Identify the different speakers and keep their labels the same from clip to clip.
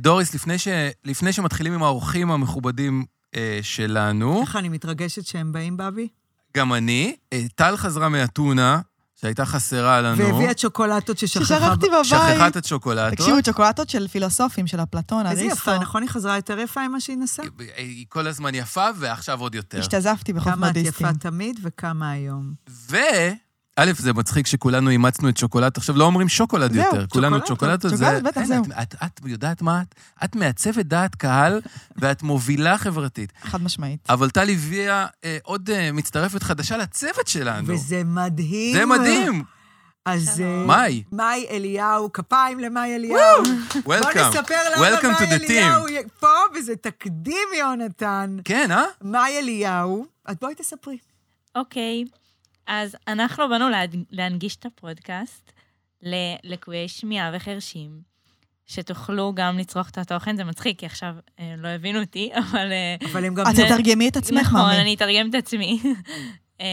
Speaker 1: דוריס, לפני, ש... לפני שמתחילים עם האורחים המכובדים אה, שלנו,
Speaker 2: איך אני מתרגשת שהם באים, בבי?
Speaker 1: גם אני, אה, טל חזרה מאתונה, שהייתה חסרה לנו.
Speaker 2: והביאה שוקולטות ששכחה...
Speaker 3: ששכחתי בבית.
Speaker 1: שכחה את השוקולטות.
Speaker 3: תקשיבו, צ'וקולטות של פילוסופים, של אפלטון,
Speaker 2: איזה
Speaker 3: אריסטו.
Speaker 2: יפה, נכון? היא חזרה יותר יפה ממה שהיא נסעה?
Speaker 1: היא- אה, היא כל הזמן יפה, ועכשיו עוד יותר.
Speaker 3: השתזפתי בחוף
Speaker 2: כמה את
Speaker 3: מדיסטים.
Speaker 2: יפה תמיד וכמה היום.
Speaker 1: ו... א', זה מצחיק שכולנו אימצנו את שוקולד, עכשיו לא אומרים שוקולד
Speaker 3: זהו,
Speaker 1: יותר, כולנו
Speaker 2: שוקולד,
Speaker 1: צ'וקולד, זה...
Speaker 3: שוקולד, בטח,
Speaker 1: אין,
Speaker 3: זהו.
Speaker 1: את, את, את יודעת מה את? את מעצבת דעת קהל ואת מובילה חברתית.
Speaker 3: חד משמעית.
Speaker 1: אבל טל הביאה אה, עוד אה, מצטרפת חדשה לצוות שלנו.
Speaker 2: וזה
Speaker 1: אה,
Speaker 2: מדהים.
Speaker 1: זה מדהים.
Speaker 2: אז... אה,
Speaker 1: מאי,
Speaker 2: מאי אליהו, כפיים למאי אליהו. בוא
Speaker 1: וולקאם.
Speaker 2: נספר למה
Speaker 1: Welcome to
Speaker 2: מאי
Speaker 1: the team.
Speaker 2: אליהו י- פה, וזה תקדים, יונתן.
Speaker 1: כן, אה?
Speaker 2: מאי אליהו, את בואי תספרי.
Speaker 4: אוקיי, אז אנחנו באנו להד- להנגיש את הפודקאסט ללקויי שמיעה וחרשים, שתוכלו גם לצרוך את התוכן, זה מצחיק, כי עכשיו אה, לא הבינו אותי, אבל... אה,
Speaker 2: אבל הם גם
Speaker 3: את
Speaker 4: זה-
Speaker 3: תתרגמי את עצמך,
Speaker 4: נכון,
Speaker 3: מאמי.
Speaker 4: אני אתרגם את עצמי. אמ,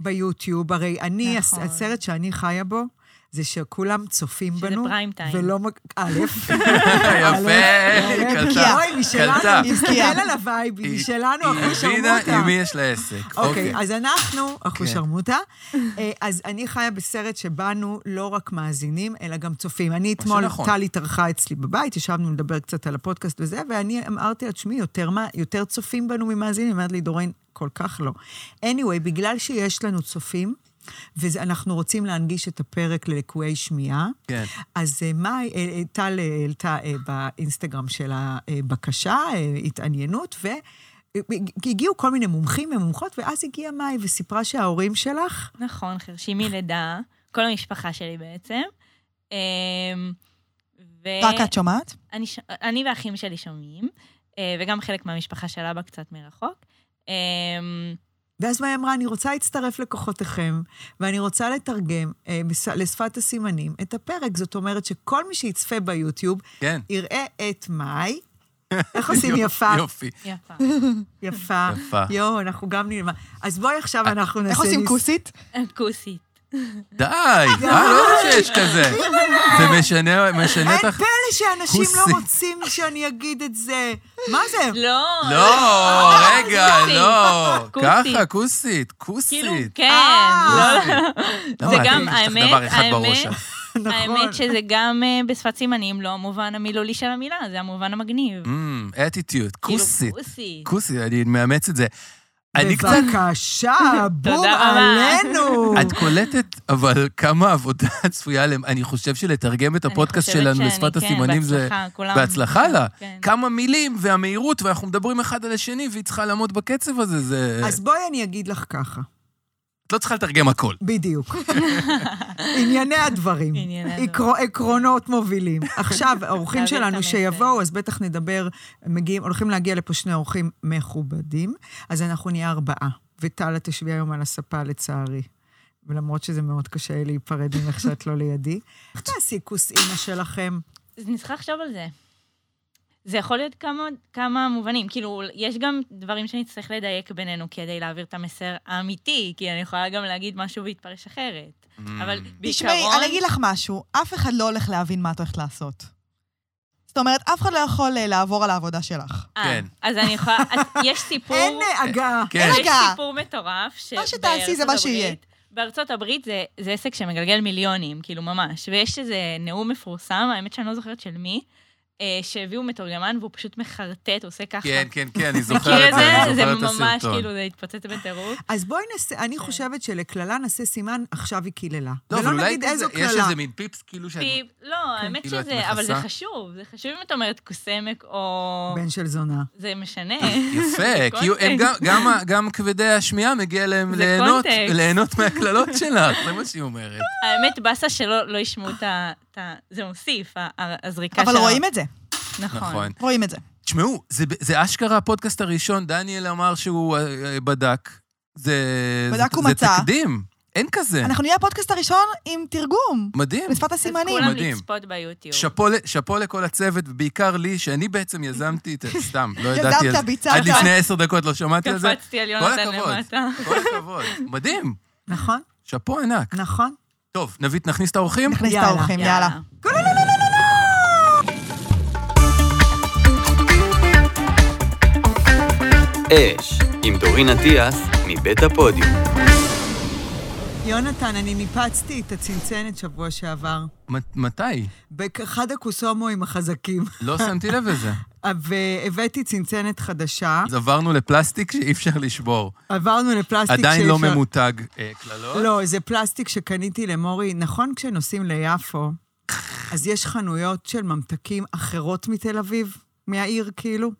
Speaker 2: ביוטיוב, הרי אני,
Speaker 4: נכון.
Speaker 2: הס- הסרט שאני חיה בו, זה שכולם צופים
Speaker 4: שזה
Speaker 2: בנו.
Speaker 4: פריים טיים.
Speaker 2: ולא... מק- א',
Speaker 1: יפה, אה, קלטה.
Speaker 2: אוי,
Speaker 1: קלטה.
Speaker 2: משלנו, תסתכל
Speaker 3: הבקיעה.
Speaker 2: על הווייב, היא
Speaker 1: היא-
Speaker 2: משלנו,
Speaker 1: היא
Speaker 2: אחוז
Speaker 1: הבינה
Speaker 2: שרמוטה.
Speaker 1: עם מי יש לה עסק.
Speaker 2: אוקיי,
Speaker 1: אוקיי.
Speaker 2: אז אנחנו, אחוז
Speaker 1: כן.
Speaker 2: שרמוטה, אה, אז אני חיה בסרט שבנו לא רק מאזינים, אלא גם צופים. אני
Speaker 1: מה
Speaker 2: אתמול,
Speaker 1: שנכון.
Speaker 2: טלי התארחה אצלי בבית, ישבנו לדבר קצת על הפודקאסט וזה, ואני אמרתי לה, תשמעי, יותר מה- יותר צופים בנו ממאזינים? היא אומרת לי, דורין, כל כך לא. anyway, בגלל שיש לנו צופים, ואנחנו רוצים להנגיש את הפרק ללקויי שמיעה,
Speaker 1: כן.
Speaker 2: אז אה, מאי, אה, אה, טל אה, העלתה אה, באינסטגרם שלה אה, בקשה, אה, התעניינות, ו... אה, הגיעו כל מיני מומחים ומומחות, ואז הגיעה מאי וסיפרה שההורים שלך,
Speaker 4: נכון, חרשים מלידה, כל המשפחה שלי בעצם. אמ, ו...
Speaker 3: רק את שומעת?
Speaker 4: אני, ש... אני ואחים שלי שומעים, אה, וגם חלק מהמשפחה של אבא קצת מרחוק. אמ,
Speaker 2: ואז מאי אמרה, אני רוצה להצטרף לכוחותיכם, ואני רוצה לתרגם אה, בש- לשפת הסימנים את הפרק. זאת אומרת שכל מי שיצפה ביוטיוב
Speaker 1: כן.
Speaker 2: יראה את מאי. איך עושים יפה?
Speaker 1: יופי.
Speaker 4: יפה.
Speaker 2: יפה.
Speaker 1: יפה.
Speaker 2: יואו, אנחנו גם נלמד. אז בואי עכשיו אנחנו נעשה...
Speaker 3: אה, איך עושים
Speaker 2: ניס-
Speaker 3: כוסית?
Speaker 4: כוסית.
Speaker 1: די, אה, לא יודע שיש כזה. זה משנה, משנה את
Speaker 2: אין
Speaker 1: הח...
Speaker 2: פלא שאנשים
Speaker 1: כוסי.
Speaker 2: לא רוצים שאני אגיד את זה. מה זה?
Speaker 4: לא.
Speaker 1: לא, רגע,
Speaker 4: כוסית.
Speaker 1: לא.
Speaker 4: כוסית.
Speaker 1: ככה, כוסית, כוסית.
Speaker 4: כאילו, כן.
Speaker 2: אה.
Speaker 4: לא, לא.
Speaker 1: כוסית.
Speaker 4: זה
Speaker 1: למה,
Speaker 4: גם,
Speaker 1: יש לך
Speaker 4: האמת,
Speaker 1: דבר אחד בראש. אה,
Speaker 4: האמת,
Speaker 1: לא
Speaker 2: נכון.
Speaker 4: האמת שזה גם אה, בשפת סימנים לא המובן המילולי של המילה, זה המובן המגניב.
Speaker 1: אטיטיוד, אמ, כוסית.
Speaker 4: כאילו, כוסית.
Speaker 1: כוסית, אני מאמץ את זה. אני קצת...
Speaker 2: בבקשה, בום
Speaker 4: רבה.
Speaker 2: עלינו.
Speaker 1: את קולטת, אבל כמה עבודה צפויה להם. אני חושב שלתרגם את
Speaker 4: אני
Speaker 1: הפודקאסט
Speaker 4: חושבת
Speaker 1: שלנו
Speaker 4: שאני,
Speaker 1: לשפת
Speaker 4: כן,
Speaker 1: הסימנים זה...
Speaker 4: בהצלחה, כולם.
Speaker 1: בהצלחה לה.
Speaker 4: כן.
Speaker 1: כמה מילים והמהירות, ואנחנו מדברים אחד על השני, והיא צריכה לעמוד בקצב הזה, זה...
Speaker 2: אז בואי אני אגיד לך ככה,
Speaker 1: את לא צריכה לתרגם הכל.
Speaker 2: בדיוק. ענייני הדברים.
Speaker 4: ענייני הדברים.
Speaker 2: עקרו- עקרונות מובילים. עכשיו, האורחים
Speaker 4: להעביר את
Speaker 2: שלנו
Speaker 4: המסר.
Speaker 2: שיבואו, אז בטח נדבר, מגיעים, הולכים להגיע לפה שני אורחים מכובדים, אז אנחנו נהיה ארבעה. וטלה תשבי היום על הספה, לצערי. ולמרות שזה מאוד קשה להיפרד ממך שאת לא לידי. איך תעשי כוס אימא שלכם?
Speaker 4: אז נצטרך לחשוב על זה. זה יכול להיות כמה, כמה מובנים. כאילו, יש גם דברים שנצטרך לדייק בינינו כדי להעביר את המסר האמיתי, כי אני יכולה גם להגיד משהו והתפרש אחרת.
Speaker 1: Mm.
Speaker 4: אבל בעיקרון...
Speaker 3: תשמעי, אני אגיד לך משהו, אף אחד לא הולך להבין מה את הולכת לעשות. זאת אומרת, אף אחד לא יכול אה, לעבור על העבודה שלך.
Speaker 4: אה,
Speaker 1: כן.
Speaker 4: אז אני יכולה... אז יש סיפור...
Speaker 2: אין הגעה.
Speaker 1: כן.
Speaker 3: רגע.
Speaker 4: יש סיפור מטורף. ש-
Speaker 3: מה שתעשי זה מה
Speaker 4: בארצות
Speaker 3: שיהיה.
Speaker 4: הברית- בארצות הברית זה, זה עסק שמגלגל מיליונים, כאילו ממש. ויש איזה נאום מפורסם, האמת שאני לא זוכרת של מי, אה, שהביאו מתורגמן והוא פשוט מחרטט, עושה ככה.
Speaker 1: כן, כן, כן, אני
Speaker 4: מכיר
Speaker 1: זוכר
Speaker 4: את
Speaker 1: את זה, אני
Speaker 4: זה? זה
Speaker 1: זוכר את
Speaker 4: ממש,
Speaker 1: הסרטון.
Speaker 4: כאילו, זה התפוצץ בטירוף.
Speaker 2: אז בואי נעשה, אני חושבת שלקללה נעשה סימן, עכשיו היא קיללה.
Speaker 1: לא, אבל
Speaker 2: ולא
Speaker 1: אולי
Speaker 2: נגיד
Speaker 1: כזה-
Speaker 2: איזו
Speaker 1: יש
Speaker 2: קללה.
Speaker 1: איזה מין פיפס, כאילו שאני...
Speaker 4: כי- לא, האמת
Speaker 1: כאילו, את
Speaker 4: שזה, אבל זה
Speaker 1: מכסה?
Speaker 4: חשוב, זה חשוב אם את אומרת קוסמק או...
Speaker 2: בן של זונה.
Speaker 4: זה משנה.
Speaker 1: יפה, כי הם גם- גם ה- גם כבדי השמיעה מגיע להם
Speaker 4: זה
Speaker 1: ליהנות-
Speaker 4: קונטקסט.
Speaker 1: ליהנות מהקללות שלך, זה מה שהיא אומרת.
Speaker 4: האמת, באסה שלא לא ישמעו את ה... את ה- זה מוסיף, ה- ה- הזריקה של...
Speaker 3: אבל
Speaker 4: ה-
Speaker 3: רואים את זה,
Speaker 1: נכון.
Speaker 3: רואים את זה.
Speaker 2: כן.
Speaker 1: תשמעו, זה- זה אשכרה הפודקאסט הראשון, דניאל אמר שהוא אה, אה, בדק. זה
Speaker 3: בדק
Speaker 1: זה-
Speaker 3: ומצא.
Speaker 1: זה תקדים, אין כזה.
Speaker 3: אנחנו נהיה הפודקאסט הראשון עם תרגום,
Speaker 1: מדהים.
Speaker 3: בשפת
Speaker 4: אז
Speaker 3: הסימנים.
Speaker 4: כולם
Speaker 1: מדהים.
Speaker 4: לצפות ביוטיוב.
Speaker 1: שאפו ל- שאפו לכל הצוות, ובעיקר לי, שאני בעצם יזמתי את זה, סתם, לא
Speaker 3: יזמת,
Speaker 1: ידעתי על זה.
Speaker 3: ביצעת.
Speaker 1: עד לפני עשר דקות לא שמעתי על זה.
Speaker 4: קפצתי על
Speaker 1: כל
Speaker 4: יונתן
Speaker 1: הכבוד,
Speaker 4: למטה.
Speaker 1: כל הכבוד. מדהים,
Speaker 2: נכון?
Speaker 1: שאפו ענק.
Speaker 2: נכון.
Speaker 1: טוב, נביא, נכניס את האורחים?
Speaker 3: נכניס את
Speaker 2: יאללה.
Speaker 3: האורחים, יאללה.
Speaker 5: אש, עם דורין אטיאס, מבית הפודיום.
Speaker 2: יונתן, אני ניפצתי את הצנצנת שבוע שעבר,
Speaker 1: מת- מתי?
Speaker 2: באחד הקוסומואים החזקים,
Speaker 1: לא שמתי לב לזה.
Speaker 2: והבאתי צנצנת חדשה,
Speaker 1: אז עברנו לפלסטיק שאי אפשר לשבור.
Speaker 2: עברנו לפלסטיק
Speaker 1: עדיין לא
Speaker 2: שאפשר-
Speaker 1: ממותג אה, קללות.
Speaker 2: לא, זה פלסטיק שקניתי למורי. נכון, כשנוסעים ליפו, אז יש חנויות של ממתקים אחרות מתל אביב, מהעיר כאילו.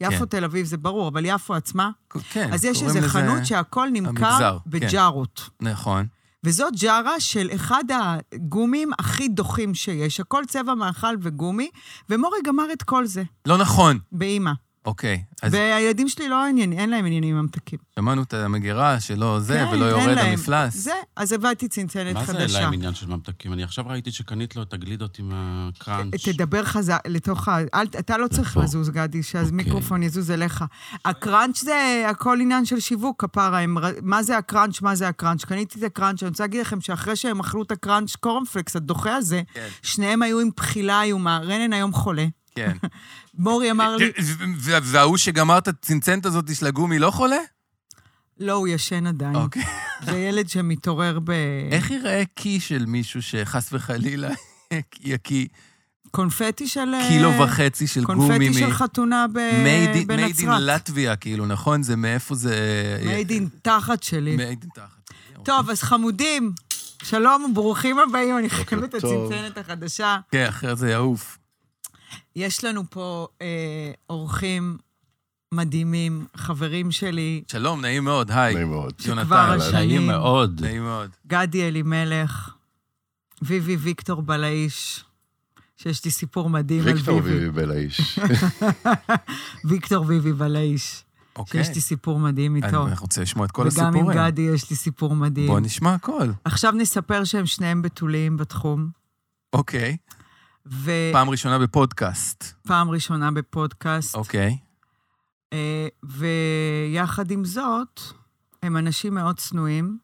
Speaker 2: יפו,
Speaker 1: כן.
Speaker 2: תל אביב, זה ברור, אבל יפו עצמה.
Speaker 3: לא.
Speaker 1: כן,
Speaker 2: אז יש
Speaker 1: קוראים
Speaker 2: איזו
Speaker 1: לזה
Speaker 2: חנות שהכל
Speaker 1: המגזר,
Speaker 2: נמכר
Speaker 1: כן.
Speaker 2: בג'ארות.
Speaker 1: נכון.
Speaker 2: וזאת ג'ארה של אחד הגומים הכי דוחים שיש. הכל צבע מאכל וגומי, ומורי גמר את כל זה,
Speaker 1: לא נכון.
Speaker 2: באימא.
Speaker 1: אוקיי, אז
Speaker 2: והילדים שלי לא עניין, אין להם עניינים עם ממתקים.
Speaker 1: שמענו את המגירה שלא זה
Speaker 2: כן,
Speaker 1: ולא
Speaker 2: אין
Speaker 1: יורד
Speaker 2: להם.
Speaker 1: המפלס.
Speaker 2: זה, אז הבאתי צנצנת
Speaker 6: מה
Speaker 2: חדשה.
Speaker 6: זה אין להם עניין של ממתקים? אני עכשיו ראיתי שקנית לו את הגלידות עם הקראנץ'.
Speaker 2: תדבר חזק לתוך ה... אל, אתה לא צריך
Speaker 1: נכון.
Speaker 6: לפה.
Speaker 2: לזוז, גדי, שאז
Speaker 6: אוקיי.
Speaker 2: מיקרופון יזוז אליך. הקראנץ' זה הכל עניין של שיווק, כפרה. הם, ר- מה זה הקראנץ', מה זה הקראנץ'. קניתי את הקראנץ', אני רוצה להגיד לכם שאחרי שהם אכלו את הקראנץ' קורנפלקס הדוחה הזה,
Speaker 1: כן.
Speaker 2: שניהם היו עם בחילה איומה. רנן היום חולה.
Speaker 1: כן.
Speaker 2: מורי אמר לי,
Speaker 1: ו- ו- וההוא שגמר את הצנצנת הזאת של הגומי לא חולה?
Speaker 2: לא, הוא ישן עדיין.
Speaker 1: אוקיי.
Speaker 2: זה ילד שמתעורר
Speaker 1: איך ייראה קי של מישהו שחס וחלילה יקי
Speaker 2: בקונפטי של... אה,
Speaker 1: קילו וחצי של גומי
Speaker 2: קונפטי
Speaker 1: מ...
Speaker 2: של חתונה ב-
Speaker 1: made in- made in
Speaker 2: בנצרת.
Speaker 1: לטביה, כאילו, נכון? זה מאיפה זה... אה,
Speaker 2: מייד אין תחת שלי.
Speaker 1: made in תחת.
Speaker 2: טוב, אז חמודים, שלום וברוכים הבאים, אני חייבת את
Speaker 1: טוב.
Speaker 2: הצנצנת החדשה.
Speaker 1: כן, אחרת זה יעוף.
Speaker 2: יש לנו פה אה, אורחים מדהימים, חברים שלי,
Speaker 1: שלום, נעים מאוד, היי.
Speaker 7: נעים מאוד.
Speaker 1: יונתן,
Speaker 2: שכבר
Speaker 6: נעים
Speaker 2: השנים,
Speaker 6: מאוד.
Speaker 1: נעים מאוד.
Speaker 2: גדי אלימלך, ויבי ויקטור בלעיש, שיש לי סיפור מדהים על
Speaker 7: ויקטור
Speaker 2: ויבי.
Speaker 7: ויבי בלעיש.
Speaker 2: ויקטור ויבי בלעיש,
Speaker 1: אוקיי.
Speaker 2: שיש לי סיפור מדהים
Speaker 1: אני
Speaker 2: איתו.
Speaker 1: אני רוצה לשמוע את כל
Speaker 2: וגם עם
Speaker 1: הסיפורים.
Speaker 2: גדי יש לי סיפור מדהים.
Speaker 1: בוא נשמע הכל.
Speaker 2: עכשיו נספר שהם שניהם בתוליים בתחום,
Speaker 1: אוקיי.
Speaker 2: ופעם
Speaker 1: פעם ראשונה בפודקאסט.
Speaker 2: ראשונה בפודקאסט.
Speaker 1: אוקיי.
Speaker 2: אה, ויחד עם זאת, הם אנשים מאוד צנועים,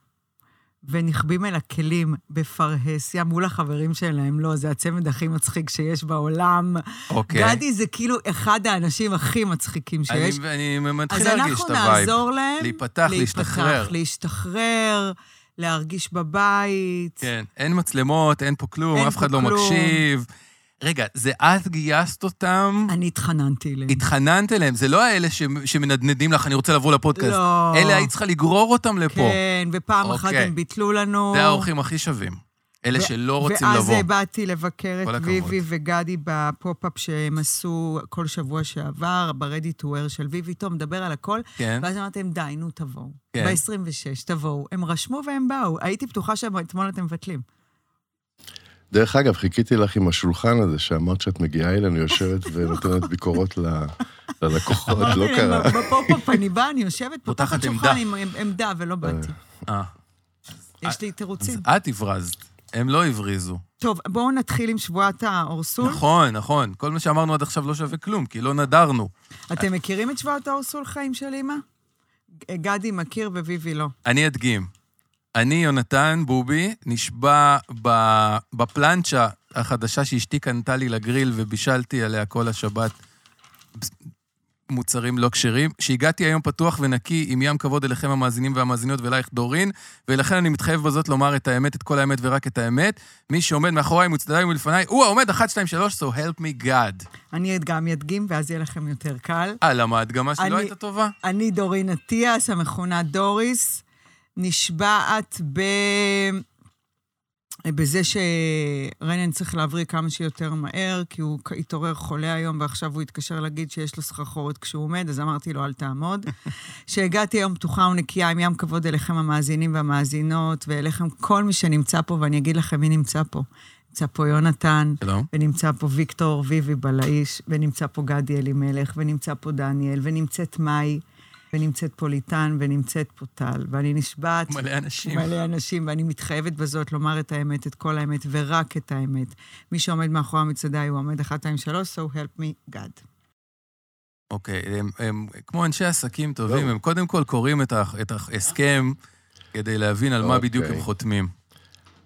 Speaker 2: ונכבים אל הכלים בפרהסיה מול החברים שלהם. לא, זה הצמד הכי מצחיק שיש בעולם.
Speaker 1: אוקיי.
Speaker 2: גדי זה כאילו אחד האנשים הכי מצחיקים
Speaker 1: אני-
Speaker 2: שיש.
Speaker 1: אני מתחיל
Speaker 2: אז
Speaker 1: להרגיש
Speaker 2: אנחנו
Speaker 1: את הווייב.
Speaker 2: נעזור להם
Speaker 1: להיפתח, להשתחרר.
Speaker 2: להשתחרר, להרגיש בבית.
Speaker 1: כן, אין מצלמות, אין פה כלום,
Speaker 2: אין
Speaker 1: אף
Speaker 2: פה
Speaker 1: אחד לא
Speaker 2: כלום.
Speaker 1: מקשיב. רגע, זה את גייסת אותם,
Speaker 2: אני התחננתי אליהם.
Speaker 1: התחננת אליהם, זה לא האלה ש- שמנדנדים לך, אני רוצה לבוא לפודקאסט.
Speaker 2: לא.
Speaker 1: אלה היית צריכה לגרור אותם לפה.
Speaker 2: כן, ופעם אחת
Speaker 1: אוקיי.
Speaker 2: הם ביטלו לנו.
Speaker 1: זה האורחים הכי שווים. אלה
Speaker 2: ו-
Speaker 1: שלא לא רוצים
Speaker 2: ואז
Speaker 1: לבוא.
Speaker 2: אה, באתי לבקר
Speaker 1: כל
Speaker 2: את
Speaker 1: הכבוד.
Speaker 2: ויבי וגדי בפופ-אפ שהם עשו כל שבוע שעבר, ברדי טו וור של ויבי, טוב, מדבר על הכל,
Speaker 1: כן.
Speaker 2: ואז אמרתי להם, די, נו, תבואו.
Speaker 1: כן.
Speaker 2: ב-26, תבואו. הם רשמו והם באו. הייתי בטוחה שאתמול אתם מבטלים.
Speaker 7: דרך אגב, חיכיתי לך עם השולחן הזה שאמרת שאת מגיעה אלינו, יושבת ונותנת ביקורות ל- ללקוחות, לא
Speaker 2: אמרתי להם,
Speaker 7: קרה.
Speaker 2: בפופ-אפ אני באה, אני יושבת,
Speaker 1: פותחת
Speaker 2: פותחת
Speaker 1: עמדה.
Speaker 2: שולחן עם עם עמדה, ולא באתי.
Speaker 1: אה,
Speaker 2: יש לי
Speaker 1: אז
Speaker 2: תירוצים.
Speaker 1: את הברזת, הם לא הבריזו.
Speaker 2: טוב, בואו נתחיל עם שבועת האורסול.
Speaker 1: נכון, נכון. כל מה שאמרנו עד עכשיו לא שווה כלום, כי לא נדרנו.
Speaker 2: אתם מכירים את שבועת האורסול חיים של אימא? גדי מכיר וויבי לא.
Speaker 1: אני אדגים. אני, יונתן בובי, נשבע ב- בפלנצ'ה החדשה שאשתי קנתה לי לגריל ובישלתי עליה כל השבת מוצרים לא כשרים, שהגעתי היום פתוח ונקי עם ים כבוד אליכם המאזינים והמאזינות ואלייך דורין, ולכן אני מתחייב בזאת לומר את האמת, את כל האמת ורק את האמת. מי שעומד מאחוריי מצדדיי ולפניי, הוא העומד 1, 2, 3, so help me God.
Speaker 2: אני גם אדגים, ואז יהיה לכם יותר קל.
Speaker 1: אה, למה ההדגמה שלי לא
Speaker 2: אני-
Speaker 1: הייתה טובה?
Speaker 2: אני דורין אטיאס, המכונה דוריס, נשבעת ב... בזה שרנן צריך להבריא כמה שיותר מהר, כי הוא כ- התעורר חולה היום, ועכשיו הוא התקשר להגיד שיש לו סחרחורת כשהוא עומד, אז אמרתי לו, אל תעמוד. שהגעתי היום פתוחה ונקייה, עם ים כבוד אליכם המאזינים והמאזינות, ואליכם כל מי שנמצא פה, ואני אגיד לכם מי נמצא פה. נמצא פה יונתן,
Speaker 1: שלום.
Speaker 2: ונמצא פה ויקטור ויבי בלעיש, ונמצא פה גדי אלימלך, ונמצא פה דניאל, ונמצאת מאי, ונמצאת פה ליטן, ונמצאת פה טל. ואני נשבעת...
Speaker 1: מלא אנשים.
Speaker 2: מלא אנשים, ואני מתחייבת בזאת לומר את האמת, את כל האמת, ורק את האמת. מי שעומד מאחורי המצעדה, הוא עומד אחת, שתיים, שלוש, so help me God.
Speaker 1: אוקיי, הם, הם כמו אנשי עסקים טובים, הם קודם כל קוראים את, ה, את ההסכם כדי להבין על מה בדיוק הם
Speaker 7: אוקיי.
Speaker 1: חותמים.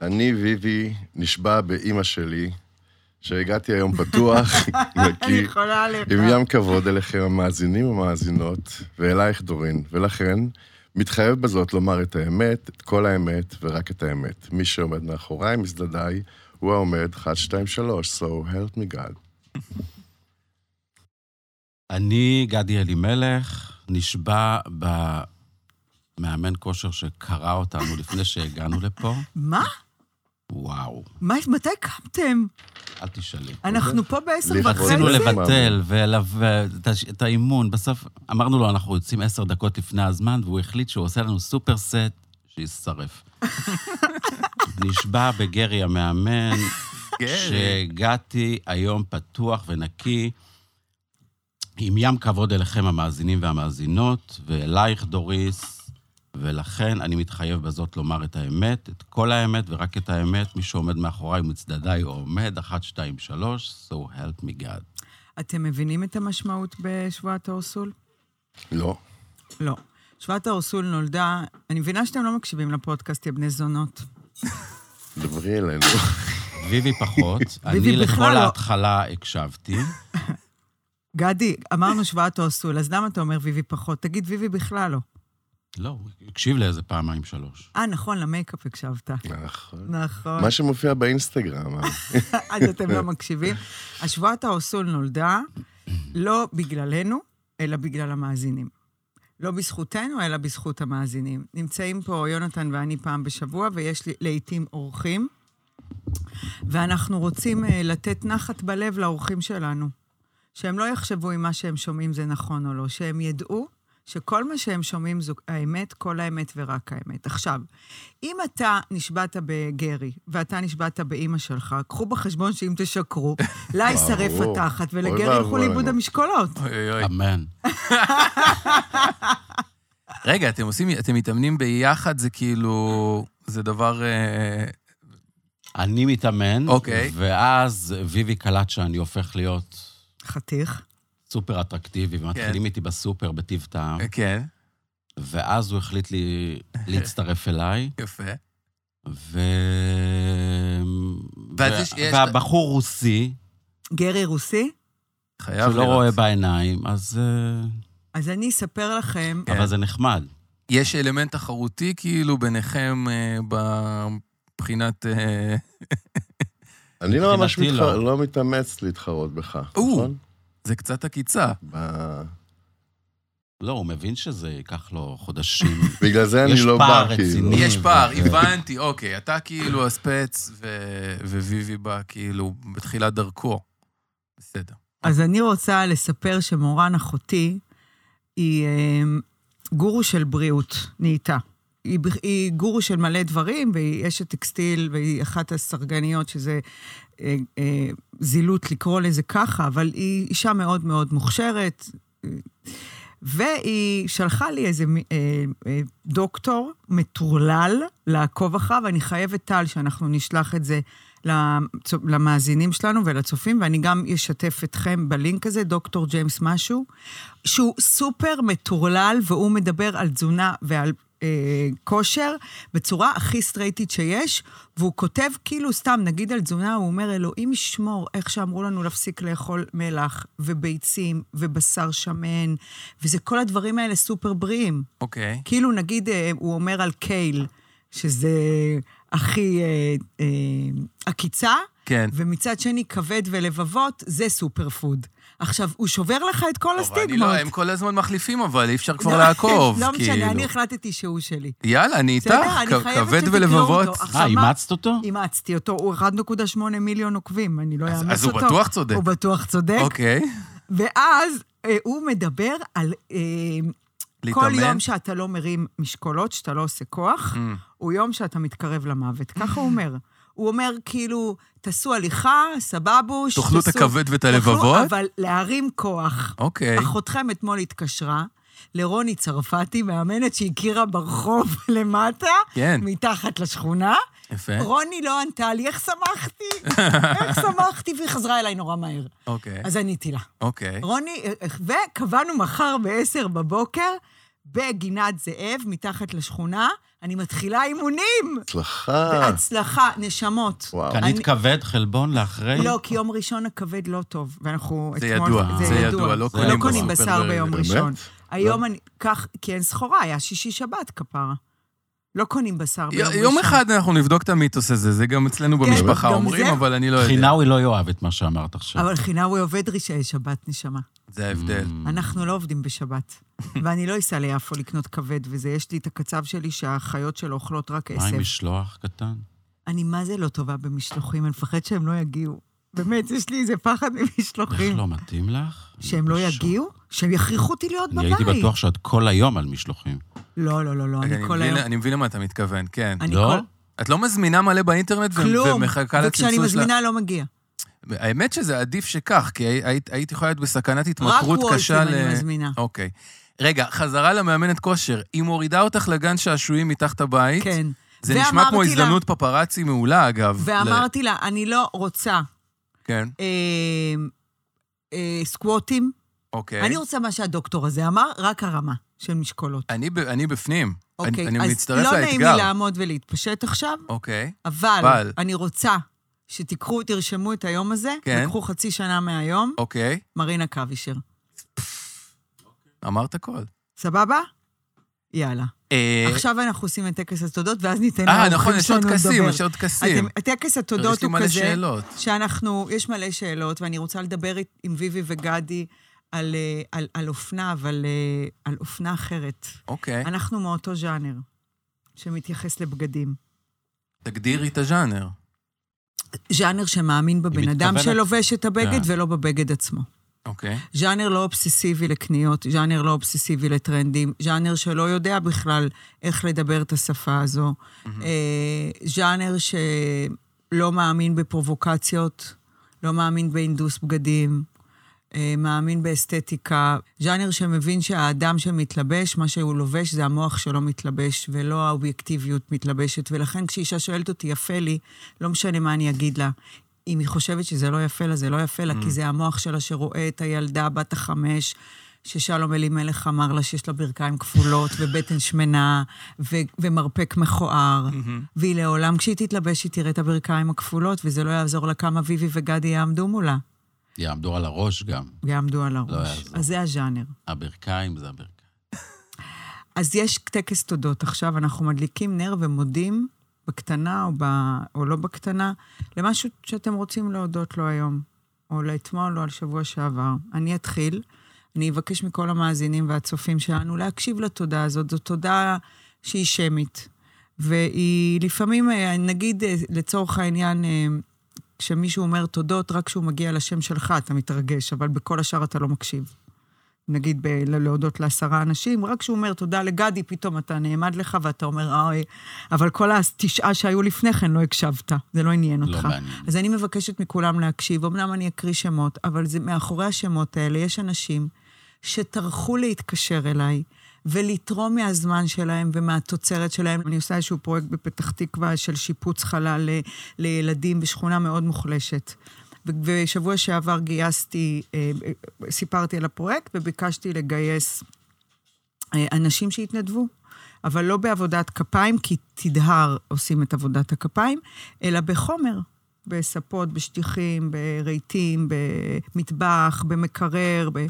Speaker 7: אני, ויבי, נשבע באימא שלי, שהגעתי היום פתוח,
Speaker 2: אני
Speaker 7: נקי,
Speaker 2: יכולה לך.
Speaker 7: עם ים כבוד אליכם המאזינים המאזינות, ואלייך דורין, ולכן מתחייב בזאת לומר את האמת, את כל האמת ורק את האמת. מי שעומד מאחוריי, מזדדיי, הוא העומד 1, 2, 3, so help me God.
Speaker 6: אני, גדי אלימלך, נשבע במאמן כושר שקרא אותנו לפני שהגענו לפה.
Speaker 2: מה?
Speaker 6: וואו,
Speaker 2: מה? מתי קמתם?
Speaker 6: אל תשאלי.
Speaker 2: אנחנו פה בעשר
Speaker 7: לכבוד
Speaker 2: וחצי.
Speaker 6: רצינו
Speaker 7: זה-
Speaker 6: לבטל ול- ואת הש- את האימון, בסוף אמרנו לו, אנחנו יוצאים עשר דקות לפני הזמן, והוא החליט שהוא עושה לנו סופר סט שישרף. נשבע בגרי המאמן, כן.
Speaker 1: כן.
Speaker 6: שהגעתי היום פתוח ונקי, עם ים כבוד אליכם המאזינים והמאזינות, ואלייך, דוריס, ולכן אני מתחייב בזאת לומר את האמת, את כל האמת ורק את האמת, מי שעומד מאחוריי ומצדדיי עומד, אחת, שתיים, שלוש, so help me God.
Speaker 2: אתם מבינים את המשמעות בשבועת האורסול?
Speaker 7: לא.
Speaker 2: לא. שבועת האורסול נולדה, אני מבינה שאתם לא מקשיבים לפודקאסט, יא בני זונות.
Speaker 7: דברי אלינו.
Speaker 6: ויבי פחות, אני
Speaker 2: ויבי בכלל
Speaker 6: לכל
Speaker 2: לא.
Speaker 6: ההתחלה הקשבתי.
Speaker 2: גדי, אמרנו שבועת האורסול, אז למה אתה אומר ויבי פחות? תגיד ויבי בכלל לא.
Speaker 6: לא, הוא הקשיב לאיזה פעמיים, שלוש.
Speaker 2: אה, נכון, למייקאפ הקשבת.
Speaker 7: נכון.
Speaker 2: נכון.
Speaker 7: מה שמופיע באינסטגרם, אה?
Speaker 2: אז אתם לא מקשיבים. השבועת האוסול נולדה לא בגללנו, אלא בגלל המאזינים. לא בזכותנו, אלא בזכות המאזינים. נמצאים פה יונתן ואני פעם בשבוע, ויש לי לעתים אורחים, ואנחנו רוצים אה, לתת נחת בלב לאורחים שלנו. שהם לא יחשבו אם מה שהם שומעים זה נכון או לא, שהם ידעו שכל מה שהם שומעים זו האמת, כל האמת ורק האמת. עכשיו, אם אתה נשבעת בגרי, ואתה נשבעת באימא שלך, קחו בחשבון שאם תשקרו, לה יישרף
Speaker 7: ברור.
Speaker 2: התחת,
Speaker 7: אוי
Speaker 2: ולגרי ילכו
Speaker 7: ואבוי
Speaker 2: לאיבוד
Speaker 7: לנו.
Speaker 2: המשקולות.
Speaker 1: אוי אוי אוי.
Speaker 6: אמן.
Speaker 1: רגע, אתם עושים, אתם מתאמנים ביחד, זה כאילו, זה דבר... אה,
Speaker 6: אני מתאמן,
Speaker 1: אוקיי.
Speaker 6: ואז ויבי קלט שאני הופך להיות
Speaker 2: חתיך.
Speaker 6: סופר אטרקטיבי,
Speaker 1: כן.
Speaker 6: ומתחילים איתי בסופר בטיב טעם,
Speaker 1: אה, כן,
Speaker 6: ואז הוא החליט לי להצטרף אליי,
Speaker 1: יפה.
Speaker 6: ו...
Speaker 1: ואז
Speaker 6: וה-
Speaker 1: יש- יש-
Speaker 6: והבחור רוסי,
Speaker 2: גרי רוסי?
Speaker 1: חייב
Speaker 6: שלא
Speaker 1: לראות.
Speaker 6: רואה בעיניים, אז... אה,
Speaker 2: אז אני אספר לכם,
Speaker 1: כן.
Speaker 6: אבל זה נחמד.
Speaker 1: יש אלמנט תחרותי כאילו ביניכם אה, מבחינת... אה,
Speaker 7: אני לא ממש
Speaker 6: מבחינתי
Speaker 7: מתח-
Speaker 6: לא.
Speaker 7: לא מתאמץ להתחרות בך,
Speaker 1: או.
Speaker 7: נכון?
Speaker 1: זה קצת עקיצה.
Speaker 7: ב-
Speaker 6: לא, הוא מבין שזה ייקח לו חודשים.
Speaker 7: בגלל זה אני
Speaker 6: יש
Speaker 7: לא
Speaker 6: פער
Speaker 7: בא, כאילו.
Speaker 6: רציני.
Speaker 1: יש פער,
Speaker 6: אה.
Speaker 1: הבנתי, אוקיי. אתה כאילו הספץ, ו- וויבי בא כאילו בתחילת דרכו. בסדר.
Speaker 2: אז אני רוצה לספר שמורן אחותי היא אה, גורו של בריאות, נהייתה. היא, בכ- היא גורו של מלא דברים, והיא אשת טקסטיל, והיא אחת הסרגניות, שזה אה, אה, זילות לקרוא לזה ככה, אבל היא אישה מאוד מאוד מוכשרת. אה, והיא שלחה לי איזה מ- אה, אה, דוקטור מטורלל לעקוב אחריו, אני חייבת, טל, שאנחנו נשלח את זה לצו- למאזינים שלנו ולצופים, ואני גם אשתף אתכם בלינק הזה, דוקטור ג'יימס משהו, שהוא סופר מטורלל, והוא מדבר על תזונה ועל אה, כושר בצורה הכי סטרייטית שיש, והוא כותב כאילו, סתם, נגיד על תזונה, הוא אומר, אלוהים ישמור, איך שאמרו לנו להפסיק לאכול מלח וביצים ובשר שמן, וזה כל הדברים האלה סופר בריאים.
Speaker 1: אוקיי.
Speaker 2: כאילו, נגיד, אה, הוא אומר על קייל, שזה הכי אה, אה, עקיצה,
Speaker 1: כן.
Speaker 2: ומצד שני, כבד ולבבות, זה סופר פוד. עכשיו, הוא שובר לך את כל
Speaker 1: אבל
Speaker 2: הסטיגמות.
Speaker 1: אני לא, הם כל הזמן מחליפים, אבל אי אפשר כבר
Speaker 2: לא,
Speaker 1: לעקוב.
Speaker 2: לא משנה,
Speaker 1: כאילו.
Speaker 2: אני החלטתי שהוא שלי.
Speaker 1: יאללה, אני איתך,
Speaker 2: בסדר, אני
Speaker 1: כ-
Speaker 2: חייבת
Speaker 1: כבד
Speaker 2: שתקראו
Speaker 1: ולבבות.
Speaker 2: אותו. עכשיו,
Speaker 6: אה,
Speaker 2: מה-
Speaker 6: אימצת אותו?
Speaker 2: אימצתי אותו, הוא 1.8 מיליון עוקבים, אני לא
Speaker 1: אז-
Speaker 2: אאמץ אותו.
Speaker 1: אז הוא בטוח צודק.
Speaker 2: הוא בטוח צודק.
Speaker 1: אוקיי.
Speaker 2: ואז אה, הוא מדבר על... אה, כל
Speaker 1: להתאמן. Mm.
Speaker 2: יום שאתה לא מרים משקולות, שאתה לא עושה כוח, הוא יום שאתה מתקרב למוות. ככה הוא אומר. הוא אומר, כאילו, תעשו הליכה, סבבוש.
Speaker 1: תאכלו את
Speaker 2: תעשו-
Speaker 1: הכבד ואת
Speaker 2: תאכלו,
Speaker 1: הלבבות?
Speaker 2: אבל להרים כוח.
Speaker 1: אוקיי.
Speaker 2: אחותכם אתמול התקשרה לרוני צרפתי, מאמנת שהכירה ברחוב למטה,
Speaker 1: כן.
Speaker 2: מתחת לשכונה.
Speaker 1: יפה.
Speaker 2: רוני לא ענתה לי, איך שמחתי, איך שמחתי, והיא חזרה אליי נורא מהר.
Speaker 1: אוקיי.
Speaker 2: אז עניתי לה.
Speaker 1: אוקיי.
Speaker 2: רוני, אה, וקבענו מחר ב-10 בבוקר בגינת זאב, מתחת לשכונה, אני מתחילה אימונים!
Speaker 7: הצלחה.
Speaker 2: בהצלחה, נשמות.
Speaker 7: אה. וואו.
Speaker 6: קנית
Speaker 2: אני-
Speaker 6: כבד, חלבון לאחרי?
Speaker 2: לא, כי יום ראשון הכבד לא טוב, ואנחנו
Speaker 1: זה
Speaker 2: אתמול-
Speaker 1: ידוע, זה ידוע, לא
Speaker 6: קונים
Speaker 2: לא קונים
Speaker 1: בסופר
Speaker 2: בשר
Speaker 1: ב-
Speaker 2: ביום
Speaker 7: באמת?
Speaker 2: ראשון.
Speaker 7: לא.
Speaker 2: היום אני, כך, כי אין סחורה, היה שישי-שבת כפרה. לא קונים בשר ביום ראשון.
Speaker 1: יום אחד אנחנו נבדוק את המיתוס הזה, זה גם אצלנו
Speaker 2: כן,
Speaker 1: במשפחה
Speaker 2: גם
Speaker 1: אומרים,
Speaker 2: זה-
Speaker 1: אבל אני לא יודע.
Speaker 6: חינאוי לא יאהב את מה שאמרת עכשיו.
Speaker 2: אבל חינאווי עובד ראשי שבת, נשמה.
Speaker 1: זה ההבדל.
Speaker 6: Mm. Mm-hmm.
Speaker 2: אנחנו לא עובדים בשבת. ואני לא אסע ליפו לקנות כבד וזה, יש לי את הקצב שלי שהאחיות שלו אוכלות רק
Speaker 6: מה עם
Speaker 2: עשב.
Speaker 6: משלוח קטן?
Speaker 2: אני מה זה לא טובה במשלוחים, אני מפחד שהם לא יגיעו. באמת, יש לי איזה פחד
Speaker 6: איך
Speaker 2: ממשלוחים.
Speaker 6: לא מתאים לך?
Speaker 2: שהם לא
Speaker 6: משהו.
Speaker 2: יגיעו? שהם יכריחו אותי להיות
Speaker 6: אני
Speaker 2: בבית.
Speaker 6: הייתי בטוח שאת כל היום על משלוחים.
Speaker 2: לא, לא, לא, לא,
Speaker 1: רגע,
Speaker 2: אני
Speaker 1: אני
Speaker 2: כל
Speaker 1: מבין-
Speaker 2: היום...
Speaker 1: אני מבין למה אתה מתכוון, כן.
Speaker 2: אני
Speaker 6: לא?
Speaker 2: כל...
Speaker 1: את לא מזמינה מלא באינטרנט ו-
Speaker 2: כלום.
Speaker 1: ומחכה לצלצול
Speaker 2: וכשאני
Speaker 1: של...
Speaker 2: מזמינה לא מגיע.
Speaker 1: האמת שזה עדיף שכך, כי הי- היית- היית יכולה להיות בסכנת
Speaker 2: רק
Speaker 1: התמכרות
Speaker 2: וולטים
Speaker 1: קשה ל...
Speaker 2: אני מזמינה.
Speaker 1: אוקיי. רגע, חזרה למאמנת כושר. היא מורידה אותך לגן שעשועים מתחת הבית.
Speaker 2: כן.
Speaker 1: זה נשמע כמו
Speaker 2: ואמרתי לה-
Speaker 1: הזדמנות פפראצי מעולה, אגב. ל-
Speaker 2: ואמרתי לה, אני לא רוצה
Speaker 1: כן,
Speaker 2: אה, אה, סקווטים,
Speaker 1: אוקיי.
Speaker 2: אני רוצה מה שהדוקטור הזה אמר, רק הרמה של משקולות.
Speaker 1: אני ב- אני בפנים.
Speaker 2: אוקיי,
Speaker 1: אני אני
Speaker 2: אז
Speaker 1: מצטרף
Speaker 2: לא נעים לי
Speaker 1: לאתגר.
Speaker 2: לעמוד ולהתפשט עכשיו,
Speaker 1: אוקיי.
Speaker 2: אבל,
Speaker 1: אבל.
Speaker 2: אני רוצה שתיקחו, תרשמו את היום הזה,
Speaker 1: כן.
Speaker 2: וקחו חצי שנה מהיום,
Speaker 1: אוקיי,
Speaker 2: מרינה קווישר.
Speaker 1: אמרת הכל.
Speaker 2: סבבה? יאללה.
Speaker 1: אה,
Speaker 2: עכשיו אנחנו עושים את טקס התודות, ואז ניתן
Speaker 1: אה,
Speaker 2: לאורחים
Speaker 1: נכון, יש עוד
Speaker 2: שלנו
Speaker 1: טקסים,
Speaker 2: לדבר.
Speaker 1: יש עוד טקסים.
Speaker 2: אתם- טקס התודות
Speaker 1: יש לי
Speaker 2: הוא
Speaker 1: מלא
Speaker 2: כזה,
Speaker 1: שאלות.
Speaker 2: שאנחנו, יש מלא שאלות, ואני רוצה לדבר אית- עם ויבי וגדי על, אה, על, על אופנה, אבל אה, על אופנה אחרת.
Speaker 1: אוקיי,
Speaker 2: אנחנו מאותו ז'אנר שמתייחס לבגדים.
Speaker 1: תגדירי את הז'אנר.
Speaker 2: ז'אנר שמאמין בבן
Speaker 6: מתכוונת-
Speaker 2: אדם שלובש את הבגד
Speaker 6: כן.
Speaker 2: ולא בבגד עצמו.
Speaker 1: אוקיי.
Speaker 2: ז'אנר לא אובססיבי לקניות, ז'אנר לא אובססיבי לטרנדים, ז'אנר שלא יודע בכלל איך לדבר את השפה הזו, אה, ז'אנר שלא מאמין בפרובוקציות, לא מאמין בהינדוס בגדים, אה, מאמין באסתטיקה, ז'אנר שמבין שהאדם שמתלבש, מה שהוא לובש זה המוח שלו מתלבש, ולא האובייקטיביות מתלבשת, ולכן כשאישה שואלת אותי, יפה לי, לא משנה מה אני אגיד לה. אם היא חושבת שזה לא יפה לה, זה לא יפה לה, כי זה המוח שלה שרואה את הילדה בת החמש, ששלום אלימלך אמר לה שיש לה ברכיים כפולות ובטן שמנה ו- ומרפק מכוער. והיא לעולם, כשהיא תתלבש, היא תראה את הברכיים הכפולות, וזה לא יעזור לה כמה ויבי וגדי יעמדו מולה.
Speaker 6: יעמדו על הראש גם.
Speaker 2: יעמדו על הראש.
Speaker 6: יעזור.
Speaker 2: אז זה הז'אנר.
Speaker 6: הברכיים זה הברכיים.
Speaker 2: אז יש טקס תודות עכשיו, אנחנו מדליקים נר ומודים, בקטנה או, ב... או לא בקטנה, למשהו שאתם רוצים להודות לו היום, או לאתמול או על שבוע שעבר. אני אתחיל, אני אבקש מכל המאזינים והצופים שלנו להקשיב לתודה הזאת, זו תודה שהיא שמית. והיא לפעמים, אה, נגיד אה, לצורך העניין, אה, כשמישהו אומר תודות, רק כשהוא מגיע לשם שלך אתה מתרגש, אבל בכל השאר אתה לא מקשיב. נגיד ב- ל- להודות לעשרה אנשים, רק כשהוא אומר תודה לגדי, פתאום אתה נעמד לך ואתה אומר, "אה, אוי, אבל כל התשעה שהיו לפני כן לא הקשבת, זה לא עניין
Speaker 6: לא
Speaker 2: אותך.
Speaker 6: מעניין.
Speaker 2: אז אני מבקשת מכולם להקשיב, אמנם אני אקריא שמות, אבל זה, מאחורי השמות האלה יש אנשים שטרחו להתקשר אליי ולתרום מהזמן שלהם ומהתוצרת שלהם. אני עושה איזשהו פרויקט בפתח תקווה של שיפוץ חלל ל- לילדים בשכונה מאוד מוחלשת. ו- ושבוע שעבר גייסתי, אה, אה, סיפרתי על הפרויקט וביקשתי לגייס אה, אנשים שהתנדבו. אבל לא בעבודת כפיים, כי תדהר עושים את עבודת הכפיים, אלא בחומר, בספות, בשטיחים, ברהיטים, במטבח, במקרר. ב...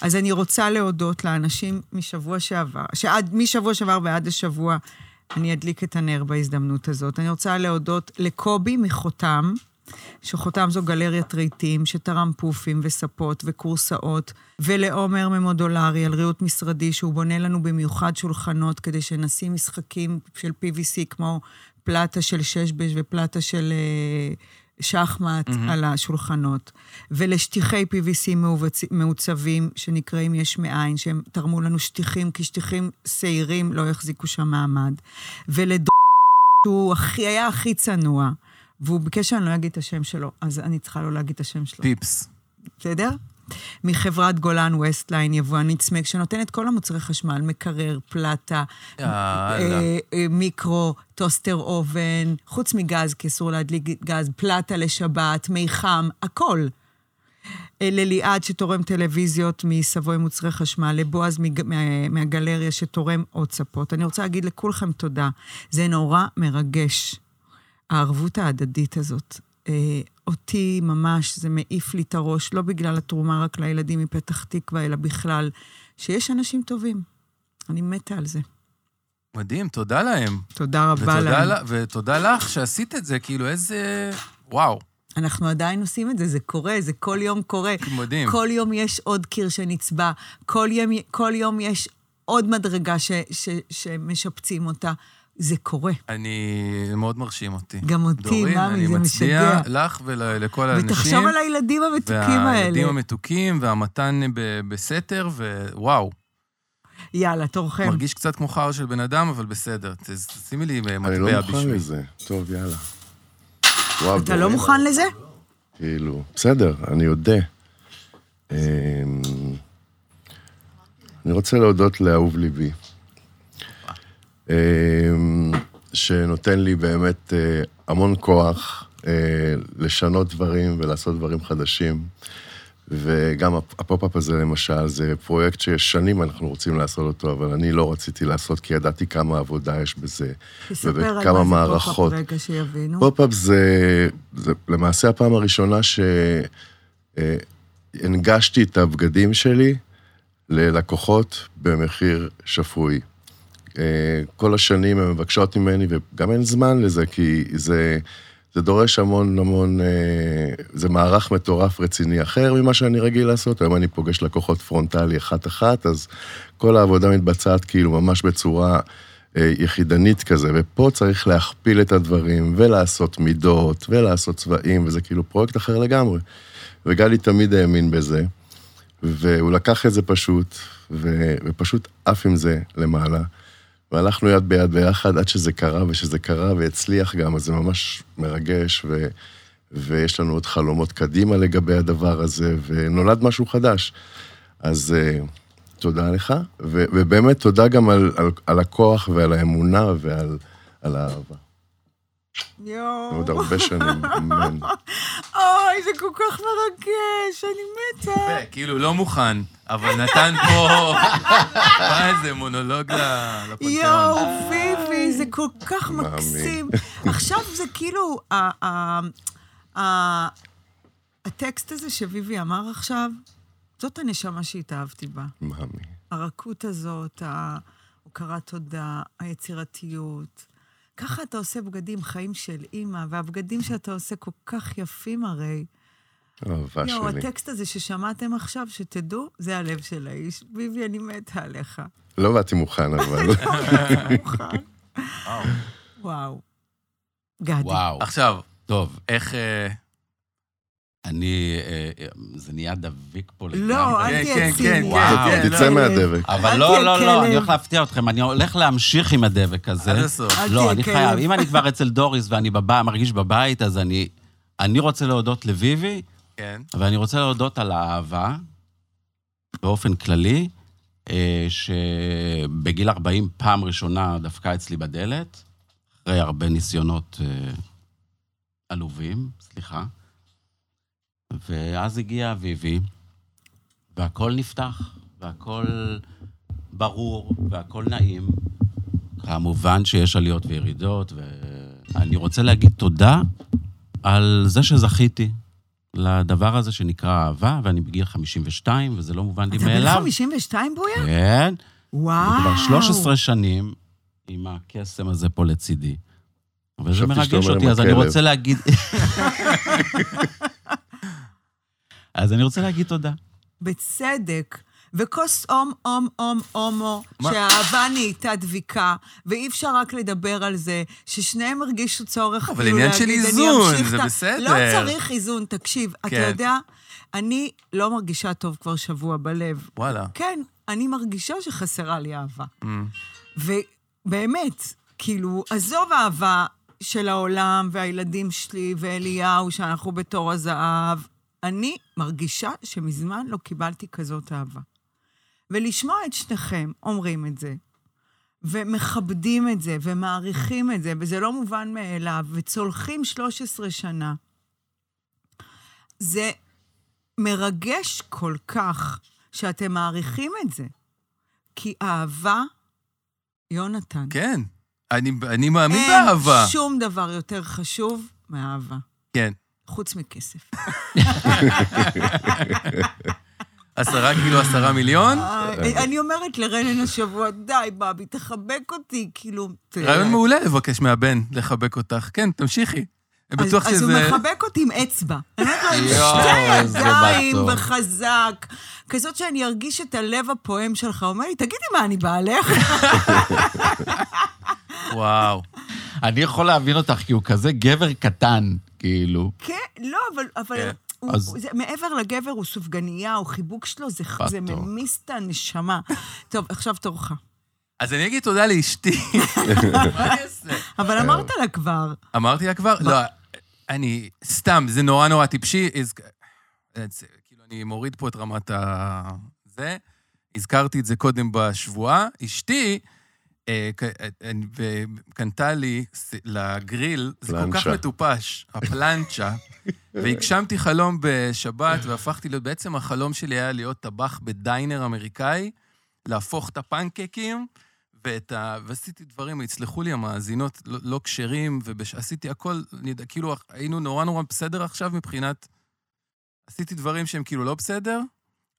Speaker 2: אז אני רוצה להודות לאנשים משבוע שעבר, שעד, משבוע שעבר ועד השבוע אני אדליק את הנר בהזדמנות הזאת. אני רוצה להודות לקובי מחותם, שחותם זו גלריית רהיטים, שתרם פופים וספות וכורסאות, ולעומר ממודולרי על ריהוט משרדי, שהוא בונה לנו במיוחד שולחנות כדי שנשים משחקים של PVC, כמו פלטה של ששבש ופלטה של אה, שחמט mm-hmm. על השולחנות. ולשטיחי PVC מעובצ- מעוצבים, שנקראים יש מאין, שהם תרמו לנו שטיחים, כי שטיחים שעירים לא יחזיקו שם מעמד. ולד... שהוא הכי, היה הכי צנוע, והוא ביקש שאני לא אגיד את השם שלו, אז אני צריכה לא להגיד את השם שלו.
Speaker 1: פיפס.
Speaker 2: בסדר? מחברת גולן ווסטליין, יבואנית סמק, שנותנת כל המוצרי חשמל, מקרר, פלטה,
Speaker 1: יאללה.
Speaker 2: אה, אה, מיקרו, טוסטר אובן, חוץ מגז, כי אסור להדליק גז, פלטה לשבת, מי חם, הכל. אה, לליעד שתורם טלוויזיות מסבוי מוצרי חשמל, לבועז מג- מה- מהגלריה שתורם עוד ספות. אני רוצה להגיד לכולכם תודה. זה נורא מרגש, הערבות ההדדית הזאת. אה, אותי ממש, זה מעיף לי את הראש, לא בגלל התרומה רק לילדים מפתח תקווה, אלא בכלל, שיש אנשים טובים. אני מתה על זה.
Speaker 1: מדהים, תודה להם.
Speaker 2: תודה רבה
Speaker 1: ותודה,
Speaker 2: להם.
Speaker 1: לה, ותודה לך שעשית את זה, כאילו איזה... וואו,
Speaker 2: אנחנו עדיין עושים את זה, זה קורה, זה כל יום קורה.
Speaker 1: מדהים.
Speaker 2: כל יום יש עוד קיר שנצבע, כל יום, כל יום יש עוד מדרגה ש, ש, שמשפצים אותה. זה קורה.
Speaker 1: אני... זה מאוד מרשים אותי.
Speaker 2: גם אותי,
Speaker 1: דורין,
Speaker 2: מאמי,
Speaker 1: אני
Speaker 2: זה
Speaker 1: מצדיע
Speaker 2: משגע.
Speaker 1: לך ולכל האנשים.
Speaker 2: ותחשוב על הילדים המתוקים
Speaker 1: והילדים
Speaker 2: האלה.
Speaker 1: המתוקים והמתן ב- בסתר, ווואו,
Speaker 2: יאללה, תורכם.
Speaker 1: מרגיש קצת כמו חר של בן אדם, אבל בסדר. ת- שימי לי אה, מטבע
Speaker 7: אני
Speaker 1: בשבילי.
Speaker 7: לא מוכן לזה. טוב, יאללה. וואו,
Speaker 2: אתה לא מוכן לזה?
Speaker 7: כאילו, בסדר, אני אודה. אמ, אני רוצה להודות לאהוב ליבי, אמ, שנותן לי באמת אה, המון כוח אה, לשנות דברים ולעשות דברים חדשים. וגם הפ- הפופ-אפ הזה, למשל, זה פרויקט ששנים אנחנו רוצים לעשות אותו, אבל אני לא רציתי לעשות, כי ידעתי כמה עבודה יש בזה,
Speaker 2: תספר על
Speaker 7: ובכמה
Speaker 2: מה זה פופ-אפ
Speaker 7: מערכות.
Speaker 2: רגע שיבינו.
Speaker 7: פופ-אפ זה, זה למעשה הפעם הראשונה שהנגשתי את הבגדים שלי ללקוחות במחיר שפוי. אה, כל השנים הן מבקשות ממני, וגם אין זמן לזה, כי זה, זה דורש המון המון, אה, זה מערך מטורף רציני אחר ממה שאני רגיל לעשות. היום אני פוגש לקוחות פרונטלי אחת-אחת, אז כל העבודה מתבצעת כאילו ממש בצורה אה, יחידנית כזה, ופה צריך להכפיל את הדברים, ולעשות מידות, ולעשות צבעים, וזה כאילו פרויקט אחר לגמרי. וגלי תמיד האמין בזה, והוא לקח את זה פשוט, ו... ופשוט עף עם זה למעלה. והלכנו יד ביד ביחד עד שזה קרה, ושזה קרה והצליח גם, אז זה ממש מרגש, ו... ויש לנו עוד חלומות קדימה לגבי הדבר הזה, ונולד משהו חדש. אז אה, תודה לך, ו... ובאמת תודה גם על, על... על הכוח ועל האמונה ועל על האהבה.
Speaker 2: יואו.
Speaker 7: עוד הרבה שנים, אמן.
Speaker 2: אוי, זה כל כך מרגש, אני מתה.
Speaker 1: יפה, כאילו לא מוכן, אבל נתן פה... מה איזה מונולוג ל-
Speaker 2: יואו,
Speaker 1: לפנתיאון.
Speaker 2: פיפי, זה כל כך
Speaker 7: מאמין.
Speaker 2: מקסים. עכשיו זה כאילו, ה- ה- ה- הטקסט הזה שביבי אמר עכשיו, זאת הנשמה שהתאהבתי בה.
Speaker 7: מאמי.
Speaker 2: הרכות הזאת, ההוקרת תודה, היצירתיות. ככה אתה עושה בגדים, חיים של אימא, והבגדים שאתה עושה כל כך יפים הרי.
Speaker 7: אהבה
Speaker 2: יואו,
Speaker 7: אה, שלי.
Speaker 2: הטקסט הזה ששמעתם עכשיו, שתדעו, זה הלב של האיש. ביבי, אני מתה עליך.
Speaker 7: לא באתי מוכן, אבל...
Speaker 2: כן, מוכן? וואו. גדי.
Speaker 6: וואו.
Speaker 1: עכשיו,
Speaker 6: טוב,
Speaker 1: איך... אה,
Speaker 6: אני... אה, אה, זה נהיה דביק פה לגמרי.
Speaker 2: לא,
Speaker 1: כן,
Speaker 2: אל
Speaker 1: כן,
Speaker 2: תהיה
Speaker 1: כן,
Speaker 2: ציני.
Speaker 1: כן,
Speaker 2: אל תהיה
Speaker 1: כן,
Speaker 7: תצא
Speaker 2: כלב.
Speaker 7: מהדבק.
Speaker 6: אבל
Speaker 2: אל
Speaker 6: לא,
Speaker 2: תהיה
Speaker 6: לא, לא,
Speaker 2: כלב.
Speaker 6: אני הולך להפתיע אתכם, אני הולך להמשיך עם הדבק הזה.
Speaker 1: עד הסוף.
Speaker 2: אל תהיה
Speaker 6: לא, אני
Speaker 2: כלב.
Speaker 6: חייב, אם אני כבר אצל דוריס ואני בבא, מרגיש בבית, אז אני... אני רוצה להודות לביבי,
Speaker 1: כן.
Speaker 6: אבל אני רוצה להודות על האהבה, באופן כללי, אה, שבגיל 40 פעם ראשונה דפקה אצלי בדלת, אחרי הרבה ניסיונות אה, עלובים, סליחה. ואז הגיע אביבי, והכל נפתח, והכל ברור, והכל נעים. כמובן שיש עליות וירידות, ואני רוצה להגיד תודה על זה שזכיתי לדבר הזה שנקרא אהבה, ואני בגיל 52, וזה לא מובן לי
Speaker 2: אתה בן
Speaker 6: מאליו.
Speaker 2: 52 בויה?
Speaker 6: כן,
Speaker 2: וואו.
Speaker 6: כבר 13 שנים עם הקסם הזה פה לצידי. וזה
Speaker 7: חשבתי שאתה
Speaker 6: מרגש
Speaker 7: אומר עם
Speaker 6: אותי, אז אני
Speaker 7: הכלב.
Speaker 6: רוצה להגיד... אז אני רוצה להגיד תודה.
Speaker 2: בצדק. וכוס הום, הום, הום, הומו,
Speaker 1: מה?
Speaker 2: שהאהבה נהייתה דביקה, ואי אפשר רק לדבר על זה, ששניהם הרגישו צורך
Speaker 1: אבל
Speaker 2: כאילו
Speaker 1: עניין
Speaker 2: להגיד,
Speaker 1: של
Speaker 2: "אני
Speaker 1: איזון,
Speaker 2: אמשיך
Speaker 1: זה
Speaker 2: את ה-"
Speaker 1: בסדר.
Speaker 2: לא צריך איזון, תקשיב, אתה
Speaker 1: כן.
Speaker 2: יודע, אני לא מרגישה טוב כבר שבוע בלב.
Speaker 1: וואלה.
Speaker 2: כן, אני מרגישה שחסרה לי אהבה. ובאמת, כאילו, עזוב אהבה של העולם והילדים שלי ואליהו, שאנחנו בתור הזהב, אני מרגישה שמזמן לא קיבלתי כזאת אהבה. ולשמוע את שניכם אומרים את זה, ומכבדים את זה, ומעריכים את זה, וזה לא מובן מאליו, וצולחים 13 שנה, זה מרגש כל כך שאתם מעריכים את זה. כי אהבה, יונתן.
Speaker 1: כן, אני, אני מאמין
Speaker 2: אין
Speaker 1: באהבה.
Speaker 2: שום דבר יותר חשוב מאהבה,
Speaker 1: כן.
Speaker 2: חוץ מכסף.
Speaker 1: אה, עשרה קילו, עשרה מיליון? אוקיי.
Speaker 2: אה, אני אומרת לרנן השבוע, די, בבי, תחבק אותי, כאילו... ת-
Speaker 1: רעיון מעולה לבקש מהבן לחבק אותך. כן, תמשיכי. אני
Speaker 2: אז-
Speaker 1: בטוח
Speaker 2: אז הוא
Speaker 1: שזה... אה,
Speaker 2: מחבק אותי עם אצבע. אני אומרת לו, עם
Speaker 6: יואו,
Speaker 2: שתי
Speaker 6: איזה
Speaker 2: ידיים
Speaker 6: בטוח.
Speaker 2: בחזק. כזאת שאני ארגיש את הלב הפועם שלך. הוא אומר לי, תגידי, מה, אני בעלך?
Speaker 1: וואו.
Speaker 8: אני יכול להבין אותך, כי הוא כזה גבר קטן, כאילו.
Speaker 2: כן, לא, אבל... אבל...
Speaker 1: כן.
Speaker 2: הוא,
Speaker 8: אז-
Speaker 2: אז... זה, מעבר לגבר, הוא סופגנייה, הוא חיבוק שלו, זה, זה
Speaker 8: בטוח.
Speaker 2: ממיס את הנשמה. טוב, עכשיו תורך.
Speaker 1: אז אני אגיד תודה לאשתי. מה אני אעשה?
Speaker 2: אבל אמרת לה כבר.
Speaker 1: אמרתי לה כבר? לא, אני... סתם, זה נורא נורא טיפשי. אז- אז- כאילו, אני מוריד פה את רמת ה... זה. הזכרתי את זה קודם בשבועה. אשתי אה, ק- אה, אה, קנתה לי ס- לגריל, זה כל כך
Speaker 7: פלנצ'ה.
Speaker 1: מטופש, הפלנצ'ה, והגשמתי חלום בשבת, והפכתי להיות... בעצם החלום שלי היה להיות טבח בדיינר אמריקאי, להפוך את הפנקקים. ואת ה... ועשיתי דברים, יצלחו לי המאזינות, לא- לא כשרים, ועשיתי הכל, אני יודע, כאילו היינו נורא נורא בסדר עכשיו מבחינת... עשיתי דברים שהם כאילו לא בסדר,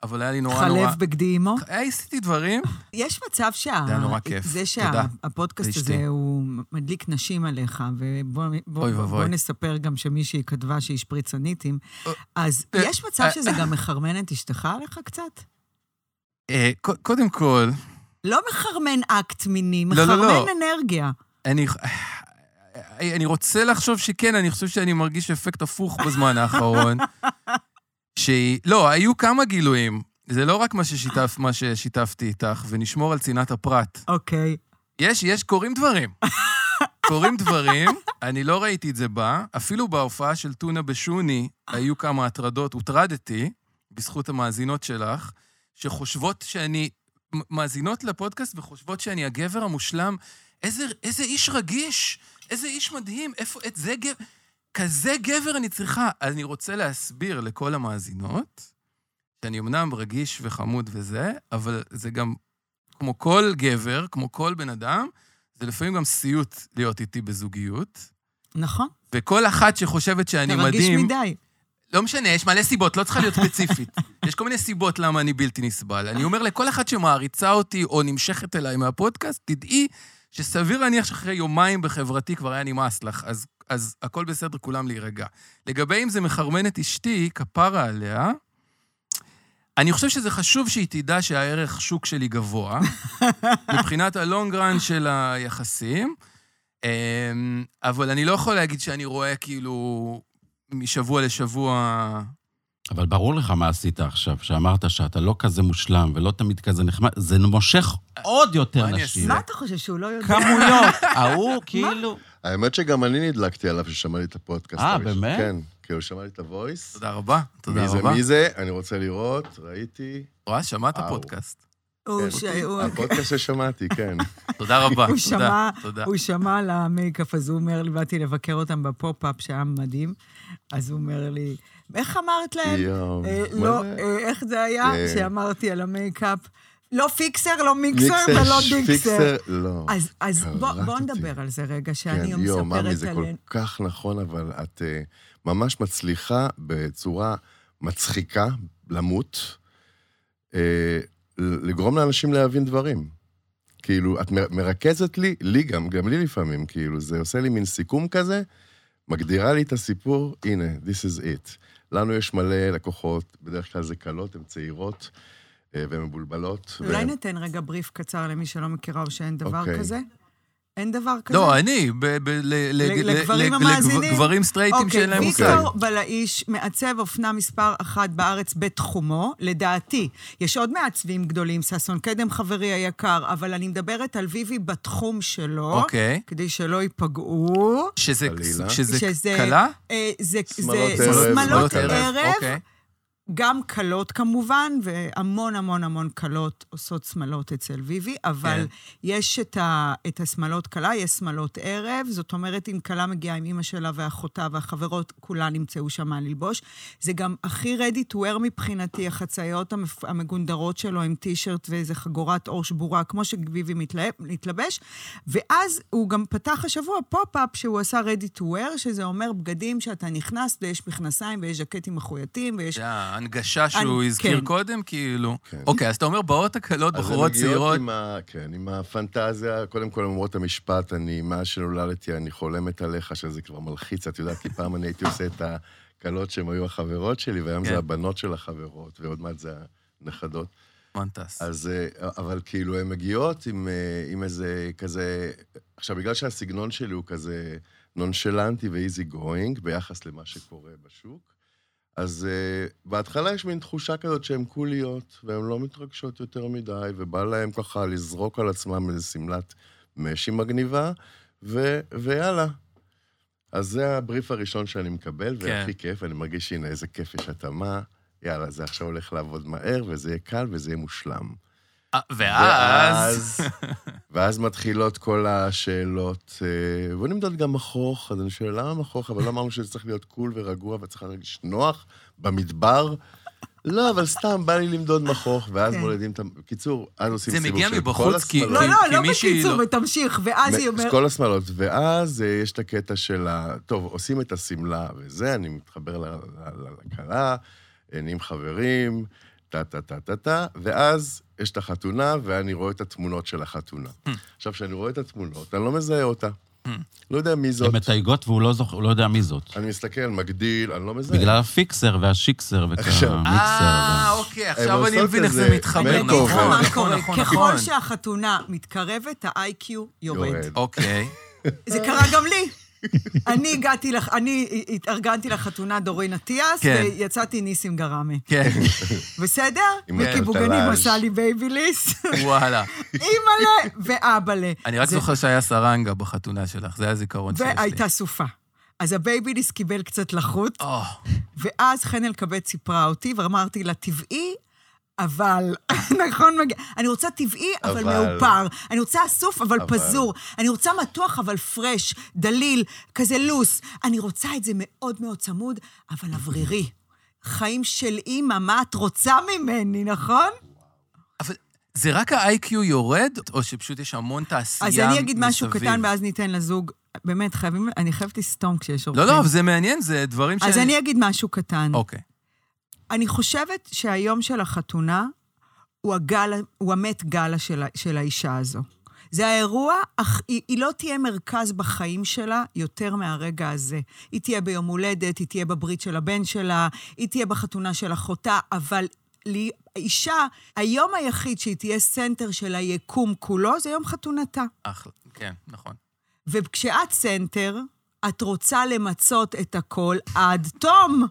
Speaker 1: אבל היה לי נורא נורא...
Speaker 2: חלב בגדי אמו.
Speaker 1: עשיתי דברים,
Speaker 2: יש מצב שה...
Speaker 1: זה היה נורא כיף.
Speaker 2: זה
Speaker 1: תודה.
Speaker 2: שהפודקאסט
Speaker 1: לאשתי.
Speaker 2: הזה הוא מדליק נשים עליך, ובוא בוא,
Speaker 1: אוי ואבוי.
Speaker 2: בוא נספר גם שמישהי כתבה שהיא שפריצניתים,
Speaker 1: אה,
Speaker 2: אז
Speaker 1: אה,
Speaker 2: יש מצב
Speaker 1: אה,
Speaker 2: שזה גם מחרמן את אשתך עליך קצת?
Speaker 1: אה, ק- קודם כל,
Speaker 2: לא מחרמן אקט מיני,
Speaker 1: לא, לא, לא.
Speaker 2: מחרמן אנרגיה.
Speaker 1: אני... אה, אני רוצה לחשוב שכן, אני חושב שאני מרגיש אפקט הפוך בזמן האחרון. שהיא... לא, היו כמה גילויים. זה לא רק מה, ששיתף, מה ששיתפתי איתך, ונשמור על צנעת הפרט.
Speaker 2: אוקיי.
Speaker 1: יש, יש, קורים דברים. קורים דברים, אני לא ראיתי את זה בה. אפילו בהופעה של טונה בשוני היו כמה הטרדות, הוטרדתי, בזכות המאזינות שלך, שחושבות שאני... מ- מאזינות לפודקאסט וחושבות שאני הגבר המושלם. איזה, איזה איש רגיש, איזה איש מדהים, איפה, את זה גבר... כזה גבר אני צריכה. אז אני רוצה להסביר לכל המאזינות, שאני אמנם רגיש וחמוד וזה, אבל זה גם כמו כל גבר, כמו כל בן אדם, זה לפעמים גם סיוט להיות איתי בזוגיות.
Speaker 2: נכון,
Speaker 1: וכל אחת שחושבת שאני
Speaker 2: אתה
Speaker 1: מדהים...
Speaker 2: רגיש מדי.
Speaker 1: לא משנה, יש מלא סיבות, לא צריכה להיות ספציפית. יש כל מיני סיבות למה אני בלתי נסבל. אני אומר לכל אחת שמעריצה אותי או נמשכת אליי מהפודקאסט, תדעי שסביר להניח שאחרי יומיים בחברתי כבר היה נמאס לך, אז, אז הכל בסדר, כולם להירגע. לגבי אם זה מחרמן את אשתי, כפרה עליה, אני חושב שזה חשוב שהיא תדע שהערך שוק שלי גבוה, מבחינת הלונג רן של היחסים, אמ, אבל אני לא יכול להגיד שאני רואה כאילו משבוע לשבוע...
Speaker 6: אבל ברור לך מה עשית עכשיו, שאמרת שאתה לא כזה מושלם ולא תמיד כזה נחמד, זה מושך עוד יותר
Speaker 1: מה אני
Speaker 6: נשים.
Speaker 1: אעשה?
Speaker 2: מה אתה חושב שהוא לא יודע?
Speaker 6: כמויות, ההוא כאילו...
Speaker 7: האמת שגם אני נדלקתי עליו ששמע לי את הפודקאסט.
Speaker 6: אה,
Speaker 7: הראשון.
Speaker 6: באמת?
Speaker 7: כן, כי הוא שמע לי את הוויס.
Speaker 1: תודה רבה, תודה
Speaker 7: מי זה,
Speaker 1: רבה.
Speaker 7: מי זה? אני רוצה לראות, ראיתי.
Speaker 1: רואה, שמעת
Speaker 7: וואו.
Speaker 1: פודקאסט.
Speaker 2: הוא
Speaker 7: כן.
Speaker 2: ש- הוא-
Speaker 7: הפודקאסט ששמעתי, כן.
Speaker 1: תודה רבה,
Speaker 2: הוא
Speaker 1: תודה,
Speaker 2: שמע,
Speaker 1: תודה.
Speaker 2: הוא שמע על המייקאפ, אז הוא אומר לי, באתי לבקר אותם בפופ-אפ שהיה מדהים, אז הוא אומר לי, איך אמרת להם?
Speaker 7: יואו.
Speaker 2: אה,
Speaker 7: מה
Speaker 2: לא,
Speaker 7: זה?
Speaker 2: אה, איך זה היה
Speaker 7: אה.
Speaker 2: שאמרתי על המייקאפ? לא פיקסר, לא מיקסר
Speaker 7: מיקסר,
Speaker 2: ולא
Speaker 7: ש-
Speaker 2: דיקסר.
Speaker 7: לא.
Speaker 2: אז- אז בוא-
Speaker 7: קלטתי.
Speaker 2: בוא נדבר על זה רגע,
Speaker 7: כן,
Speaker 2: שאני לא
Speaker 7: יואו, מאמי,
Speaker 2: מספרת
Speaker 7: זה כל
Speaker 2: עליהן.
Speaker 7: כך נכון, אבל את אה, ממש מצליחה בצורה מצחיקה למות, אה, ל- לגרום לאנשים להבין דברים. כאילו, את מ- מרכזת לי, לי גם, גם לי לפעמים, כאילו, זה עושה לי מין סיכום כזה, מגדירה לי את הסיפור, הנה, this is it. לנו יש מלא לקוחות, בדרך כלל זה קלות, הן צעירות אה, והן מבולבלות.
Speaker 2: אולי
Speaker 7: והן-
Speaker 2: ניתן רגע בריף קצר למי שלא מכירה או שאין דבר
Speaker 7: אוקיי.
Speaker 2: כזה? אין דבר כזה?
Speaker 1: לא, אני, ב- ב- ל- ל- ל-
Speaker 2: לגברים
Speaker 1: לגב-
Speaker 2: המאזינים?
Speaker 1: גברים סטרייטים שאין להם
Speaker 2: אוקיי,
Speaker 1: מושג.
Speaker 2: ויקטור בלעיש, מעצב אופנה מספר אחת בארץ בתחומו, לדעתי. יש עוד מעצבים גדולים, ששון קדם חברי היקר, אבל אני מדברת על ויבי בתחום שלו,
Speaker 1: אוקיי.
Speaker 2: כדי שלא ייפגעו.
Speaker 1: שזה
Speaker 7: חלילה.
Speaker 1: שזה קלה?
Speaker 2: אה, זה
Speaker 7: שמלות
Speaker 2: זה-
Speaker 7: ערב,
Speaker 2: שמלות
Speaker 7: שמלות
Speaker 2: ערב,
Speaker 1: אוקיי.
Speaker 2: גם כלות כמובן, והמון המון המון כלות עושות שמלות אצל ויבי, אבל
Speaker 1: כן.
Speaker 2: כן. יש את, ה, את השמלות כלה, יש שמלות ערב, זאת אומרת, אם כלה מגיעה עם אימא שלה ואחותה והחברות, כולן נמצאו שם מה ללבוש. זה גם הכי ready to wear מבחינתי, החצאיות המפ- המגונדרות שלו עם טישרט ואיזה חגורת עור שבורה, כמו שביבי מתלהב- מתלבש. ואז הוא גם פתח השבוע פופ-אפ שהוא עשה ready to wear, שזה אומר בגדים שאתה נכנס, ויש מכנסיים, ויש ז'קטים מחוייתים, ויש...
Speaker 1: זה ההנגשה שהוא
Speaker 2: אני-
Speaker 1: הזכיר
Speaker 2: כן.
Speaker 1: קודם, כאילו.
Speaker 7: כן.
Speaker 1: אוקיי, אז אתה אומר, באות הקלות,
Speaker 7: אז הן
Speaker 1: בחורות
Speaker 7: מגיעות
Speaker 1: צעירות.
Speaker 7: עם ה, כן, עם הפנטזיה, קודם כל אומרות את המשפט, אני, מאז שנולדתי, אני חולמת עליך, שזה כבר מלחיץ, את יודעת, כי פעם אני הייתי עושה את הקלות שהן היו החברות שלי, והיום
Speaker 1: כן.
Speaker 7: זה הבנות של החברות, ועוד מעט זה הנכדות.
Speaker 1: מנטס.
Speaker 7: אז, אה, אבל כאילו, הן מגיעות עם, אה, עם איזה כזה... עכשיו, בגלל שהסגנון שלי הוא כזה נונשלנטי ואיזי גוינג ביחס למה שקורה בשוק, אז uh, בהתחלה יש מין תחושה כזאת שהן קוליות, והן לא מתרגשות יותר מדי, ובא להן ככה לזרוק על עצמן איזה שמלת משי מגניבה, ו, ויאללה. אז זה הבריף הראשון שאני מקבל,
Speaker 1: כן.
Speaker 7: והכי כיף, אני מרגיש שהנה איזה כיף יש התאמה. יאללה, זה עכשיו הולך לעבוד מהר, וזה יהיה קל וזה יהיה מושלם.
Speaker 1: אה, ואז... אה,
Speaker 7: ואז מתחילות כל השאלות. אה, בוא נמדוד גם מכוך, אז אני שואל, למה מכוך? אבל לא אמרנו שזה צריך להיות קול ורגוע, ואת צריכה להרגיש נוח במדבר. לא, אבל סתם, בא לי למדוד מכוך, ואז
Speaker 2: כן.
Speaker 7: מולדים את ה... בקיצור, אז עושים
Speaker 1: זה
Speaker 7: סיבוב
Speaker 1: מגיע
Speaker 7: של כל
Speaker 1: מבחוץ, כי-
Speaker 7: השמלות.
Speaker 2: לא, לא,
Speaker 1: כי
Speaker 2: לא
Speaker 1: מישהי
Speaker 2: בקיצור,
Speaker 1: לא-
Speaker 2: ותמשיך, ואז היא אומרת...
Speaker 7: כל השמלות, ואז אה, יש את הקטע של ה... טוב, עושים את השמלה וזה, אני מתחבר ל- ל- ל- לכלה, אה, נהיים חברים, טה-טה-טה-טה-טה, ואז יש את החתונה, ואני רואה את התמונות של החתונה.
Speaker 2: Hmm.
Speaker 7: עכשיו, כשאני רואה את התמונות, אני לא מזהה אותה. לא יודע מי זאת.
Speaker 6: הן מתייגות והוא לא זוכ- הוא לא יודע מי זאת.
Speaker 7: אני מסתכל, מגדיל, אני לא מזהה.
Speaker 6: בגלל הפיקסר והשיקסר
Speaker 7: עכשיו-
Speaker 1: אה,
Speaker 6: והמיקסר.
Speaker 1: אוקיי, עכשיו
Speaker 7: עושות
Speaker 1: אני מבין איך זה
Speaker 7: כזה
Speaker 2: אני
Speaker 1: מתחבר.
Speaker 2: אגיד
Speaker 7: טוב,
Speaker 2: לך מה
Speaker 7: אבל-
Speaker 1: נכון,
Speaker 2: קורה,
Speaker 1: נכון, נכון.
Speaker 2: ככל שהחתונה מתקרבת, ה-IQ יורד.
Speaker 7: יורד.
Speaker 1: אוקיי.
Speaker 2: זה קרה גם לי. אני הגעתי, לח... אני התארגנתי לחתונה דורין אטיאס,
Speaker 1: כן.
Speaker 2: ויצאתי ניסים גראמי.
Speaker 1: כן,
Speaker 2: בסדר?
Speaker 7: עם
Speaker 2: מיקי
Speaker 7: הטלטלאז'.
Speaker 2: בוגנים עשה לי בייביליס,
Speaker 1: וואלה.
Speaker 2: אימא'לה ואבאלה.
Speaker 1: אני רק
Speaker 2: זה-
Speaker 1: זוכר שהיה סרנגה בחתונה שלך, זה היה הזיכרון שיש לי.
Speaker 2: והייתה סופה. אז הבייביליס קיבל קצת לחות,
Speaker 1: או,
Speaker 2: ואז חן אלקבץ סיפרה אותי, ואמרתי לה, טבעי, אבל, נכון, מגיע. אני רוצה טבעי, אבל
Speaker 7: אבל-
Speaker 2: מעופר. אני רוצה אסוף, אבל
Speaker 7: אבל-
Speaker 2: פזור. אני רוצה מתוח, אבל פרש, דליל, כזה לוס. אני רוצה את זה מאוד מאוד צמוד, אבל אוורירי. חיים של אימא, מה את רוצה ממני, נכון?
Speaker 1: זה רק ה-IQ יורד, או שפשוט יש המון תעשייה
Speaker 2: אז
Speaker 1: מסביב?
Speaker 2: אני אגיד משהו קטן, ואז ניתן לזוג. באמת, חייבים, אני חייבת לסתום כשיש אורחים.
Speaker 1: לא, לא, אבל זה מעניין, זה דברים ש...
Speaker 2: אז אני אגיד משהו קטן.
Speaker 1: אוקיי.
Speaker 2: אני חושבת שהיום של החתונה הוא, הגל, הוא המת גלה של, ה- של האישה הזו. זה האירוע, אך היא, היא לא תהיה מרכז בחיים שלה יותר מהרגע הזה. היא תהיה ביום הולדת, היא תהיה בברית של הבן שלה, היא תהיה בחתונה של אחותה, אבל לי, אישה, היום היחיד שהיא תהיה סנטר של היקום כולו, זה יום חתונתה.
Speaker 1: אחלה, כן, נכון.
Speaker 2: וכשאת סנטר, את רוצה למצות את הכל עד תום.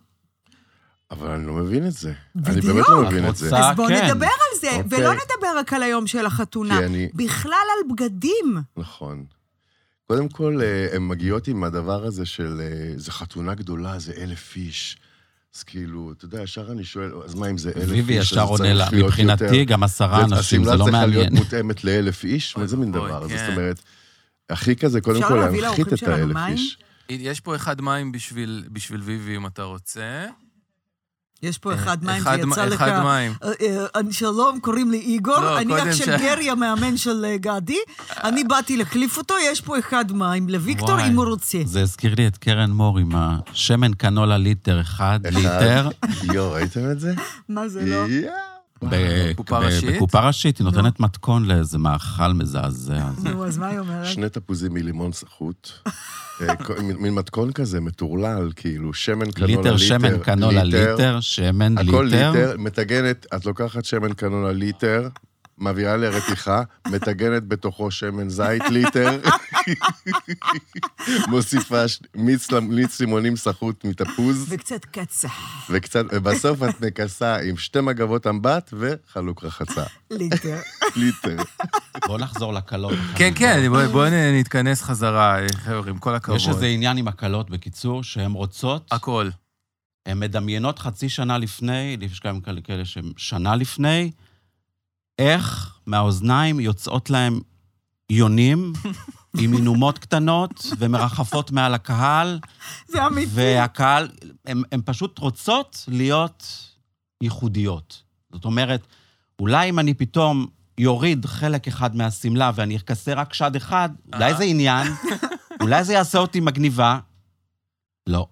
Speaker 7: אבל אני לא מבין את זה. אני
Speaker 2: בדיוק.
Speaker 7: באמת לא מבין את זה.
Speaker 6: רוצה-
Speaker 2: אז בואו
Speaker 6: כן.
Speaker 2: נדבר על זה,
Speaker 7: אוקיי.
Speaker 2: ולא נדבר רק על היום של החתונה.
Speaker 7: כי אני-
Speaker 2: בכלל על בגדים.
Speaker 7: נכון. קודם כל, אה, הן מגיעות עם הדבר הזה של, אה, זה חתונה גדולה, זה אלף איש. אז כאילו, אתה יודע, ישר אני שואל, אז מה אם זה
Speaker 1: אוקיי.
Speaker 7: אלף איש?
Speaker 6: אביבי
Speaker 7: אז
Speaker 6: ישר
Speaker 7: זה
Speaker 6: עונה
Speaker 7: צריך
Speaker 6: לה,
Speaker 7: להיות
Speaker 6: מבחינתי
Speaker 7: יותר-
Speaker 6: גם עשרה
Speaker 7: זה-
Speaker 6: אנשים, זה
Speaker 7: השמלה
Speaker 6: לא
Speaker 7: צריכה להיות
Speaker 6: מעניין.
Speaker 7: מותאמת לאלף איש?
Speaker 1: אוי
Speaker 7: מה זה מין
Speaker 1: ואבוי,
Speaker 7: דבר? הזה?
Speaker 1: כן.
Speaker 7: זאת אומרת, הכי כזה, קודם
Speaker 2: אפשר
Speaker 7: כל
Speaker 2: להביא
Speaker 7: להנחית
Speaker 2: לאורחים
Speaker 7: את
Speaker 2: שלנו
Speaker 7: האלף
Speaker 2: מים?
Speaker 7: איש.
Speaker 1: יש פה אחד מים בשביל בשביל ויבי, אם אתה רוצה.
Speaker 2: יש פה אחד מים
Speaker 1: אה, אחד
Speaker 2: שיצא
Speaker 1: מ-
Speaker 2: לך...
Speaker 1: אחד מים.
Speaker 2: אה, אה, אני- שלום, קוראים לי
Speaker 1: לא,
Speaker 2: איגור, אני
Speaker 1: קודם
Speaker 2: אח של
Speaker 1: ש-
Speaker 2: גרי, המאמן של אה, גדי. אני באתי להחליף אותו, יש פה אחד מים לוויקטור,
Speaker 6: וואי.
Speaker 2: אם הוא רוצה.
Speaker 6: זה הזכיר לי את קרן מור עם השמן קנולה ליטר אחד, ליטר,
Speaker 7: יואו, ראיתם את זה?
Speaker 2: מה זה לא?
Speaker 7: יואו.
Speaker 6: ב-
Speaker 1: בקופה
Speaker 6: ב-
Speaker 1: ראשית?
Speaker 6: בקופה ראשית, היא נותנת מתכון לאיזה מאכל מזעזע. זה-
Speaker 2: נו, אז מה היא אומרת?
Speaker 7: שני תפוזים מלימון סחוט. אה, כל- מין מין מתכון כזה מטורלל, כאילו, שמן קנולה, ליטר,
Speaker 6: ליטר שמן קנולה ליטר, שמן
Speaker 7: הכל
Speaker 6: ליטר.
Speaker 7: ליטר, מטגנת, את לוקחת שמן קנולה ליטר, מביאה לרתיחה, מטגנת בתוכו שמן זית ליטר, מוסיפה ש- מיץ למ- מיץ לימונים סחוט מתפוז,
Speaker 2: וקצת קצה.
Speaker 7: וקצת, ובסוף את מכסה עם שתי מגבות אמבט וחלוק רחצה,
Speaker 2: ליטר.
Speaker 7: ליטר.
Speaker 6: בואו נחזור לקלות.
Speaker 1: כן, כן, בואו נתכנס חזרה, חבר'ה, עם כל הכבוד.
Speaker 6: יש איזה עניין עם הקלות, בקיצור, שהן רוצות
Speaker 1: הכל.
Speaker 6: הן מדמיינות חצי שנה לפני, יש גם כאלה כאלה שהן שנה לפני, איך מהאוזניים יוצאות להם יונים עם הינומות קטנות ומרחפות מעל הקהל,
Speaker 2: זה אמיתי.
Speaker 6: והקהל, הן פשוט רוצות להיות ייחודיות. זאת אומרת, אולי אם אני פתאום יוריד חלק אחד מהשמלה ואני אכסה רק שד אחד, אולי זה עניין, אולי זה יעשה אותי מגניבה. לא.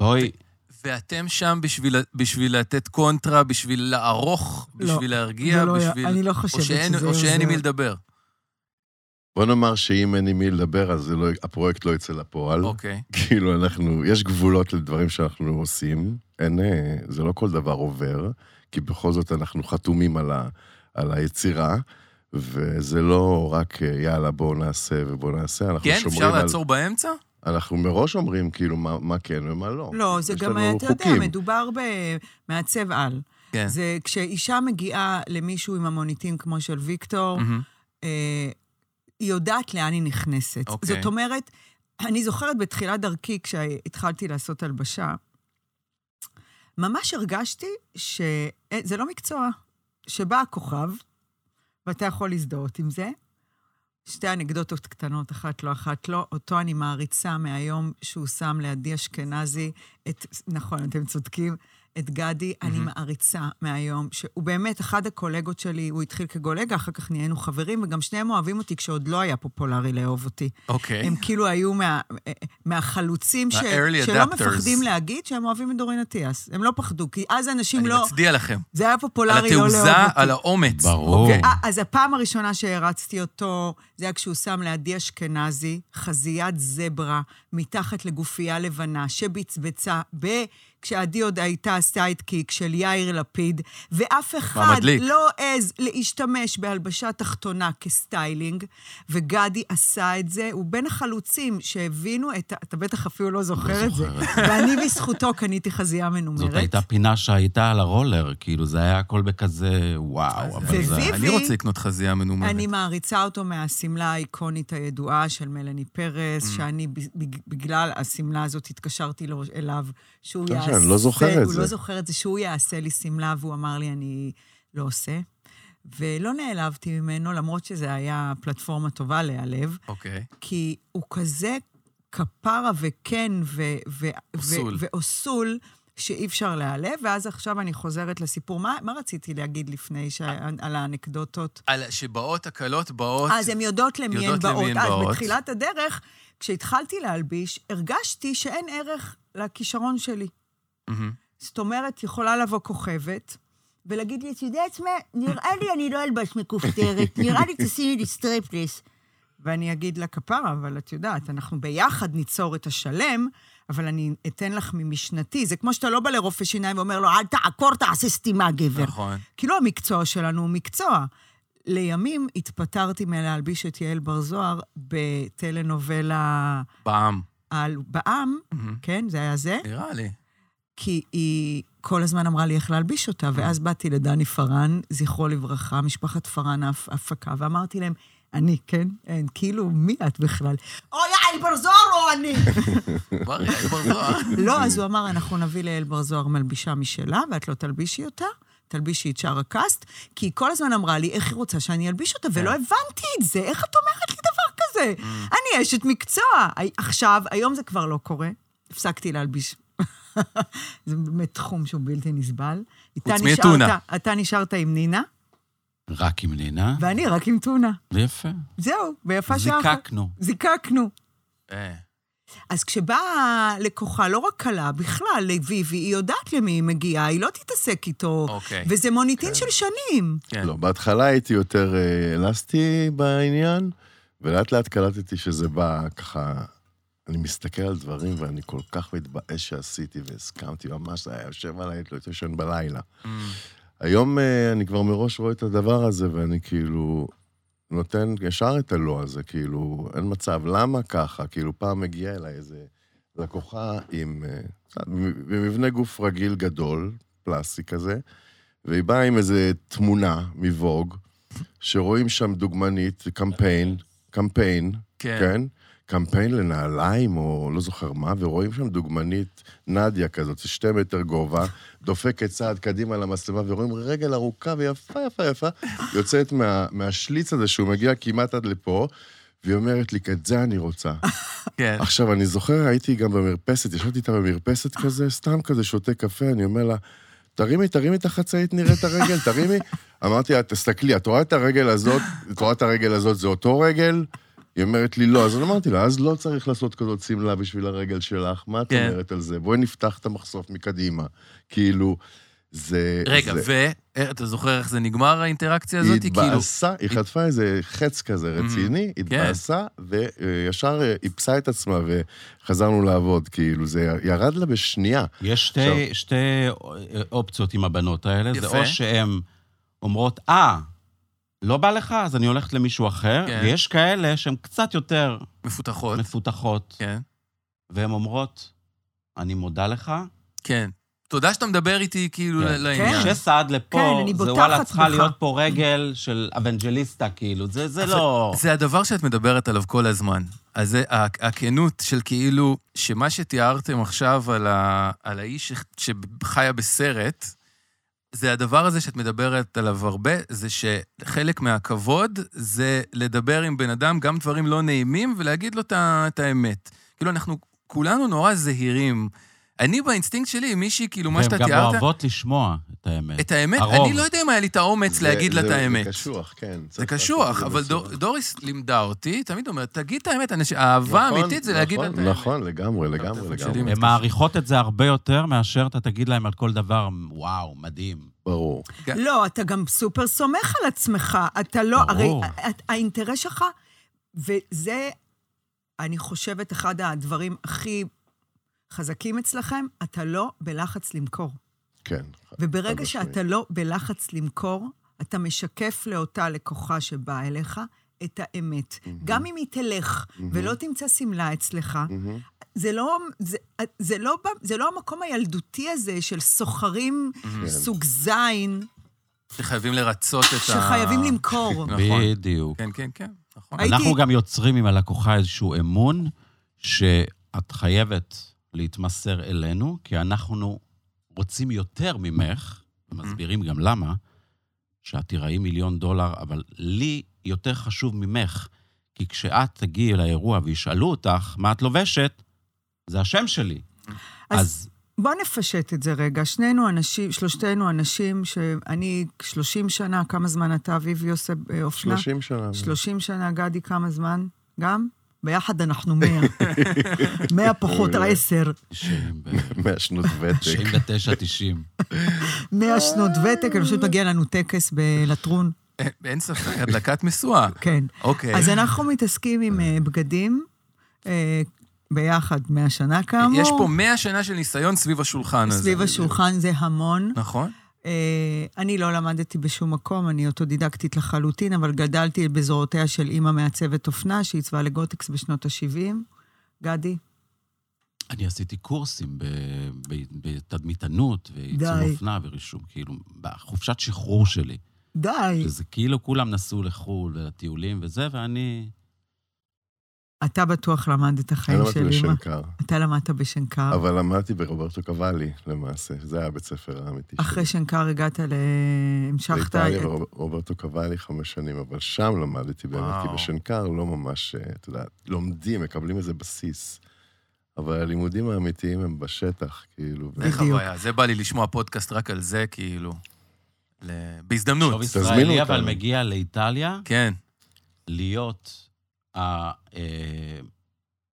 Speaker 6: בואי,
Speaker 1: ואתם שם בשביל, בשביל לתת קונטרה, בשביל לערוך,
Speaker 2: לא,
Speaker 1: בשביל להרגיע,
Speaker 2: זה לא היה-
Speaker 1: בשביל...
Speaker 2: אני לא חושבת
Speaker 1: או שאין,
Speaker 2: שזה
Speaker 1: או שאין עם מי
Speaker 2: עוזר.
Speaker 1: לדבר.
Speaker 7: בוא נאמר שאם אין עם מי לדבר, אז זה לא- הפרויקט לא יצא לפועל.
Speaker 1: אוקיי.
Speaker 7: כאילו, אנחנו, יש גבולות לדברים שאנחנו עושים. אין, אה, זה לא כל דבר עובר, כי בכל זאת אנחנו חתומים על, ה, על היצירה, וזה לא רק אה, יאללה, בואו נעשה ובואו נעשה, אנחנו
Speaker 1: כן,
Speaker 7: שומרים
Speaker 1: אפשר
Speaker 7: על...
Speaker 1: לעצור באמצע?
Speaker 7: אנחנו מראש אומרים, כאילו, מה, מה כן ומה לא.
Speaker 2: לא, זה
Speaker 7: יש
Speaker 2: גם,
Speaker 7: לנו
Speaker 2: אתה יודע,
Speaker 7: חוקים.
Speaker 2: מדובר במעצב על.
Speaker 1: כן.
Speaker 2: זה כשאישה מגיעה למישהו עם המוניטין כמו של ויקטור,
Speaker 1: מהמם.
Speaker 2: אה, היא יודעת לאן היא נכנסת.
Speaker 1: אוקיי.
Speaker 2: זאת אומרת, אני זוכרת בתחילת דרכי, כשהתחלתי לעשות הלבשה, ממש הרגשתי שזה לא מקצוע, שבא הכוכב, ואתה יכול להזדהות עם זה. שתי אנקדוטות קטנות, אחת לא, אחת לא. אותו אני מעריצה מהיום שהוא שם לידי אשכנזי את, נכון, אתם צודקים, את גדי, אני מעריצה מהיום, שהוא באמת אחד הקולגות שלי, הוא התחיל כגולגה, אחר כך נהיינו חברים, וגם שניהם אוהבים אותי כשעוד לא היה פופולרי לאהוב אותי.
Speaker 1: אוקיי.
Speaker 2: הם כאילו היו מה, מהחלוצים ש,
Speaker 1: מה-early
Speaker 2: שלא
Speaker 1: adapters.
Speaker 2: מפחדים להגיד שהם אוהבים את דורין אטיאס. הם לא פחדו, כי אז אנשים
Speaker 1: אני
Speaker 2: לא...
Speaker 1: מצדיע לכם.
Speaker 2: זה היה
Speaker 1: על
Speaker 2: פופולרי לא לאהוב אותי.
Speaker 1: התעוזה, על האומץ. אוקיי.
Speaker 6: ברור.
Speaker 1: כן.
Speaker 2: אה, אז הפעם הראשונה שהרצתי אותו, זה היה כשהוא שם לידי אשכנזי, חזיית זברה מתחת לגופייה לבנה, שבצבצה ב... כשעדי עוד הייתה הסיידקיק של יאיר לפיד, ואף אחד
Speaker 1: מדליק.
Speaker 2: לא העז להשתמש בהלבשה תחתונה כסטיילינג, וגדי עשה את זה. הוא בין החלוצים שהבינו את ה... אתה בטח אפילו לא זוכר את זה. ואני בזכותו קניתי חזייה מנומרת.
Speaker 6: זאת הייתה פינה שהייתה על הרולר, כאילו זה היה הכל בכזה, וואו, אבל זה...
Speaker 2: ווי-
Speaker 1: אני רוצה לקנות חזייה מנומרת.
Speaker 2: אני מעריצה אותו מהשמלה האיקונית הידועה של מלאני פרס,
Speaker 7: Mm.
Speaker 2: שאני ב- ב- בגלל השמלה הזאת התקשרתי לו אליו, שהוא
Speaker 7: לא
Speaker 2: יעשה...
Speaker 7: שאני לא זוכר את
Speaker 2: הוא
Speaker 7: זה.
Speaker 2: לא זוכר את זה, שהוא יעשה לי שמלה, והוא אמר לי, אני לא עושה. ולא נעלבתי ממנו, למרות שזה היה פלטפורמה טובה להיעלב,
Speaker 1: אוקיי.
Speaker 2: כי הוא כזה כפרה וכן ו- ו-
Speaker 1: אוסול.
Speaker 2: ו- ואוסול. שאי אפשר להיעלב, ואז עכשיו אני חוזרת לסיפור. מה, מה רציתי להגיד לפני, ש... על האנקדוטות?
Speaker 1: על- שבאות הקלות באות...
Speaker 2: אז הן יודעות למי הן
Speaker 1: יודעות למי
Speaker 2: באות.
Speaker 1: הן
Speaker 2: אז
Speaker 1: באות.
Speaker 2: בתחילת הדרך, כשהתחלתי להלביש, הרגשתי שאין ערך לכישרון שלי.
Speaker 1: מהמם.
Speaker 2: זאת אומרת, יכולה לבוא כוכבת ולהגיד לי, את יודעת מה, נראה לי אני לא אלבש מכופתרת, נראה לי תשימי לי סטריפליס. ואני אגיד לה, כפרה, אבל את יודעת, אנחנו ביחד ניצור את השלם, אבל אני אתן לך ממשנתי. זה כמו שאתה לא בא לרופא שיניים ואומר לו, אל תעקור, תעשה סתימה, גבר.
Speaker 1: נכון.
Speaker 2: כאילו המקצוע שלנו הוא מקצוע. לימים התפטרתי מלהלביש את יעל בר זוהר בטלנובלה
Speaker 1: בעם.
Speaker 2: על בעם,
Speaker 1: מהמם.
Speaker 2: כן, זה היה זה,
Speaker 1: נראה לי.
Speaker 2: כי היא כל הזמן אמרה לי איך להלביש אותה, ואז באתי לדני פארן, זכרו לברכה, משפחת פארן ההפ- ההפקה, ואמרתי להם, אני, כן? אין, כאילו, מי את בכלל? או יעל בר זוהר או אני?
Speaker 1: כבר כבר זוהר.
Speaker 2: לא, אז הוא אמר, אנחנו נביא ליעל בר זוהר מלבישה משלה, ואת לא תלבישי אותה, תלבישי את שאר הקאסט, כי היא כל הזמן אמרה לי, איך היא רוצה שאני אלביש אותה, ולא הבנתי את זה, איך את אומרת לי דבר כזה? אני אשת מקצוע. הי- עכשיו, היום זה כבר לא קורה, הפסקתי להלביש. זה באמת תחום שהוא בלתי נסבל. אתה
Speaker 1: מטונה.
Speaker 2: נשארת- אתה נשארת עם נינה,
Speaker 6: רק עם נינה,
Speaker 2: ואני רק עם טונה.
Speaker 6: ויפה.
Speaker 2: זהו, ויפה שעה. אחת.
Speaker 6: זיקקנו.
Speaker 2: זיקקנו.
Speaker 1: אה,
Speaker 2: אז כשבאה לקוחה, לא רק קלה, בכלל, לביבי, היא יודעת למי היא מגיעה, היא לא תתעסק איתו.
Speaker 1: אוקיי.
Speaker 2: וזה מוניטין של שנים.
Speaker 1: כן.
Speaker 7: לא, בהתחלה הייתי יותר אה, אלסטי בעניין, ולאט לאט קלטתי שזה בא ככה... אני מסתכל על דברים ואני כל כך מתבאס שעשיתי והסכמתי, ממש זה היה יושב עליי, לא הייתי ישן בלילה. היום אה, אני כבר מראש רואה את הדבר הזה, ואני כאילו נותן ישר את הלא הזה, כאילו, אין מצב, למה ככה? כאילו, פעם הגיעה אליי איזה לקוחה עם אה, במבנה גוף רגיל גדול, פלסטי כזה, והיא באה עם איזה תמונה מווג, שרואים שם דוגמנית, קמפיין, קמפיין,
Speaker 1: כן.
Speaker 7: כן? קמפיין לנעליים, או לא זוכר מה, ורואים שם דוגמנית, נדיה כזאת, שתי מטר גובה, דופקת צעד קדימה למצלמה, ורואים רגל ארוכה ויפה, יפה, יפה, יוצאת מה, מהשליץ הזה שהוא מגיע כמעט עד לפה, והיא אומרת לי, את זה אני רוצה.
Speaker 1: כן.
Speaker 7: עכשיו, אני זוכר, הייתי גם במרפסת, ישבתי איתה במרפסת כזה, סתם כזה שותה קפה, אני אומר לה, תרימי, תרימי את החצאית, נראה את הרגל, תרימי. אמרתי לה, תסתכלי, את רואה את הרגל הזאת, את רואה את הרגל הזאת, זה אותו רגל? היא אומרת לי, לא. אז אני אמרתי לה, אז לא צריך לעשות כזאת שמלה בשביל הרגל שלך, מה את
Speaker 1: כן.
Speaker 7: אומרת על זה? בואי נפתח את המחשוף מקדימה. כאילו, זה...
Speaker 1: רגע,
Speaker 7: זה-
Speaker 1: ואתה זוכר איך זה נגמר, האינטראקציה הזאת?
Speaker 7: היא
Speaker 1: כאילו, Mm-hmm.
Speaker 7: התבאסה, היא חטפה איזה חץ כזה רציני, התבאסה, וישר אה, איפסה את עצמה, וחזרנו לעבוד, כאילו, זה ירד לה בשנייה.
Speaker 6: יש שתי,
Speaker 7: עכשיו-
Speaker 6: שתי אה, אופציות עם הבנות האלה. זה
Speaker 1: יפה.
Speaker 6: או שהן אומרות, אה, לא בא לך, אז אני הולכת למישהו אחר.
Speaker 1: כן.
Speaker 6: ויש כאלה שהן קצת יותר
Speaker 1: מפותחות.
Speaker 6: מפותחות,
Speaker 1: כן.
Speaker 6: והן אומרות, אני מודה לך.
Speaker 1: כן. תודה שאתה מדבר איתי, כאילו,
Speaker 6: כן.
Speaker 1: ל- לעניין.
Speaker 2: כן.
Speaker 6: שסעד לפה,
Speaker 2: כן, אני
Speaker 6: זה
Speaker 2: בוטחת
Speaker 6: וואלה, צריכה
Speaker 2: בך.
Speaker 6: להיות פה רגל של אבנג'ליסטה, כאילו, זה, זה
Speaker 1: אבל
Speaker 6: לא...
Speaker 1: זה הדבר שאת מדברת עליו כל הזמן. אז זה, הכ- הכנות של כאילו, שמה שתיארתם עכשיו על, ה, על האיש ש- שחיה בסרט, זה הדבר הזה שאת מדברת עליו הרבה, זה שחלק מהכבוד זה לדבר עם בן אדם גם דברים לא נעימים ולהגיד לו את ה- את האמת. כאילו, אנחנו כולנו נורא זהירים. אני באינסטינקט שלי, מישהי, כאילו, מה שאתה
Speaker 6: והן גם
Speaker 1: תיארת,
Speaker 6: אוהבות לשמוע את האמת.
Speaker 1: את האמת,
Speaker 6: הרוב.
Speaker 1: אני לא יודע אם היה לי את האומץ להגיד לה את האמת.
Speaker 7: זה קשוח, כן.
Speaker 1: זה
Speaker 7: צריך לעשות את
Speaker 1: קשוח,
Speaker 7: זה
Speaker 1: אבל
Speaker 7: בצורה-
Speaker 1: דור- דוריס לימדה אותי, תמיד אומרת, תגיד את האמת, אנשים- אהבה
Speaker 7: נכון,
Speaker 1: אמיתית זה להגיד לה את
Speaker 7: נכון,
Speaker 1: האמת.
Speaker 7: נכון, לגמרי, לגמרי,
Speaker 1: הטלפון
Speaker 7: לגמרי,
Speaker 1: שלי.
Speaker 6: הן מעריכות את זה הרבה יותר מאשר אתה תגיד להם על כל דבר, וואו, מדהים.
Speaker 7: ברור.
Speaker 2: לא, אתה גם סופר סומך על עצמך. אתה לא, הרי
Speaker 6: ברור.
Speaker 2: את- האינטרס שלך, וזה, אני חושבת, אחד הדברים הכי חזקים אצלכם, אתה לא בלחץ למכור.
Speaker 7: כן.
Speaker 2: וברגע
Speaker 7: משמעית.
Speaker 2: שאתה לא בלחץ למכור, אתה משקף לאותה לקוחה שבאה אליך את האמת. גם אם היא תלך ולא תמצא שמלה אצלך, זה לא, זה, זה, לא, ב- זה לא המקום הילדותי הזה של סוחרים
Speaker 1: כן.
Speaker 7: כן.
Speaker 2: סוג זין
Speaker 1: שחייבים לרצות את ה...
Speaker 2: שחייבים למכור.
Speaker 1: נכון.
Speaker 6: בדיוק.
Speaker 1: כן, כן, כן, נכון.
Speaker 2: הייתי-
Speaker 6: אנחנו גם יוצרים עם הלקוחה איזשהו אמון, שאת חייבת להתמסר אלינו, כי אנחנו רוצים יותר ממך,
Speaker 1: Mm-hmm.
Speaker 6: ומסבירים גם למה, שאת תיראי מיליון דולר, אבל לי יותר חשוב ממך, כי כשאת תגיעי לאירוע וישאלו אותך מה את לובשת, זה השם שלי.
Speaker 2: אז-
Speaker 6: אז
Speaker 2: בוא נפשט את זה רגע. שנינו אנשים, שלושתנו אנשים, שאני 30 שנה, כמה זמן אתה, אביבי, עושה אה, אופנה?
Speaker 7: 30 שנה.
Speaker 2: 30 שנה, גדי, כמה זמן? גם? ביחד אנחנו 100. 100 פחות 10.
Speaker 7: 100 שנות ותק. לא
Speaker 6: 99-90.
Speaker 2: 100 שנות ותק, אני חושבת מגיע לנו טקס בלטרון.
Speaker 1: אין- אין ספק, הדלקת משואה.
Speaker 2: כן.
Speaker 1: אוקיי.
Speaker 2: אז אנחנו מתעסקים עם אה, בגדים, אה, ביחד 100 שנה כאמור.
Speaker 1: יש פה 100 שנה של ניסיון סביב השולחן הזה.
Speaker 2: סביב השולחן זה המון.
Speaker 1: נכון?
Speaker 2: אה, אני לא למדתי בשום מקום, אני אוטודידקטית לחלוטין, אבל גדלתי בזרועותיה של אימא מעצבת אופנה שעיצבה לגוטקס בשנות ה-70. גדי,
Speaker 6: אני עשיתי קורסים ב- ב- בתדמיתנות, ועיצוב
Speaker 2: די.
Speaker 6: אופנה ורישום, כאילו, בחופשת שחרור שלי.
Speaker 2: די.
Speaker 6: שזה כאילו כולם נסעו לחו"ל ולטיולים וזה, ואני...
Speaker 2: אתה בטוח למד את
Speaker 7: אני
Speaker 2: החיים
Speaker 1: לא
Speaker 7: למדתי
Speaker 2: של אימא.
Speaker 7: בשנקר,
Speaker 2: אתה למדת
Speaker 1: אה.
Speaker 2: בשנקר.
Speaker 7: אבל למדתי ברוברטו קוואלי, למעשה. זה היה הבית ספר האמיתי שלי.
Speaker 2: אחרי שנקר הגעת ל... המשכת...
Speaker 7: באיטליה ורוברטו קבלי חמש שנים, אבל שם למדתי באמת, כי
Speaker 1: וואו.
Speaker 7: בשנקר לא ממש, אה, אתה יודע, לומדים, מקבלים איזה בסיס. אבל הלימודים האמיתיים הם בשטח, כאילו. ו-
Speaker 1: זה
Speaker 2: בדיוק.
Speaker 1: חוויה. זה בא לי לשמוע פודקאסט רק על זה, כאילו. ל- בהזדמנות.
Speaker 6: טוב
Speaker 7: תזמינו
Speaker 6: ישראלי, אבל
Speaker 7: אותנו.
Speaker 6: מגיע לאיטליה
Speaker 1: כן.
Speaker 6: להיות... ה- אה,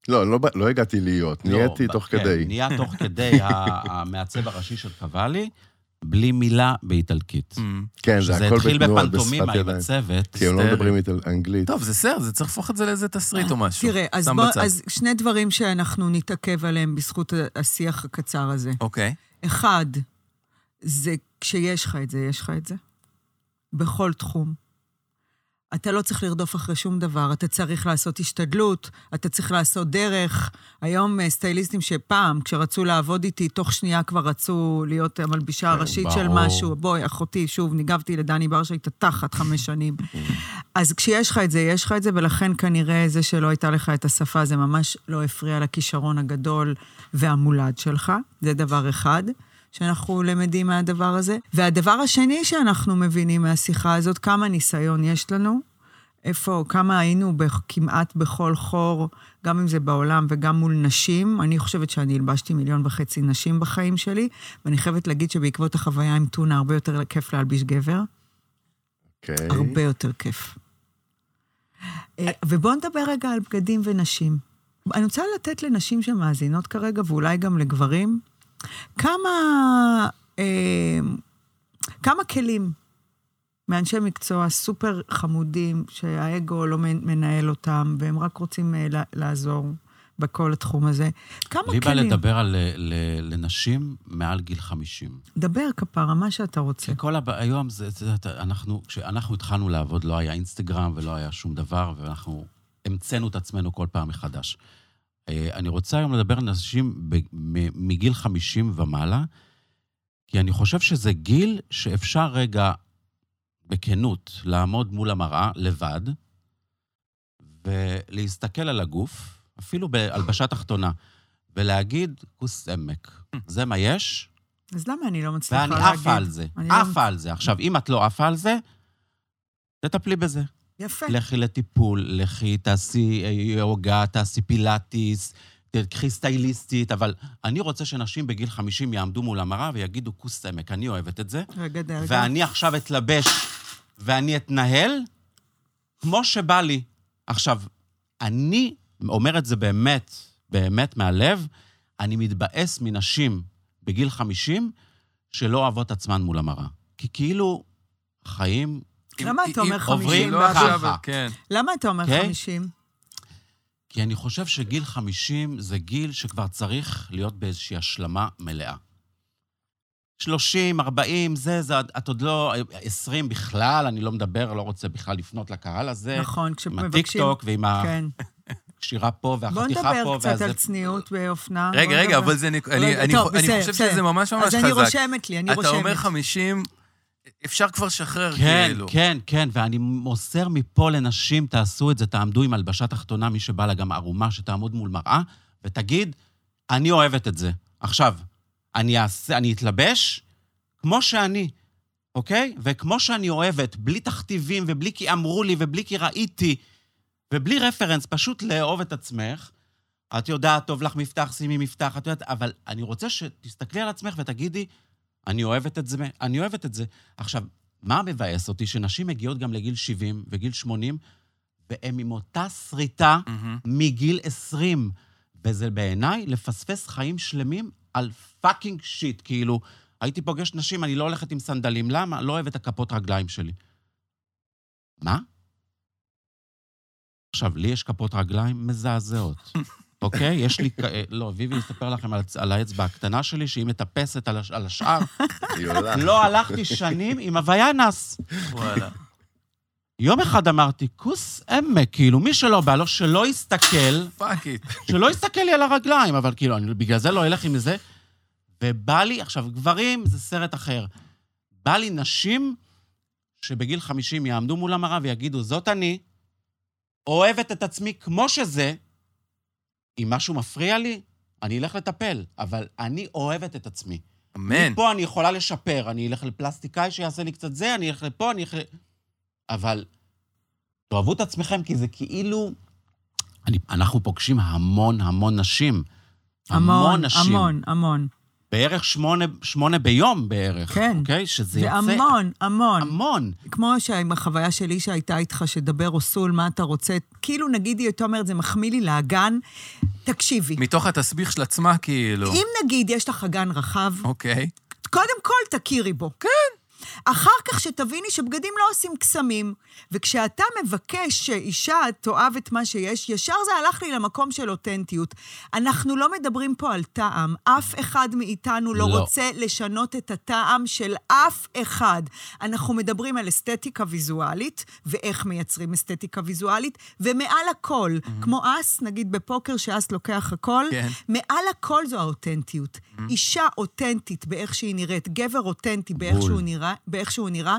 Speaker 7: לא, אני לא בא- לא הגעתי להיות,
Speaker 6: לא,
Speaker 7: נהייתי
Speaker 6: ב-
Speaker 7: תוך
Speaker 6: כן,
Speaker 7: כדי.
Speaker 6: נהיה תוך כדי ה- המעצב הראשי של קוואלי, בלי מילה באיטלקית.
Speaker 1: אמ.
Speaker 7: כן, זה
Speaker 6: שזה
Speaker 7: הכל
Speaker 6: התחיל
Speaker 7: בתנועה,
Speaker 6: בפנטומימה
Speaker 7: בשפת
Speaker 6: עם
Speaker 7: ידיים.
Speaker 6: הצוות.
Speaker 7: כי הם לא
Speaker 1: היסטרי.
Speaker 7: מדברים איטל- אנגלית.
Speaker 1: טוב, זה סרט, זה צריך להפוך את זה לאיזה תסריט או משהו.
Speaker 2: תראה, אז,
Speaker 1: שם
Speaker 2: בוא,
Speaker 1: בצד.
Speaker 2: אז שני דברים שאנחנו נתעכב עליהם בזכות ה- השיח הקצר הזה.
Speaker 1: אוקיי.
Speaker 2: אחד, זה כשיש לך את זה, יש לך את זה. בכל תחום. אתה לא צריך לרדוף אחרי שום דבר, אתה צריך לעשות השתדלות, אתה צריך לעשות דרך. היום אה, סטייליסטים שפעם, כשרצו לעבוד איתי, תוך שנייה כבר רצו להיות המלבישה הראשית של
Speaker 6: ברור.
Speaker 2: משהו. בואי, אחותי, שוב, ניגבתי לדני בר שהייתה תחת חמש שנים. אז כשיש לך את זה, יש לך את זה, ולכן כנראה זה שלא הייתה לך את השפה, זה ממש לא הפריע לכישרון הגדול והמולד שלך. זה דבר אחד שאנחנו למדים מהדבר הזה. והדבר השני שאנחנו מבינים מהשיחה הזאת, כמה ניסיון יש לנו, איפה, כמה היינו בכ- כמעט בכל חור, גם אם זה בעולם וגם מול נשים. אני חושבת שאני הלבשתי מיליון וחצי נשים בחיים שלי, ואני חייבת להגיד שבעקבות החוויה עם טונה הרבה יותר כיף להלביש גבר.
Speaker 7: אוקיי.
Speaker 2: הרבה יותר כיף. אה, ובואו נדבר רגע על בגדים ונשים. אני רוצה לתת לנשים שמאזינות כרגע, ואולי גם לגברים, כמה, אה, כמה כלים מאנשי מקצוע סופר חמודים, שהאגו לא מנ- מנהל אותם, והם רק רוצים אה, לה- לעזור בכל התחום הזה. כמה
Speaker 6: לי
Speaker 2: כלים?
Speaker 6: בא לדבר על אה, ל- לנשים מעל גיל 50.
Speaker 2: דבר כפרה, מה שאתה רוצה.
Speaker 6: כי כל הבא, היום זה, זה, אתה- אנחנו, כשאנחנו התחלנו לעבוד, לא היה אינסטגרם ולא היה שום דבר, ואנחנו המצאנו את עצמנו כל פעם מחדש. אה, אני רוצה היום לדבר על נשים ב- מ- מגיל 50 ומעלה, כי אני חושב שזה גיל שאפשר רגע, בכנות, לעמוד מול המראה לבד, ולהסתכל על הגוף, אפילו בהלבשה תחתונה, ולהגיד, כוס עמק, זה מה יש,
Speaker 2: אז למה אני לא מצליחה
Speaker 6: ואני
Speaker 2: להגיד?
Speaker 6: עפה על זה,
Speaker 2: אני לא-
Speaker 6: עפה על זה. עכשיו, אם את לא עפה על זה, תטפלי בזה.
Speaker 2: יפה.
Speaker 6: לכי לטיפול, לכי תעשי אה, יוגה, תעשי פילאטיס, תקחי סטייליסטית, אבל אני רוצה שנשים בגיל 50 יעמדו מול המראה ויגידו, כוס עמק, אני אוהבת את זה,
Speaker 2: רגע, רגע.
Speaker 6: ואני עכשיו אתלבש ואני אתנהל כמו שבא לי. עכשיו, אני אומר את זה באמת, באמת מהלב, אני מתבאס מנשים בגיל 50 שלא אוהבות עצמן מול המראה. כי כאילו, חיים...
Speaker 2: למה אתה אומר
Speaker 6: עוברים
Speaker 2: 50
Speaker 1: לא
Speaker 2: באביב?
Speaker 1: עכשיו, אבל- כן.
Speaker 2: למה אתה אומר
Speaker 6: כן?
Speaker 2: 50?
Speaker 6: כי אני חושב שגיל 50 זה גיל שכבר צריך להיות באיזושהי השלמה מלאה. 30, 40, זה, זה, את עוד לא... 20 בכלל, אני לא מדבר, לא רוצה בכלל לפנות לקהל הזה.
Speaker 2: נכון,
Speaker 6: כן. עם
Speaker 2: כשמבקשים...
Speaker 6: הטיקטוק ועם
Speaker 2: כן.
Speaker 6: הקשירה פה
Speaker 2: בוא
Speaker 6: והחתיכה פה.
Speaker 2: נדבר קצת
Speaker 6: והזה-
Speaker 2: על צניעות באופנה.
Speaker 1: רגע,
Speaker 2: בוא
Speaker 1: רגע,
Speaker 2: נדבר.
Speaker 1: אבל זה... נק- אני-
Speaker 2: רגע,
Speaker 1: אני
Speaker 2: טוב,
Speaker 1: חו- אני
Speaker 2: בסדר,
Speaker 1: חושב
Speaker 2: בסדר.
Speaker 1: שזה ממש ממש
Speaker 2: אז אני
Speaker 1: חזק.
Speaker 2: רושמת לי, אני
Speaker 1: אתה
Speaker 2: רושמת.
Speaker 1: אומר 50, אפשר כבר לשחרר,
Speaker 6: כן,
Speaker 1: כאילו.
Speaker 6: כן, כן, ואני מוסר מפה לנשים, תעשו את זה, תעמדו עם הלבשה תחתונה, מי שבא לה גם ערומה, שתעמוד מול מראה, ותגיד, אני אוהבת את זה. עכשיו, אני אעשה, אני אתלבש כמו שאני, אוקיי? וכמו שאני אוהבת, בלי תכתיבים ובלי כי אמרו לי ובלי כי ראיתי, ובלי רפרנס, פשוט לאהוב את עצמך. את יודעת, טוב לך מפתח, שימי מפתח, את יודעת, אבל אני רוצה שתסתכלי על עצמך ותגידי, אני אוהבת את זה, אני אוהבת את זה. עכשיו, מה מבאס אותי? שנשים מגיעות גם לגיל 70 וגיל 80, והן עם אותה שריטה
Speaker 1: מהמם.
Speaker 6: מגיל 20. וזה בעיניי לפספס חיים שלמים על פאקינג שיט. כאילו, הייתי פוגש נשים, אני לא הולכת עם סנדלים, למה? לא אוהב את הכפות רגליים שלי. מה? עכשיו, לי יש כפות רגליים מזעזעות, אוקיי? יש לי... כ- אה, לא, ויבי יספר לכם על, הצ- על האצבע הקטנה שלי, שהיא מטפסת על, הש- על השאר.
Speaker 7: היא עולה.
Speaker 6: לא הלכתי שנים עם הוויאנס.
Speaker 1: וואלה.
Speaker 6: יום אחד אמרתי, כוס עמק, כאילו, מי שלא בא לו, שלא יסתכל,
Speaker 1: פאק איט.
Speaker 6: שלא יסתכל לי על הרגליים, אבל כאילו, אני בגלל זה לא אלך עם זה. ובא לי, עכשיו, גברים זה סרט אחר. בא לי נשים שבגיל 50 יעמדו מול המראה ויגידו, זאת אני, אוהבת את עצמי כמו שזה, אם משהו מפריע לי, אני אלך לטפל, אבל אני אוהבת את עצמי.
Speaker 1: אמן.
Speaker 6: פה אני יכולה לשפר, אני אלך לפלסטיקאי שיעשה לי קצת זה, אני אלך לפה, אני אלך ל... אבל תאהבו את עצמכם, כי זה כאילו... אני, אנחנו פוגשים המון המון נשים.
Speaker 2: המון,
Speaker 6: נשים.
Speaker 2: המון, המון.
Speaker 6: בערך שמונה, שמונה ביום בערך.
Speaker 2: כן.
Speaker 6: אוקיי? שזה
Speaker 2: זה
Speaker 6: יוצא...
Speaker 2: המון, המון.
Speaker 6: המון.
Speaker 2: כמו שעם החוויה שלי שהייתה איתך, שדבר או סול, מה אתה רוצה, כאילו נגיד היא הייתה אומרת, זה מחמיא לי לאגן, תקשיבי.
Speaker 1: מתוך התסביך של עצמה, כאילו.
Speaker 2: אם נגיד יש לך אגן רחב,
Speaker 1: אוקיי.
Speaker 2: קודם כל תכירי בו. כן. אחר כך שתביני שבגדים לא עושים קסמים. וכשאתה מבקש שאישה תאהב את מה שיש, ישר זה הלך לי למקום של אותנטיות. אנחנו לא מדברים פה על טעם. אף אחד מאיתנו לא,
Speaker 6: לא.
Speaker 2: לא רוצה לשנות את הטעם של אף אחד. אנחנו מדברים על אסתטיקה ויזואלית, ואיך מייצרים אסתטיקה ויזואלית, ומעל הכל, mm-hmm. כמו אס, נגיד בפוקר, שאס לוקח הכל,
Speaker 1: כן.
Speaker 2: מעל הכל זו האותנטיות. אישה אותנטית באיך שהיא נראית, גבר אותנטי באיך
Speaker 6: בול.
Speaker 2: שהוא נראה, באיך שהוא נראה,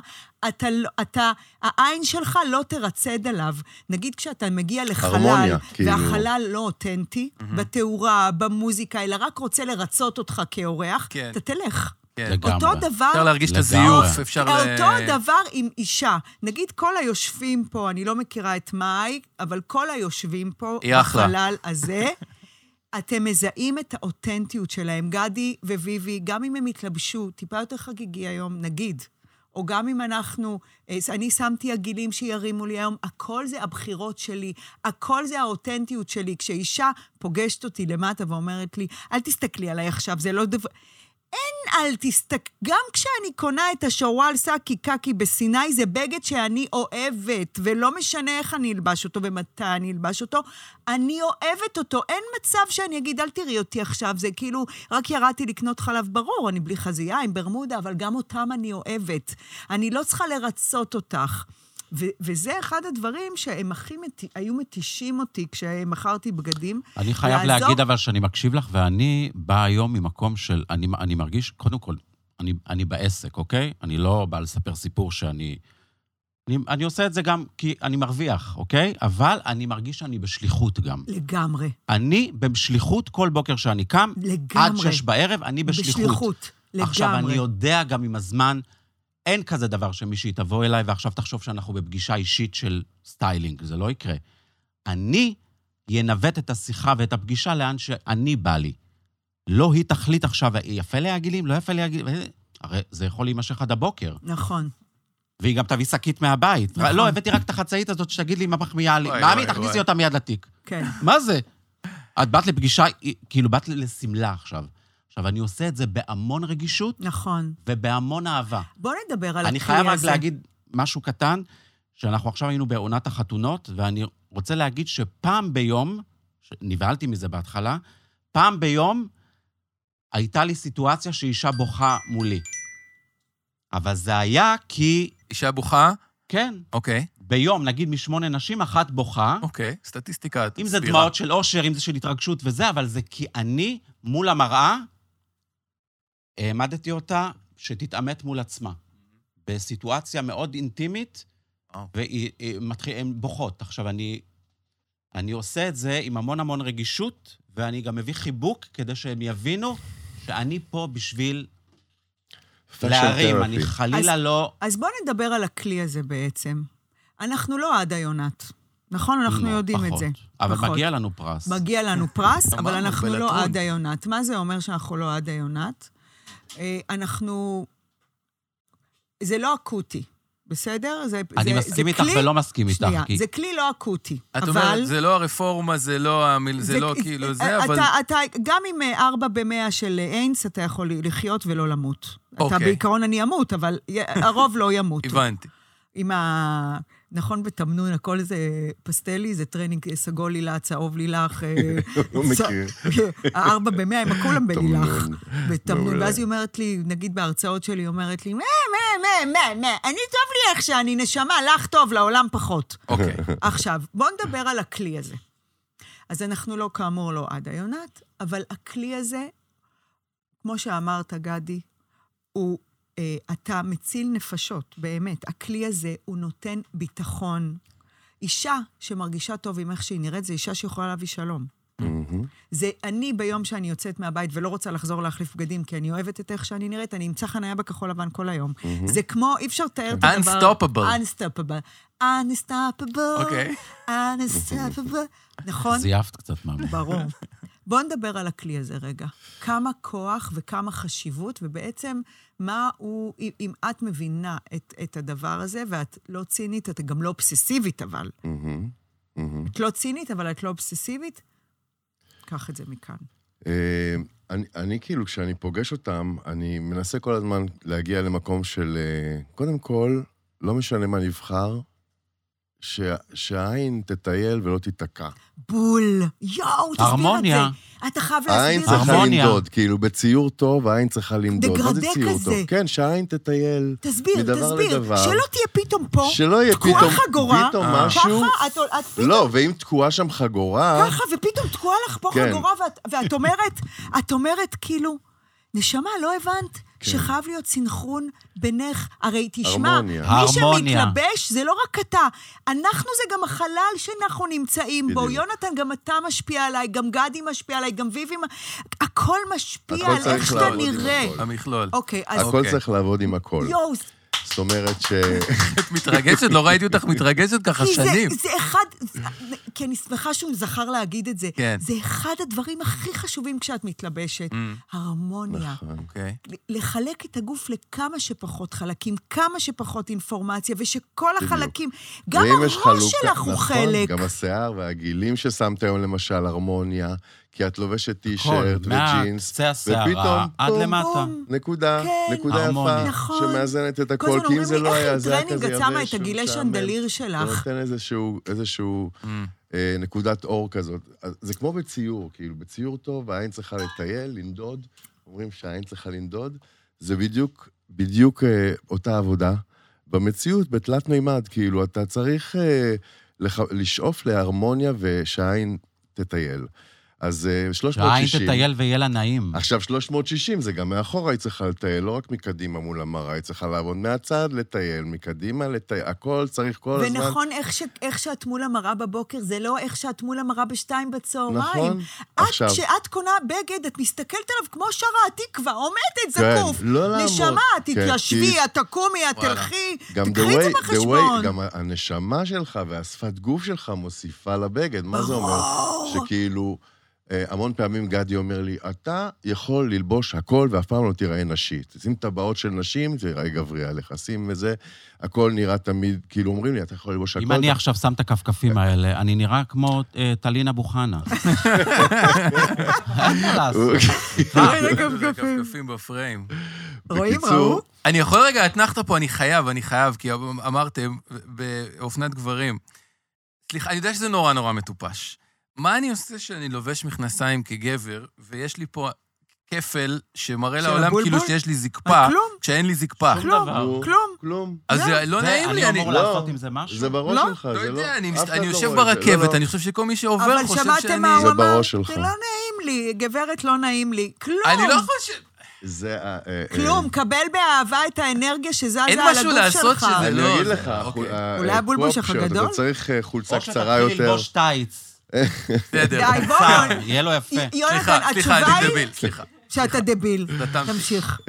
Speaker 2: אתה, לא- אתה, העין שלך לא תרצד עליו. נגיד כשאתה מגיע לחלל,
Speaker 7: הרמוניה, כאילו.
Speaker 2: והחלל לא אותנטי, בתאורה, במוזיקה, אלא רק רוצה לרצות אותך כאורח,
Speaker 1: כן.
Speaker 2: אתה תלך.
Speaker 1: כן.
Speaker 6: לגמרי.
Speaker 2: אותו דבר...
Speaker 1: אפשר להרגיש את
Speaker 6: לגמרי.
Speaker 1: הזיוף, אפשר... ל-
Speaker 2: אותו הדבר עם אישה. נגיד כל היושבים פה, אני לא מכירה את מאי, אבל כל היושבים פה,
Speaker 1: היא אחלה.
Speaker 2: בחלל הזה, אתם מזהים את האותנטיות שלהם. גדי וויבי, גם אם הם התלבשו טיפה יותר חגיגי היום, נגיד, או גם אם אנחנו, אה, אני שמתי עגילים שירימו לי היום, הכל זה הבחירות שלי, הכל זה האותנטיות שלי. כשאישה פוגשת אותי למטה ואומרת לי, אל תסתכלי עליי עכשיו, זה לא דבר... אין אל תסתכל, גם כשאני קונה את השרוואל סאקי קקי בסיני, זה בגד שאני אוהבת, ולא משנה איך אני אלבש אותו ומתי אני אלבש אותו, אני אוהבת אותו. אין מצב שאני אגיד, אל תראי אותי עכשיו, זה כאילו, רק ירדתי לקנות חלב ברור, אני בלי חזייה, עם ברמודה, אבל גם אותם אני אוהבת. אני לא צריכה לרצות אותך. ו- וזה אחד הדברים שהם הכי מת... היו מתישים אותי כשמכרתי בגדים.
Speaker 6: אני חייב
Speaker 2: לעזור-
Speaker 6: להגיד אבל שאני מקשיב לך, ואני בא היום ממקום של, אני, אני מרגיש, קודם כל, אני, אני בעסק, אוקיי? אני לא בא לספר סיפור שאני... אני, אני עושה את זה גם כי אני מרוויח, אוקיי? אבל אני מרגיש שאני בשליחות גם.
Speaker 2: לגמרי,
Speaker 6: אני בשליחות כל בוקר שאני קם,
Speaker 2: לגמרי.
Speaker 6: עד שש בערב, אני בשליחות.
Speaker 2: בשליחות, לגמרי.
Speaker 6: עכשיו, אני יודע גם עם הזמן, אין כזה דבר שמישהי תבוא אליי ועכשיו תחשוב שאנחנו בפגישה אישית של סטיילינג, זה לא יקרה. אני ינווט את השיחה ואת הפגישה לאן שאני בא לי. לא היא תחליט עכשיו, יפה לי הגילים, לא יפה לי הגילים, הרי זה יכול להימשך עד הבוקר.
Speaker 2: נכון.
Speaker 6: והיא גם תביא שקית מהבית.
Speaker 2: נכון.
Speaker 6: לא, הבאתי רק את החצאית הזאת שתגיד לי מה מחמיאה לי.
Speaker 1: וואי,
Speaker 6: מאמי,
Speaker 1: וואי, וואי.
Speaker 6: תכניסי אותה מיד לתיק.
Speaker 2: כן.
Speaker 6: מה זה? את באת לפגישה, כאילו, באת לשמלה עכשיו. עכשיו, אני עושה את זה בהמון רגישות
Speaker 2: נכון.
Speaker 6: ובהמון אהבה.
Speaker 2: בוא נדבר על הכלי הזה.
Speaker 6: אני חייב רק להגיד משהו קטן, שאנחנו עכשיו היינו בעונת החתונות, ואני רוצה להגיד שפעם ביום, ש- נבהלתי מזה בהתחלה, פעם ביום הייתה לי סיטואציה שאישה בוכה מולי. אבל זה היה כי,
Speaker 1: אישה בוכה,
Speaker 6: כן,
Speaker 1: אוקיי,
Speaker 6: ביום, נגיד משמונה נשים, אחת בוכה,
Speaker 1: אוקיי, סטטיסטיקה
Speaker 6: אם זה
Speaker 1: סבירה.
Speaker 6: דמעות של אושר, אם זה של התרגשות וזה, אבל זה כי אני, מול המראה, העמדתי אותה שתתעמת מול עצמה. בסיטואציה מאוד אינטימית,
Speaker 1: וואו.
Speaker 6: והן בוכות. עכשיו, אני, אני עושה את זה עם המון המון רגישות, ואני גם מביא חיבוק כדי שהם יבינו שאני פה בשביל
Speaker 7: Fashion
Speaker 6: להרים.
Speaker 7: therapy.
Speaker 6: אני חלילה
Speaker 2: אז-
Speaker 6: לא...
Speaker 2: אז בוא נדבר על הכלי הזה בעצם. אנחנו לא עדה יונת, נכון? אנחנו
Speaker 6: לא,
Speaker 2: יודעים את
Speaker 6: פחות.
Speaker 2: זה.
Speaker 6: אבל
Speaker 2: פחות.
Speaker 6: מגיע לנו פרס.
Speaker 2: מגיע לנו פרס, אבל
Speaker 1: אמרנו,
Speaker 2: אנחנו לא
Speaker 1: בלטרון.
Speaker 2: עדה יונת. מה זה אומר שאנחנו לא עדה יונת? אה, אנחנו... זה לא אקוטי, בסדר? זה,
Speaker 6: אני
Speaker 2: זה,
Speaker 6: מסכים
Speaker 2: זה
Speaker 6: איתך
Speaker 2: כלי-
Speaker 6: ולא מסכים איתך.
Speaker 2: שנייה,
Speaker 6: כי-
Speaker 2: זה כלי לא אקוטי,
Speaker 1: את
Speaker 2: אבל...
Speaker 1: אומרת, זה לא הרפורמה, זה לא המיל... זה לא כאילו זה, אבל...
Speaker 2: אה, אתה, אתה, גם עם אה, ארבע במאה של אה, איינס, אתה יכול לחיות ולא למות. אתה
Speaker 1: אוקיי.
Speaker 2: בעיקרון אני אמות, אבל י- הרוב לא ימותו.
Speaker 1: הבנתי.
Speaker 2: עם ה... נכון, בתמנון, הכל זה פסטלי, זה טרנינג אה, סגול לילך, צהוב לילך. אה,
Speaker 7: הוא
Speaker 2: צ-
Speaker 7: לא מכיר.
Speaker 2: הארבע במאה, הם כולם בלילך.
Speaker 7: תמנון.
Speaker 2: בתמנון.
Speaker 7: מעולה.
Speaker 2: ואז היא אומרת לי, נגיד בהרצאות שלי, היא אומרת לי, מה, מה, מה, מה, מה, אני טוב לי איך שאני, נשמה, לך טוב, לעולם פחות.
Speaker 1: אוקיי.
Speaker 2: עכשיו, בואו נדבר על הכלי הזה. אז אנחנו לא, כאמור, לא עדה יונת, אבל הכלי הזה, כמו שאמרת, גדי, הוא, אה, אתה מציל נפשות, באמת. הכלי הזה, הוא נותן ביטחון. אישה שמרגישה טוב עם איך שהיא נראית, זו אישה שיכולה להביא שלום.
Speaker 7: מהמם.
Speaker 2: זה אני ביום שאני יוצאת מהבית ולא רוצה לחזור להחליף בגדים, כי אני אוהבת את איך שאני נראית, אני אמצא חניה בכחול לבן כל היום. זה כמו, אי אפשר לתאר את הדבר...
Speaker 1: Unstoppable.
Speaker 2: Unstoppable. Unstoppable.
Speaker 1: אוקיי.
Speaker 2: Unstoppable. נכון?
Speaker 6: זייפת קצת, מאמי.
Speaker 2: ברור. בואו נדבר על הכלי הזה רגע. כמה כוח וכמה חשיבות, ובעצם מה הוא, אם- אם את מבינה את, את הדבר הזה, ואת לא צינית, את גם לא אובססיבית אבל.
Speaker 7: מהמם. מהמם.
Speaker 2: את לא צינית, אבל את לא אובססיבית, קח את זה מכאן.
Speaker 7: אה, אני, אני כאילו, כשאני פוגש אותם, אני מנסה כל הזמן להגיע למקום של... אה, קודם כל, לא משנה מה נבחר, ש- שהעין תטייל ולא תיתקע.
Speaker 2: בול. יואו, תסביר
Speaker 6: הרמוניה.
Speaker 2: את זה. אתה חייב
Speaker 7: העין
Speaker 2: להסביר את זה.
Speaker 7: צריכה
Speaker 6: הרמוניה.
Speaker 7: למדוד, כאילו, בציור טוב העין צריכה למדוד. מה זה
Speaker 2: דגרדק
Speaker 7: ציור
Speaker 2: כזה.
Speaker 7: טוב? כן, שהעין תטייל.
Speaker 2: תסביר,
Speaker 7: מדבר
Speaker 2: תסביר.
Speaker 7: לדבר.
Speaker 2: שלא תהיה פתאום פה,
Speaker 7: שלא יהיה
Speaker 2: תקועה
Speaker 7: פתאום,
Speaker 2: חגורה,
Speaker 7: פתאום
Speaker 1: אה.
Speaker 7: משהו.
Speaker 2: ככה, את, את פתאום
Speaker 7: לא, ואם תקועה שם חגורה,
Speaker 2: ככה, ופתאום תקועה לך פה
Speaker 7: כן.
Speaker 2: חגורה, ואת, ואת אומרת, את אומרת כאילו, נשמה, לא הבנת
Speaker 7: כן.
Speaker 2: שחייב להיות סינכרון בינך, הרי תשמע,
Speaker 7: הרמוניה.
Speaker 2: מי
Speaker 6: הרמוניה.
Speaker 2: שמתלבש זה לא רק אתה, אנחנו זה גם החלל שאנחנו נמצאים בו.
Speaker 7: בדיוק.
Speaker 2: יונתן, גם אתה משפיע עליי, גם גדי משפיע עליי, גם ויבי, מ- הכל משפיע
Speaker 7: הכל
Speaker 2: על
Speaker 7: צריך
Speaker 2: איך אתה
Speaker 7: לעבוד עם
Speaker 2: נראה.
Speaker 7: הכל.
Speaker 1: המכלול.
Speaker 2: אוקיי, אז
Speaker 7: הכל
Speaker 1: אוקיי.
Speaker 7: צריך לעבוד עם הכל.
Speaker 2: יואו,
Speaker 7: זאת אומרת ש...
Speaker 1: את מתרגשת, לא ראיתי אותך מתרגשת ככה
Speaker 2: אוקיי. כי
Speaker 1: שנים.
Speaker 2: זה, זה אחד, זה- כי אני שמחה שהוא זכר להגיד את זה.
Speaker 1: כן.
Speaker 2: זה אחד הדברים הכי חשובים כשאת מתלבשת,
Speaker 7: Mm.
Speaker 2: הרמוניה.
Speaker 7: נכון.
Speaker 1: אוקיי.
Speaker 2: לחלק את הגוף לכמה שפחות חלקים, כמה שפחות אינפורמציה, ושכל החלקים, גם
Speaker 7: ואם יש
Speaker 2: הראש
Speaker 7: חלוקה-
Speaker 2: שלך הוא
Speaker 7: נכון,
Speaker 2: חלק.
Speaker 7: גם השיער והגילים ששמת היום, למשל, הרמוניה, כי את לובשת
Speaker 6: הכל,
Speaker 7: נכון, טישרט וג'ינס,
Speaker 6: מהקצה השערה
Speaker 7: ופתאום,
Speaker 6: עד
Speaker 7: בום,
Speaker 6: למטה.
Speaker 7: נקודה,
Speaker 2: כן.
Speaker 7: נקודה
Speaker 6: הרמוניה.
Speaker 7: יפה,
Speaker 2: נכון.
Speaker 7: שמאזנת את
Speaker 2: כל הזמן
Speaker 7: הכל, כי אם
Speaker 2: אומרים
Speaker 7: זה
Speaker 2: לי,
Speaker 7: לא
Speaker 2: איך
Speaker 7: היה,
Speaker 2: עם
Speaker 7: זה היה
Speaker 2: טרנינג
Speaker 7: כזה
Speaker 2: את
Speaker 7: יבש,
Speaker 2: שמה את הגילי
Speaker 7: משעמם.
Speaker 2: שנדליר
Speaker 7: זה
Speaker 2: שלך?
Speaker 7: נותן איזשהו, איזשהו
Speaker 6: Mm.
Speaker 7: אה, נקודת אור כזאת. אז זה כמו בציור, כאילו, בציור טוב, העין צריכה לטייל, לנדוד, אומרים שהעין צריכה לנדוד, זה בדיוק, בדיוק אה, אותה עבודה. במציאות, בתלת מימד, כאילו, אתה צריך אה, לח... לשאוף להרמוניה ושהעין תטייל. אז אה, 360...
Speaker 6: שהעין תטייל ויהיה לה נעים.
Speaker 7: עכשיו, 360 זה גם מאחורה, היא צריכה לטייל, לא רק מקדימה מול המראה, היא צריכה לעבוד מהצד, לטייל, מקדימה, לטייל, הכל צריך כל הזמן.
Speaker 2: ונכון, איך, ש... איך שאת מול המראה בבוקר, זה לא איך שאת מול המראה בשתיים בצהריים.
Speaker 7: נכון.
Speaker 2: את,
Speaker 7: עכשיו-
Speaker 2: כשאת קונה בגד, את מסתכלת עליו כמו שרה התקווה, עומדת,
Speaker 7: כן,
Speaker 2: זקוף.
Speaker 7: לא לעמוד.
Speaker 2: נשמה, את
Speaker 7: כן,
Speaker 2: תתיישבי,
Speaker 7: כי-
Speaker 2: את תקומי, את
Speaker 1: וואלה.
Speaker 2: תלכי,
Speaker 7: גם the
Speaker 2: תקחי את זה
Speaker 7: way- the
Speaker 2: בחשבון.
Speaker 7: way- גם ה- הנשמה שלך והשפת גוף שלך מוסיפה לבגד. מה זה אומר? שכאילו, אה, המון פעמים גדי אומר לי, אתה יכול ללבוש הכל ואף פעם לא תיראה נשית. שים טבעות של נשים, זה ייראה גברי עליך. שים וזה, הכל נראה תמיד, כאילו אומרים לי, אתה יכול ללבוש הכל.
Speaker 6: אם אני
Speaker 7: אתה
Speaker 6: עכשיו שם את
Speaker 7: אה.
Speaker 6: הכפכפים האלה, אני נראה כמו אה, טלינה בוכנה. אין מה לעשות.
Speaker 2: אה,
Speaker 1: זה כפכפים בפריים.
Speaker 2: רואים,
Speaker 7: בקיצור,
Speaker 2: ראו?
Speaker 1: אני יכול רגע, אתנחת פה, אני חייב, אני חייב, כי אמרתם, באופנת גברים, סליחה, אני יודע שזה נורא נורא מטופש. מה אני עושה שאני לובש מכנסיים כגבר, ויש לי פה כפל שמראה
Speaker 2: של
Speaker 1: לעולם כאילו
Speaker 2: הבולבול? אה,
Speaker 1: שיש לי זקפה,
Speaker 2: כלום.
Speaker 1: כשאין לי זקפה.
Speaker 6: שום
Speaker 2: כלום,
Speaker 6: דבר.
Speaker 7: נו,
Speaker 2: אה. כלום.
Speaker 7: כלום.
Speaker 1: אז זה לא
Speaker 6: זה,
Speaker 1: נעים לי,
Speaker 6: אני
Speaker 1: אני...
Speaker 6: אמור
Speaker 7: לא.
Speaker 6: לעשות עם זה משהו?
Speaker 7: זה בראש
Speaker 2: לא?
Speaker 7: שלך, זה
Speaker 1: לא
Speaker 7: לא...
Speaker 1: יודע, אני
Speaker 7: אף
Speaker 1: מסת-
Speaker 7: אחד
Speaker 1: אני
Speaker 7: לא
Speaker 1: יושב
Speaker 7: רואה את זה. לא,
Speaker 1: ברכבת,
Speaker 7: לא.
Speaker 1: אני חושב שכל מי
Speaker 2: אבל
Speaker 1: שעובר חושב
Speaker 2: שמעתם
Speaker 1: שאני...
Speaker 2: מה הוא
Speaker 7: זה
Speaker 2: אמר?
Speaker 7: בראש שלך.
Speaker 2: זה לא נעים לי, גברת, לא נעים לי. כלום.
Speaker 1: אני לא יכול ש...
Speaker 7: זה... ה- אה, אה,
Speaker 2: כלום, קבל באהבה את האנרגיה שזזה על
Speaker 1: אין
Speaker 2: הגוף שלך.
Speaker 1: משהו לעשות שזה
Speaker 7: אני
Speaker 1: לא,
Speaker 7: אגיד
Speaker 1: זה-
Speaker 7: לך,
Speaker 1: אוקיי.
Speaker 7: ה-
Speaker 2: אולי הבולבול
Speaker 7: קרופ
Speaker 2: שלך
Speaker 7: שורט,
Speaker 2: גדול?
Speaker 7: אתה צריך אה, חולצה
Speaker 6: או
Speaker 7: קצרה
Speaker 6: שתתחיל
Speaker 7: יותר.
Speaker 6: ללבוש טייץ.
Speaker 1: בסדר.
Speaker 7: לא-
Speaker 2: די, בוא,
Speaker 6: צר,
Speaker 2: יונ-
Speaker 6: יהיה לו יפה.
Speaker 2: יונתן,
Speaker 1: סליחה, סליחה,
Speaker 2: התשובה
Speaker 1: אני
Speaker 2: היא
Speaker 1: דביל, סליחה.
Speaker 2: שאתה דביל.
Speaker 1: סתמתי.
Speaker 2: תמשיך.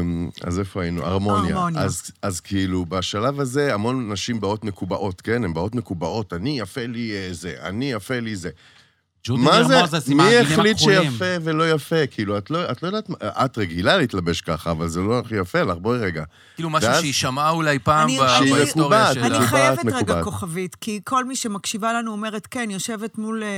Speaker 7: אמ, אז איפה היינו? הרמוניה.
Speaker 2: הרמוניה.
Speaker 7: אז, אז כאילו, בשלב הזה, המון נשים באות מקובעות, כן? הן באות מקובעות, אני יפה לי אה, זה, אני יפה לי זה.
Speaker 6: ג'ודי
Speaker 7: מה זה?
Speaker 6: נרמוזס עם
Speaker 7: מי
Speaker 6: העגילים
Speaker 7: החליט
Speaker 6: הכחולים.
Speaker 7: שיפה ולא יפה? כאילו, את לא, את לא יודעת, מה- את רגילה להתלבש ככה, אבל זה לא הכי יפה לך, בואי רגע.
Speaker 1: כאילו משהו
Speaker 7: ואז-
Speaker 1: שהיא שמעה אולי פעם
Speaker 2: אני-
Speaker 1: ב-
Speaker 2: שהיא
Speaker 1: בהיסטוריה
Speaker 7: מקובעת,
Speaker 1: שלה.
Speaker 2: אני
Speaker 7: מקובעת,
Speaker 2: חייבת רגע
Speaker 7: מקובעת.
Speaker 2: כוכבית, כי כל מי שמקשיבה לנו אומרת, כן, יושבת מול אה,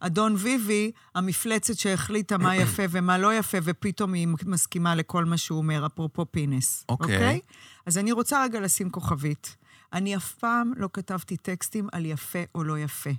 Speaker 2: אדון ויבי, המפלצת שהחליטה מה יפה ומה לא יפה, ופתאום היא מסכימה לכל מה שהוא אומר, אפרופו פינס.
Speaker 1: אוקיי.
Speaker 2: אז אני רוצה רגע לשים כוכבית. אני אף פעם לא כתבתי טקסטים על יפה או לא יפה.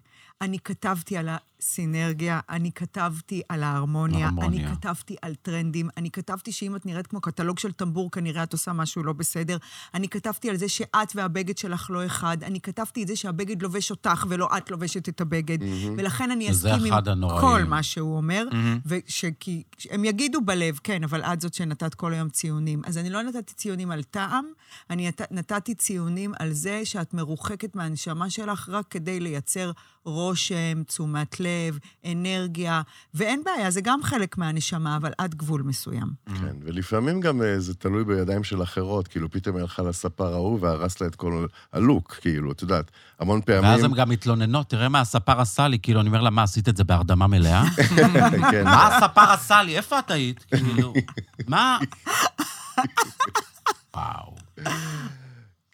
Speaker 2: אני כתבתי על הסינרגיה, אני כתבתי על ההרמוניה, אני
Speaker 6: ההרמוניה.
Speaker 2: כתבתי על טרנדים, אני כתבתי שאם את נראית כמו קטלוג של טמבור, כנראה את עושה משהו לא בסדר. אני כתבתי על זה שאת והבגד שלך לא אחד. אני כתבתי את זה שהבגד לובש אותך ולא את לובשת את הבגד. ולכן אני
Speaker 6: שזה
Speaker 2: אסכים
Speaker 6: אחד
Speaker 2: עם
Speaker 6: הנוראים.
Speaker 2: כל מה שהוא אומר, וכי הם יגידו בלב, כן, אבל את זאת שנתת כל היום ציונים. אז אני לא נתתי ציונים על טעם, אני נת- נתתי ציונים על זה שאת מרוחקת מהנשמה שלך רק כדי לייצר רושם, תשומת לב, אנרגיה, ואין בעיה, זה גם חלק מהנשמה, אבל עד גבול מסוים.
Speaker 7: כן, ולפעמים גם אה, זה תלוי בידיים של אחרות, כאילו, פתאום היא הלכה לספר ההוא והרס לה את כל הלוק, כאילו, את יודעת, המון
Speaker 6: ואז הן
Speaker 7: פעמים...
Speaker 6: גם מתלוננות, תראה מה הספר עשה לי, כאילו, אני אומר לה, מה, עשית את זה בהרדמה מלאה?
Speaker 7: כן,
Speaker 6: מה הספר עשה לי? איפה את היית? כאילו, מה? וואו.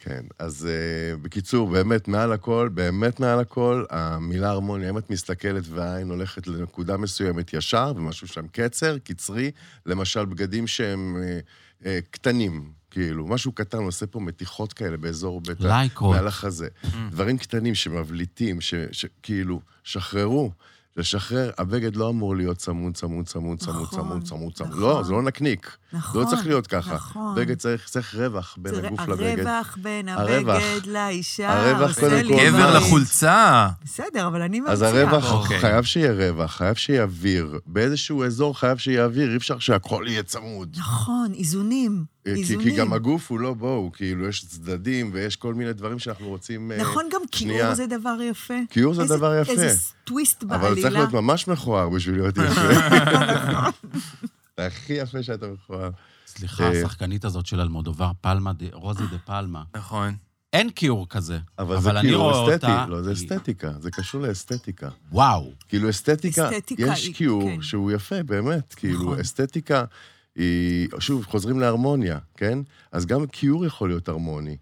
Speaker 7: כן, אז uh, בקיצור, באמת, מעל הכל, באמת מעל הכל, המילה הרמוניה, אם את מסתכלת והעין הולכת לנקודה מסוימת ישר, ומשהו שם קצר, קצרי, למשל בגדים שהם uh, uh, קטנים, כאילו, משהו קטן עושה פה מתיחות כאלה באזור בית... ה-
Speaker 6: לייקות.
Speaker 2: Mm.
Speaker 7: מעל החזה. דברים קטנים שמבליטים, ש- שכאילו, כאילו, שחררו. לשחרר, הבגד לא אמור להיות צמוד, צמוד, צמוד, צמוד,
Speaker 2: נכון,
Speaker 7: צמוד, צמוד, צמוד.
Speaker 2: נכון.
Speaker 7: לא, זה לא נקניק. זה
Speaker 2: נכון.
Speaker 7: לא צריך להיות ככה.
Speaker 2: נכון.
Speaker 7: בגד צריך, צריך רווח בין
Speaker 2: תראה,
Speaker 7: הגוף לבגד.
Speaker 2: הרווח בין
Speaker 7: הרווח.
Speaker 2: הבגד לאישה.
Speaker 7: הרווח
Speaker 2: עושה
Speaker 7: קודם
Speaker 2: לי
Speaker 7: כל.
Speaker 1: גבר
Speaker 2: דברים.
Speaker 1: לחולצה.
Speaker 2: בסדר, אבל אני ממציאה.
Speaker 7: אז הרווח,
Speaker 1: אוקיי.
Speaker 7: חייב שיהיה רווח, חייב שיהיה אוויר. באיזשהו אזור חייב שיהיה אוויר, אי אפשר שהכל יהיה צמוד.
Speaker 2: נכון, איזונים.
Speaker 7: אה, כי,
Speaker 2: איזונים.
Speaker 7: כי גם הגוף הוא לא בואו, כאילו, יש צדדים ויש כל מיני דברים שאנחנו רוצים... אה,
Speaker 2: נכון, גם כיעור
Speaker 7: שנייה.
Speaker 2: זה דבר יפה.
Speaker 7: כיעור זה
Speaker 2: איזה-
Speaker 7: דבר יפה.
Speaker 2: איזה טוויסט בעלילה. נכון.
Speaker 7: אבל צריך להיות ממש מכוער בשביל להיות יפה. זה הכי יפה שאתה מכוער.
Speaker 6: סליחה,
Speaker 7: אה.
Speaker 6: השחקנית הזאת של אלמודובר פלמה, דה- רוזי דה פלמה.
Speaker 1: נכון.
Speaker 6: אין כיעור כזה.
Speaker 7: אבל זה
Speaker 6: אני רואה
Speaker 7: כאילו אסתטי.
Speaker 6: אותה-
Speaker 7: לא, זה
Speaker 6: היא-
Speaker 7: אסתטיקה, זה קשור לאסתטיקה.
Speaker 6: וואו.
Speaker 7: כאילו אסתטיקה,
Speaker 2: אסתטיקה
Speaker 7: יש
Speaker 2: היא-
Speaker 7: כיעור
Speaker 2: כן.
Speaker 7: שהוא יפה, באמת.
Speaker 2: נכון.
Speaker 7: כאילו, אסתטיקה היא... שוב, חוזרים להרמוניה, כן? אז גם כיעור יכול להיות הרמוני.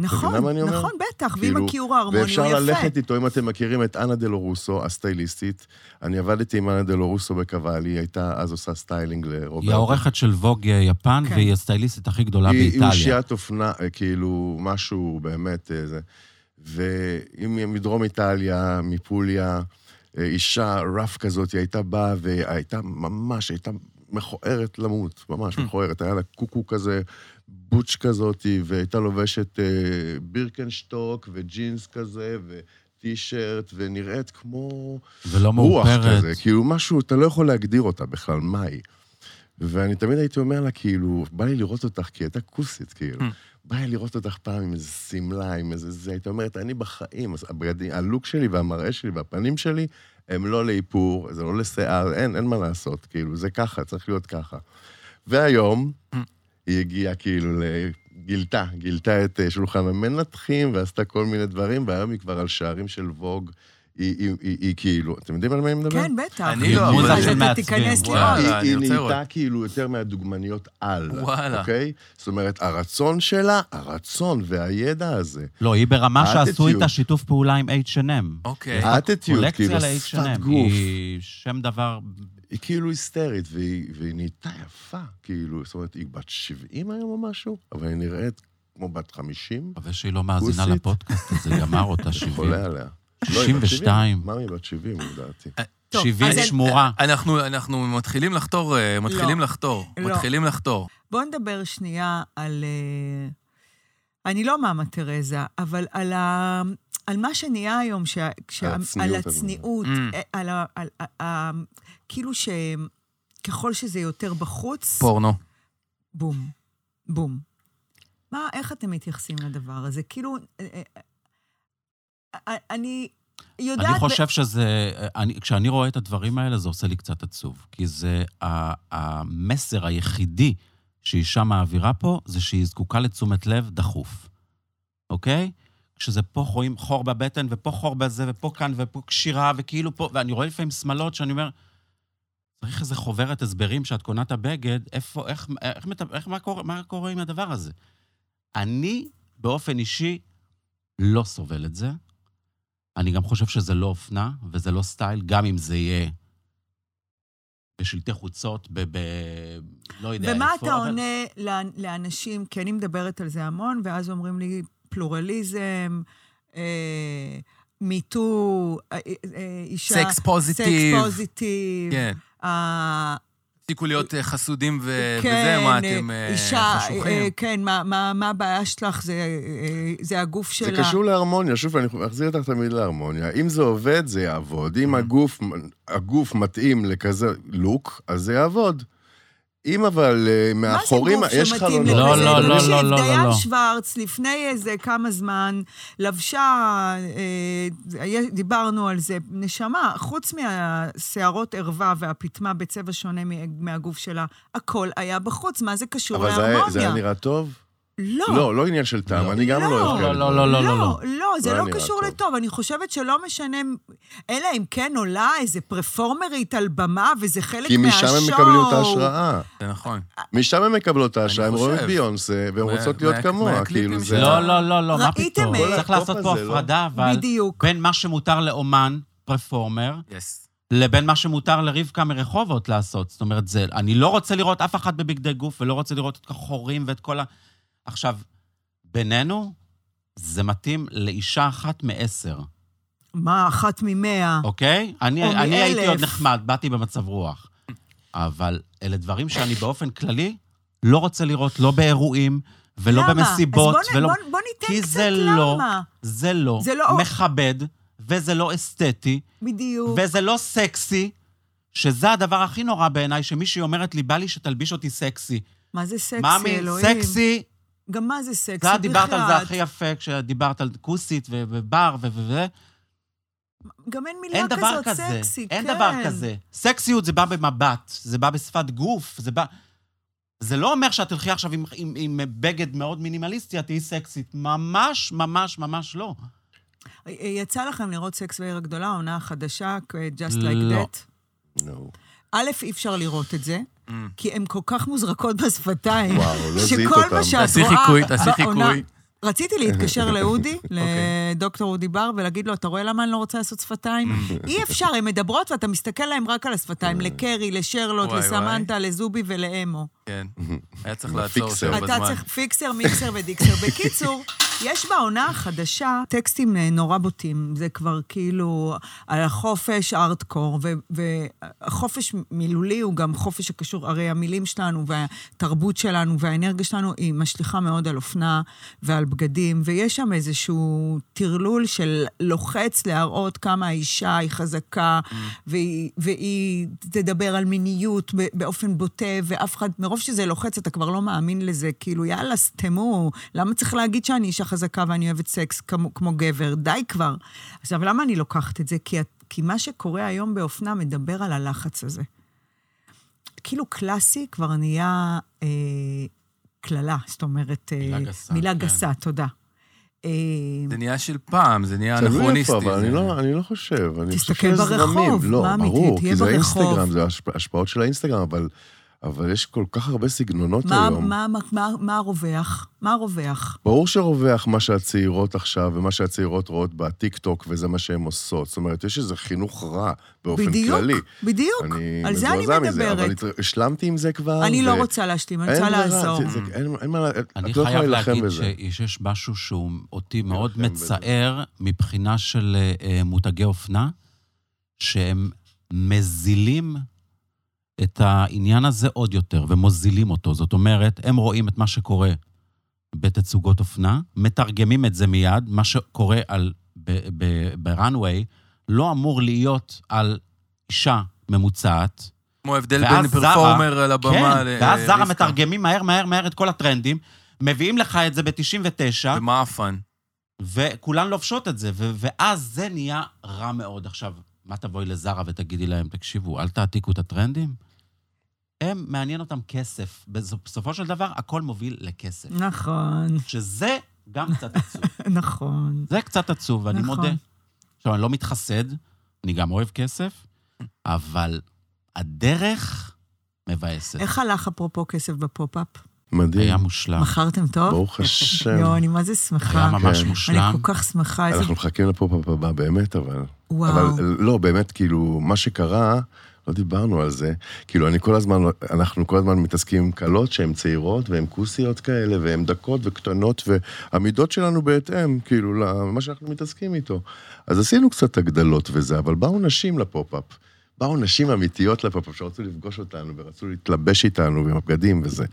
Speaker 7: מבינה מה אני
Speaker 2: נכון,
Speaker 7: אומר?
Speaker 2: נכון, בטח. ואם
Speaker 7: כאילו,
Speaker 2: הכיעור ההרמוני הוא יפה.
Speaker 7: ואפשר ללכת איתו, אם אתם מכירים את אנה דלורוסו, הסטייליסטית. אני עבדתי עם אנה דלורוסו בקוואלי, היא הייתה אז עושה סטיילינג לרוברט.
Speaker 6: היא העורכת של ווג אה, יפן,
Speaker 2: כן.
Speaker 6: והיא הסטייליסטית הכי גדולה
Speaker 7: היא- היא
Speaker 6: באיטליה.
Speaker 7: אושיית אופנה, אה, כאילו, משהו באמת אה, זה. ואם מדרום איטליה, מפוליה, אה, אישה רף כזאת, היא הייתה באה והייתה ממש, הייתה מכוערת למות,
Speaker 6: אה.
Speaker 7: ממש מכוערת. היה לה קוקו כזה, בוטש כזאת, והייתה לובשת אה, בירקנשטוק וג'ינס כזה, וטישרט, ונראית כמו...
Speaker 6: ולא
Speaker 7: רוח
Speaker 6: לא מאופרת.
Speaker 7: כזה, כאילו משהו, אתה לא יכול להגדיר אותה בכלל, מה היא. ואני תמיד הייתי אומר לה, כאילו, בא לי לראות אותך, כי היא הייתה כוסית, כאילו. בא לי לראות אותך פעם עם איזה שמלה, עם איזה זה, הייתה אומרת, אני בחיים, אז הבגדים, הלוק שלי והמראה שלי והפנים שלי, הם לא לאיפור, זה לא לשיער, אין, אין מה לעשות, כאילו, זה ככה, צריך להיות ככה. והיום, היא הגיעה כאילו ל... גילתה, גילתה את אה, שולחן המנתחים ועשתה כל מיני דברים, והיום היא כבר על שערים של ווג. היא, היא, היא, היא כאילו, אתם יודעים על מה היא מדברת?
Speaker 2: כן, בטח.
Speaker 1: אני לא,
Speaker 6: מוזיקה
Speaker 1: אבל...
Speaker 6: של
Speaker 2: אז אתה
Speaker 6: מעצבים.
Speaker 2: תיכנס
Speaker 1: וואו.
Speaker 2: לראות.
Speaker 1: וואלה,
Speaker 7: היא,
Speaker 1: אני
Speaker 7: היא
Speaker 1: רוצה
Speaker 7: נהייתה
Speaker 1: לראות.
Speaker 7: כאילו יותר מהדוגמניות על.
Speaker 1: וואלה.
Speaker 7: אוקיי? זאת אומרת, הרצון שלה, הרצון והידע הזה.
Speaker 6: לא, היא ברמה שעשו
Speaker 7: Attitude.
Speaker 6: איתה שיתוף פעולה עם H&M.
Speaker 1: אוקיי.
Speaker 7: האטיטיוד,
Speaker 6: קולקציה
Speaker 7: כאילו,
Speaker 6: ל-H&M.
Speaker 7: שפת גוף.
Speaker 6: היא שם דבר...
Speaker 7: היא כאילו היסטרית, והיא, והיא נהייתה יפה, כאילו, זאת אומרת, היא בת 70 היום או משהו, אבל היא נראית כמו בת 50,
Speaker 6: מקווה שהיא לא מאזינה
Speaker 7: כוסית.
Speaker 6: לפודקאסט הזה, גמר אותה 70.
Speaker 7: חולה עליה. לא, היא בת
Speaker 6: 62.
Speaker 7: 70. מה היא בת 70, לדעתי?
Speaker 6: אה,
Speaker 2: טוב,
Speaker 6: 70
Speaker 2: אז אין-
Speaker 6: שמורה.
Speaker 1: אנחנו, אנחנו מתחילים לחתור, אה, מתחילים לחתור,
Speaker 2: לא.
Speaker 1: מתחילים לחתור.
Speaker 2: בואו נדבר שנייה על... אה, אני לא מאמה תרזה, אבל על, ה, על מה שנהיה היום, שה, כשה,
Speaker 7: הצניעות
Speaker 2: על
Speaker 7: הזאת.
Speaker 2: הצניעות,
Speaker 1: Mm.
Speaker 2: אה, על, ה- על, ה- ה- כאילו שככל שזה יותר בחוץ,
Speaker 1: פורנו.
Speaker 2: בום, בום. מה, איך אתם מתייחסים לדבר הזה? כאילו, אה, אה, אה, אני יודעת...
Speaker 6: אני חושב שזה... אני, כשאני רואה את הדברים האלה, זה עושה לי קצת עצוב. כי זה ה, המסר היחידי שאישה מעבירה פה, זה שהיא זקוקה לתשומת לב דחוף, אוקיי? כשזה פה רואים חור בבטן, ופה חור בזה, ופה כאן, ופה קשירה, וכאילו פה... ואני רואה לפעמים שמלות שאני אומר, צריך איזה חוברת הסברים שאת קונה את הבגד, איפה, איך, איך, איך, איך מה, קורה, מה קורה עם הדבר הזה? אני, באופן אישי, לא סובל את זה. אני גם חושב שזה לא אופנה וזה לא סטייל, גם אם זה יהיה בשלטי חוצות, ב... ב לא יודע
Speaker 2: ומה
Speaker 6: איפה.
Speaker 2: אתה
Speaker 6: אבל-
Speaker 2: עונה לאנ- לאנשים, כי אני מדברת על זה המון, ואז אומרים לי פלורליזם, אה, מיטו, אה, אה, אישה...
Speaker 1: סקס פוזיטיב.
Speaker 2: סקס פוזיטיב.
Speaker 1: כן.
Speaker 2: אה,
Speaker 1: תפסיקו להיות אה, חסודים ו-
Speaker 2: כן,
Speaker 1: וזה, מה אתם
Speaker 2: אה,
Speaker 1: אה,
Speaker 2: אישה, אה,
Speaker 1: חשוכים.
Speaker 2: כן, מה- מה מה הבעיה שלך? זה, אה, זה הגוף
Speaker 7: זה
Speaker 2: שלה.
Speaker 7: קשור להרמוניה, שוב, אני מחזיר אותך תמיד להרמוניה. אם זה עובד, זה יעבוד.
Speaker 6: Mm-hmm.
Speaker 7: אם הגוף, הגוף מתאים לכזה לוק, אז זה יעבוד. אם אבל אה,
Speaker 2: מה זה
Speaker 7: מאחורים,
Speaker 2: גוף
Speaker 7: יש
Speaker 2: שמתאים
Speaker 7: חלונות.
Speaker 2: לכזה?
Speaker 6: לא, לא, לא,
Speaker 2: תקשיב,
Speaker 6: לא, לא,
Speaker 2: דיין
Speaker 6: לא.
Speaker 2: שוורץ, לפני איזה כמה זמן, לבשה, אה, יש- דיברנו על זה, נשמה, חוץ מהשערות ערווה והפטמה בצבע שונה מ- מהגוף שלה, הכל היה בחוץ, מה זה
Speaker 6: לא.
Speaker 2: קשור
Speaker 7: אבל זה היה- זה היה
Speaker 2: להרמוניה?
Speaker 7: נראה טוב?
Speaker 2: לא.
Speaker 7: לא, לא עניין של טעם, אני גם לא
Speaker 2: לא,
Speaker 7: אוהב כאלה
Speaker 6: לא, לא,
Speaker 7: דברים.
Speaker 6: לא, לא,
Speaker 2: לא,
Speaker 6: לא, לא.
Speaker 2: לא, זה
Speaker 7: לא
Speaker 2: לא
Speaker 7: היה נראה
Speaker 2: קשור
Speaker 7: טוב.
Speaker 2: לטוב. אני חושבת שלא משנה, אלא אם כן עולה איזה פרפורמרית על במה, וזה חלק
Speaker 7: כי
Speaker 2: מהשואו.
Speaker 7: משם הם מקבלים
Speaker 2: לא.
Speaker 7: את ההשראה.
Speaker 1: זה נכון.
Speaker 7: משם הם מקבלות את ההשראה, הם
Speaker 1: חושב.
Speaker 7: רואים את ביונסה, והן
Speaker 1: מה-
Speaker 7: רוצות להיות
Speaker 1: מה-
Speaker 7: כמוה,
Speaker 1: מהקליפים
Speaker 7: כאילו
Speaker 1: שלה.
Speaker 7: זה...
Speaker 6: לא, לא, לא, לא, מה
Speaker 2: ראיתם
Speaker 6: פתאום?
Speaker 2: את-
Speaker 6: צריך
Speaker 7: כל
Speaker 6: לעשות
Speaker 7: הטופ
Speaker 6: פה
Speaker 7: הזה, לא?
Speaker 6: הפרדה, אבל...
Speaker 2: בדיוק.
Speaker 6: בין מה שמותר לאומן, פרפורמר,
Speaker 1: יס.
Speaker 2: אה,
Speaker 6: לבין מה שמותר לרבקה מרחובות לעשות. זאת אומרת, זה, אני לא רוצה לראות אף אחת בבגדי גוף, ולא רוצה לראות את החורים ואת כל ה... עכשיו, בינינו, זה מתאים לאישה אחת מעשר.
Speaker 2: מה, אחת ממאה?
Speaker 6: אוקיי? אני,
Speaker 2: או
Speaker 6: אני הייתי
Speaker 2: מאלף.
Speaker 6: עוד נחמד, באתי במצב רוח. אבל אלה דברים שאני באופן כללי לא רוצה לראות, לא באירועים, ולא
Speaker 2: למה?
Speaker 6: במסיבות,
Speaker 2: אז בוא,
Speaker 6: ולא...
Speaker 2: נ- בוא, בוא ניתן
Speaker 6: כי
Speaker 2: קצת
Speaker 6: זה לא,
Speaker 2: למה.
Speaker 6: זה לא,
Speaker 2: זה לא-
Speaker 6: מכבד, וזה לא אסתטי,
Speaker 2: בדיוק.
Speaker 6: וזה לא סקסי, שזה הדבר הכי נורא בעיניי, שמישהי אומרת לי, בא לי שתלביש אותי סקסי.
Speaker 2: מה זה סקסי,
Speaker 6: מאמי,
Speaker 2: אלוהים?
Speaker 6: סקסי,
Speaker 2: גם מה זה סקסי
Speaker 6: אתה
Speaker 2: בכלל?
Speaker 6: דיברת על זה הכי יפה, כשדיברת על כוסית ו- ובר ו... ו- ו-
Speaker 2: גם אין מילה
Speaker 6: אין דבר
Speaker 2: כזאת,
Speaker 6: כזה.
Speaker 2: סקסי,
Speaker 6: אין
Speaker 2: כן.
Speaker 6: דבר כזה. סקסיות זה בא במבט, זה בא בשפת גוף, זה בא... זה לא אומר שאת תלכי עכשיו עם, עם, עם בגד מאוד מינימליסטי, את תהיי סקסית. ממש, ממש, ממש לא.
Speaker 2: אה, יצא לכם לראות סקס בעיר הגדולה, העונה החדשה, Just Like
Speaker 6: לא.
Speaker 2: That?
Speaker 7: נו.
Speaker 2: א', אי אפשר לראות את זה, כי הן כל כך מוזרקות בשפתיים,
Speaker 7: וואו, לא זיהית
Speaker 2: שכל
Speaker 7: אותם.
Speaker 2: מה שאת
Speaker 1: תעשי
Speaker 2: רואה
Speaker 1: חיקוי, תעשי
Speaker 2: בעונה-
Speaker 1: חיקוי.
Speaker 2: רציתי להתקשר לאודי, לדוקטור אודי בר, ולהגיד לו, אתה רואה למה אני לא רוצה לעשות שפתיים? אי אפשר, הן מדברות ואתה מסתכל להן רק על השפתיים, לקרי, לשרלוט,
Speaker 1: וואי,
Speaker 2: לסמנטה, לזובי ולאמו.
Speaker 1: כן. היה צריך לעצור
Speaker 7: פיקסר.
Speaker 1: אותם
Speaker 2: אתה
Speaker 1: בזמן.
Speaker 2: צריך פיקסר, מיקסר ודיקסר. בקיצור, יש בעונה החדשה טקסטים אה, נורא בוטים. זה כבר כאילו על החופש ארטקור, וחופש מילולי הוא גם חופש שקשור, הרי המילים שלנו והתרבות שלנו והאנרגיה שלנו היא משליכה מאוד על אופנה ועל בגדים, ויש שם איזשהו טרלול של לוחץ להראות כמה האישה היא חזקה,
Speaker 6: Mm.
Speaker 2: והיא, והיא תדבר על מיניות ב- באופן בוטה, ואף אחד, מרוב שזה לוחץ, אתה כבר לא מאמין לזה. כאילו, יאללה, סתמו, למה צריך להגיד שאני אישה חזקה ואני אוהבת סקס כמו, כמו גבר? די כבר. עכשיו, למה אני לוקחת את זה? כי, את- כי מה שקורה היום באופנה מדבר על הלחץ הזה. כאילו קלאסי כבר נהיה אה, קללה, זאת אומרת... אה,
Speaker 6: מילה גסה,
Speaker 2: מילה
Speaker 6: כן.
Speaker 2: גסה, תודה. אה,
Speaker 1: זה נהיה של פעם, זה נהיה
Speaker 7: תלוי
Speaker 1: אנכרוניסטי.
Speaker 7: איפה, אבל
Speaker 1: זה-
Speaker 7: אני לא, אני לא חושב. אני חושב
Speaker 2: תסתכל
Speaker 7: שיש
Speaker 2: ברחוב,
Speaker 7: זרמים. לא,
Speaker 2: מה אמיתי,
Speaker 7: ברור,
Speaker 2: תהיה
Speaker 7: כי זה
Speaker 2: ברחוב.
Speaker 7: האינסטגרם, זה ההשפ- השפעות של האינסטגרם, אבל, אבל יש כל כך הרבה סגנונות
Speaker 2: מה,
Speaker 7: היום.
Speaker 2: מה, מה, מה, מה הרווח? מה הרווח?
Speaker 7: ברור שרווח מה שהצעירות עכשיו ומה שהצעירות רואות בטיקטוק, וזה מה שהן עושות. זאת אומרת, יש איזה חינוך רע באופן
Speaker 2: בדיוק,
Speaker 7: כללי.
Speaker 2: בדיוק, על זה אני
Speaker 7: מזועזע
Speaker 2: מדברת.
Speaker 7: מזה, אבל הת- השלמתי עם זה כבר.
Speaker 2: אני לא
Speaker 7: ו-
Speaker 2: רוצה להשלים, אני
Speaker 7: אין
Speaker 2: רוצה
Speaker 7: ברירה,
Speaker 2: לעזור.
Speaker 7: זה- זה- אין- אין מה, לה- את לא
Speaker 6: אני
Speaker 7: יכולה
Speaker 6: חייב
Speaker 7: להילחם
Speaker 6: להגיד
Speaker 7: בזה.
Speaker 6: שיש משהו שהוא אותי מאוד
Speaker 7: להילחם בזה.
Speaker 6: מצער מבחינה של אה, אה, מותגי אופנה, שהם מזילים את העניין הזה עוד יותר ומוזילים אותו. זאת אומרת, הם רואים את מה שקורה בתצוגות אופנה, מתרגמים את זה מיד, מה שקורה על, ב- ב- בראנוויי לא אמור להיות על אישה ממוצעת.
Speaker 1: כמו ההבדל
Speaker 6: ואז
Speaker 1: בין
Speaker 6: זרה-
Speaker 1: פרפורמר על הבמה
Speaker 6: כן,
Speaker 1: ל-
Speaker 6: ואז זרה
Speaker 1: לרבקה.
Speaker 6: מתרגמים מהר מהר מהר את כל הטרנדים, מביאים לך את זה ב-99,
Speaker 1: ומעפן.
Speaker 6: וכולן לובשות את זה, ו- ואז זה נהיה רע מאוד. עכשיו, מה תבואי לזרה ותגידי להם, תקשיבו, אל תעתיקו את הטרנדים? הם, מעניין אותם כסף. בסופ- בסופו של דבר, הכל מוביל לכסף.
Speaker 2: נכון,
Speaker 6: שזה גם קצת עצוב.
Speaker 2: נכון.
Speaker 6: זה קצת עצוב, אני
Speaker 2: נכון.
Speaker 6: מודה. עכשיו, אני לא מתחסד, אני גם אוהב כסף, אבל הדרך מבאסת.
Speaker 2: איך הלך אפרופו כסף בפופ-אפ?
Speaker 7: מדהים,
Speaker 6: היה מושלם.
Speaker 2: מכרתם טוב?
Speaker 7: אה, ברוך השם.
Speaker 2: יואו, אני מה זה
Speaker 6: היה
Speaker 2: שמחה.
Speaker 6: ממש
Speaker 7: כן.
Speaker 2: אני
Speaker 6: מושלם.
Speaker 2: כל כך שמחה, איזה...
Speaker 7: אנחנו מחכים לפופ-אפ הבא, באמת, אבל...
Speaker 2: וואו.
Speaker 7: אבל לא, באמת, כאילו, מה שקרה, לא דיברנו על זה. כאילו, אני כל הזמן, אנחנו כל הזמן מתעסקים עם כלות שהן צעירות והן כוסיות כאלה, והן דקות וקטנות, והמידות שלנו בהתאם, כאילו, למה שאנחנו מתעסקים איתו. אז עשינו קצת הגדלות וזה, אבל באו נשים לפופ-אפ. באו נשים אמיתיות לפופ-אפ שרצו לפגוש אותנו ורצו להתלבש איתנו ועם הבגדים וזה.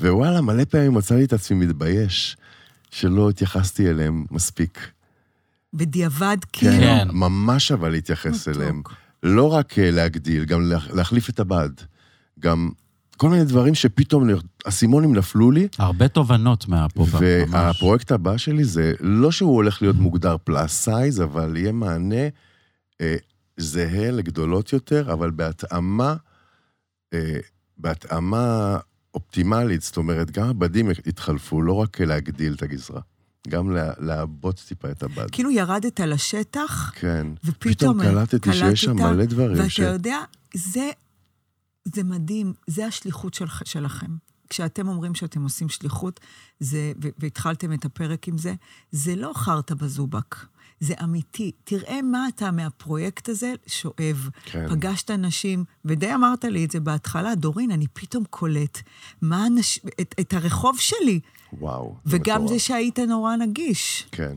Speaker 7: ווואלה, מלא פעמים מצא לי את עצמי מתבייש שלא התייחסתי אליהם מספיק.
Speaker 2: בדיעבד,
Speaker 7: כן,
Speaker 2: כאילו...
Speaker 7: ממש אבל להתייחס
Speaker 2: מתוק.
Speaker 7: אליהם. לא רק אה, להגדיל, גם לה- להחליף את הבד. גם כל מיני דברים שפתאום נר- אסימונים נפלו לי,
Speaker 6: הרבה תובנות מהפופ-אפ, ממש.
Speaker 7: והפרויקט הבא שלי זה לא שהוא הולך להיות מוגדר פלאס סייז, אבל יהיה מענה אה, זהה לגדולות יותר, אבל בהתאמה, אה, בהתאמה אופטימלית, זאת אומרת, גם הבדים יתחלפו, לא רק להגדיל את הגזרה, גם לה- לעבות טיפה את הבד.
Speaker 2: כאילו ירדת לשטח,
Speaker 7: כן.
Speaker 2: ופתאום
Speaker 7: פתאום קלטתי שיש שם
Speaker 2: אה, קלטת,
Speaker 7: מלא דברים
Speaker 2: ואתה
Speaker 7: ש...
Speaker 2: יודע, זה, זה מדהים, זה השליחות של, שלכם. כשאתם אומרים שאתם עושים שליחות, זה, ו- והתחלתם את הפרק עם זה, זה לא חרטא בזובק, זה אמיתי. תראה מה אתה מהפרויקט הזה שואב.
Speaker 7: כן.
Speaker 2: פגשת נשים, ודי אמרת לי את זה בהתחלה, דורין, אני פתאום קולט מה הנש... את, את הרחוב שלי,
Speaker 7: וואו. זה
Speaker 2: וגם
Speaker 7: מטורף.
Speaker 2: זה שהיית נורא נגיש.
Speaker 7: כן.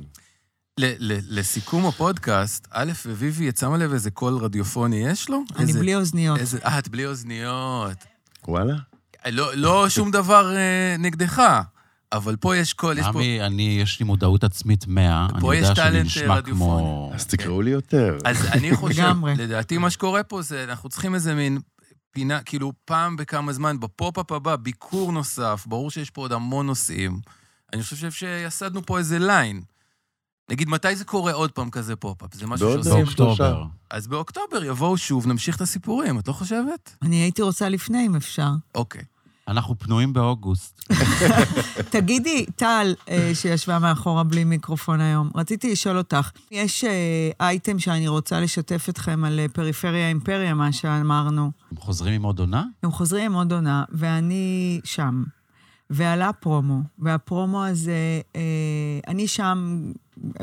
Speaker 1: ל- ל- לסיכום הפודקאסט, א', ויבי, את שמה לב איזה קול רדיופוני יש לו?
Speaker 2: אני
Speaker 1: איזה-
Speaker 2: בלי אוזניות.
Speaker 1: איזה... אה, את בלי אוזניות.
Speaker 7: וואלה?
Speaker 1: לא, לא שום דבר אה, נגדך, אבל פה יש קול, יש פה...
Speaker 6: עמי, אני, יש לי מודעות עצמית 100,
Speaker 1: פה
Speaker 6: אני
Speaker 1: יש
Speaker 6: יודע שאני
Speaker 1: טאלנט, אה,
Speaker 6: נשמע כמו...
Speaker 7: אז תקראו לי יותר.
Speaker 1: אז אני חושב,
Speaker 2: לגמרי.
Speaker 1: לדעתי מה שקורה פה זה, אנחנו צריכים איזה מין פינה, כאילו פעם בכמה זמן, בפופ-אפ הבא, ביקור נוסף, ברור שיש פה עוד המון נושאים. אני חושב שיסדנו פה איזה ליין. נגיד, מתי זה קורה עוד פעם כזה פופ-אפ? זה משהו
Speaker 7: בעוד
Speaker 1: שעושים.
Speaker 7: יום. שלושה.
Speaker 6: באוקטובר.
Speaker 1: אז באוקטובר יבואו שוב, נמשיך את הסיפורים, את לא חושבת?
Speaker 2: אני הייתי רוצה לפני, אם אפשר.
Speaker 1: אוקיי.
Speaker 6: אנחנו פנויים באוגוסט.
Speaker 2: תגידי, טל, אה, שישבה מאחורה בלי מיקרופון היום, רציתי לשאול אותך, יש אה, אייטם שאני רוצה לשתף אתכם על אה, פריפריה אימפריה, מה שאמרנו.
Speaker 6: הם חוזרים עם עוד עונה?
Speaker 2: הם חוזרים עם עוד עונה, ואני שם. ועלה פרומו, והפרומו הזה, אה, אני שם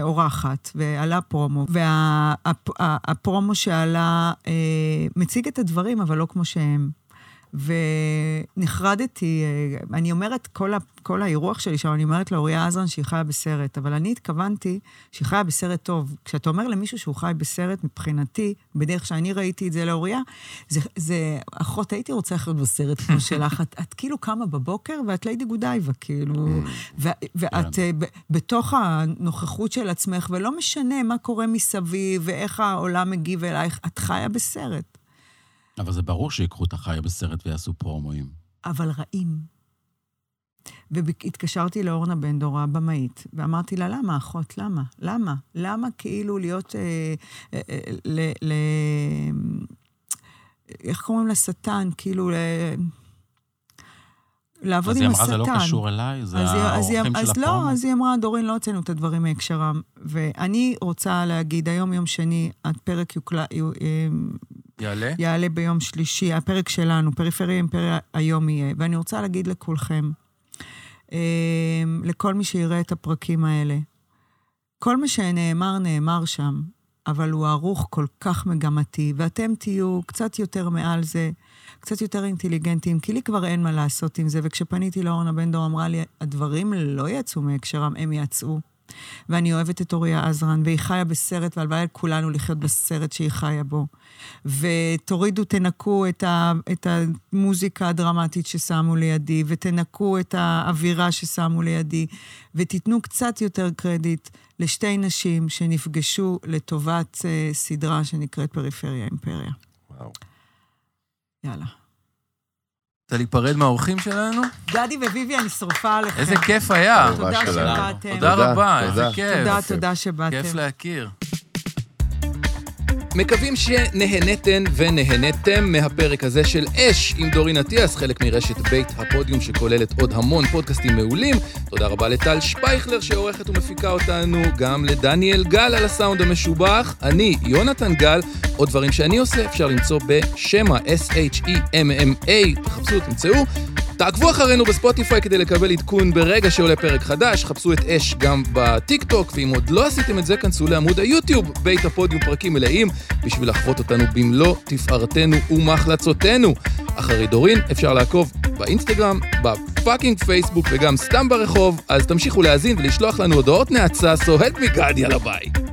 Speaker 2: אורחת, ועלה פרומו, והפרומו וה, הפ- ה- הפרומו שעלה אה, מציג את הדברים, אבל לא כמו שהם. ונחרדתי, אה, אני אומרת, כל, ה, כל האירוח שלי שם, אני אומרת לאוריה עזרן שהיא חיה בסרט, אבל אני התכוונתי שהיא חיה בסרט טוב. כשאתה אומר למישהו שהוא חי בסרט, מבחינתי, בדרך שאני ראיתי את זה לאוריה, זה, זה, אחות, הייתי רוצה לחיות בסרט כמו שלך. את, את כאילו קמה בבוקר ואת ליידי גודייבה, כאילו, ו, ואת אה, ב, בתוך הנוכחות של עצמך, ולא משנה מה קורה מסביב ואיך העולם מגיב אלייך, את חיה בסרט,
Speaker 6: אבל זה ברור שיקחו את החיה בסרט ויעשו פרומואים.
Speaker 2: אבל רעים. והתקשרתי לאורנה בן דור, הבמאית, ואמרתי לה, למה, אחות, למה? למה? למה כאילו להיות... אה, אה, אה, ל, ל, איך קוראים לשטן? כאילו... אה, לעבוד
Speaker 6: אז
Speaker 2: עם
Speaker 6: היא
Speaker 2: השטן.
Speaker 6: אמרה, זה לא קשור אליי, זה
Speaker 2: אז היא- אז היא-
Speaker 6: האורחים
Speaker 2: אז
Speaker 6: של הפרומו.
Speaker 2: לא, אז היא אמרה, דורין, לא הוצאנו את הדברים מהקשרם. ואני רוצה להגיד, היום יום שני, הפרק יוקלע, יו- אמ,
Speaker 1: יעלה?
Speaker 2: יעלה ביום שלישי, הפרק שלנו, פריפריה אימפריה היום יהיה. ואני רוצה להגיד לכולכם, אמ, לכל מי שיראה את הפרקים האלה, כל מה שנאמר, נאמר שם, אבל הוא ערוך כל כך מגמתי, ואתם תהיו קצת יותר מעל זה, קצת יותר אינטליגנטים, כי לי כבר אין מה לעשות עם זה, וכשפניתי לאורנה בן דור, אמרה לי, הדברים לא יצאו מהקשרם, הם יצאו. ואני אוהבת את אוריה עזרן, והיא חיה בסרט, והלוואי על כולנו לחיות בסרט שהיא חיה בו. ותורידו, תנקו את, ה, את המוזיקה הדרמטית ששמו לידי, ותנקו את האווירה ששמו לידי, ותיתנו קצת יותר קרדיט לשתי נשים שנפגשו לטובת אה, סדרה שנקראת פריפריה אימפריה.
Speaker 7: וואו.
Speaker 2: יאללה.
Speaker 1: רוצה להיפרד מהאורחים שלנו?
Speaker 2: גדי וביבי, אני שרפה עליכם.
Speaker 1: איזה כיף היה.
Speaker 7: תודה
Speaker 2: תודה
Speaker 7: שלנו.
Speaker 2: שבאתם.
Speaker 1: תודה רבה,
Speaker 7: תודה.
Speaker 1: איזה כיף.
Speaker 2: תודה, תודה שבאתם.
Speaker 1: כיף להכיר. מקווים שנהנתן ונהנתם מהפרק הזה של אש עם דורין אטיאס, חלק מרשת בית הפודיום שכוללת עוד המון פודקאסטים מעולים. תודה רבה לטל שפייכלר שעורכת ומפיקה אותנו, גם לדניאל גל על הסאונד המשובח. אני, יונתן גל, עוד דברים שאני עושה אפשר למצוא בשמה, E S-H-E-M-M-A, תחפשו, תמצאו. תעקבו אחרינו בספוטיפיי כדי לקבל עדכון ברגע שעולה פרק חדש, חפשו את אש גם בטיק טוק, ואם עוד לא עשיתם את זה, כנסו לעמוד היוטיוב, בית הפודיום פרקים מלאים, בשביל לחוות אותנו במלוא תפארתנו ומחלצותינו. אחרי דורין אפשר לעקוב באינסטגרם, בפאקינג פייסבוק וגם סתם ברחוב, אז תמשיכו להאזין ולשלוח לנו הודעות נאצה סוהד מגדי על הבית.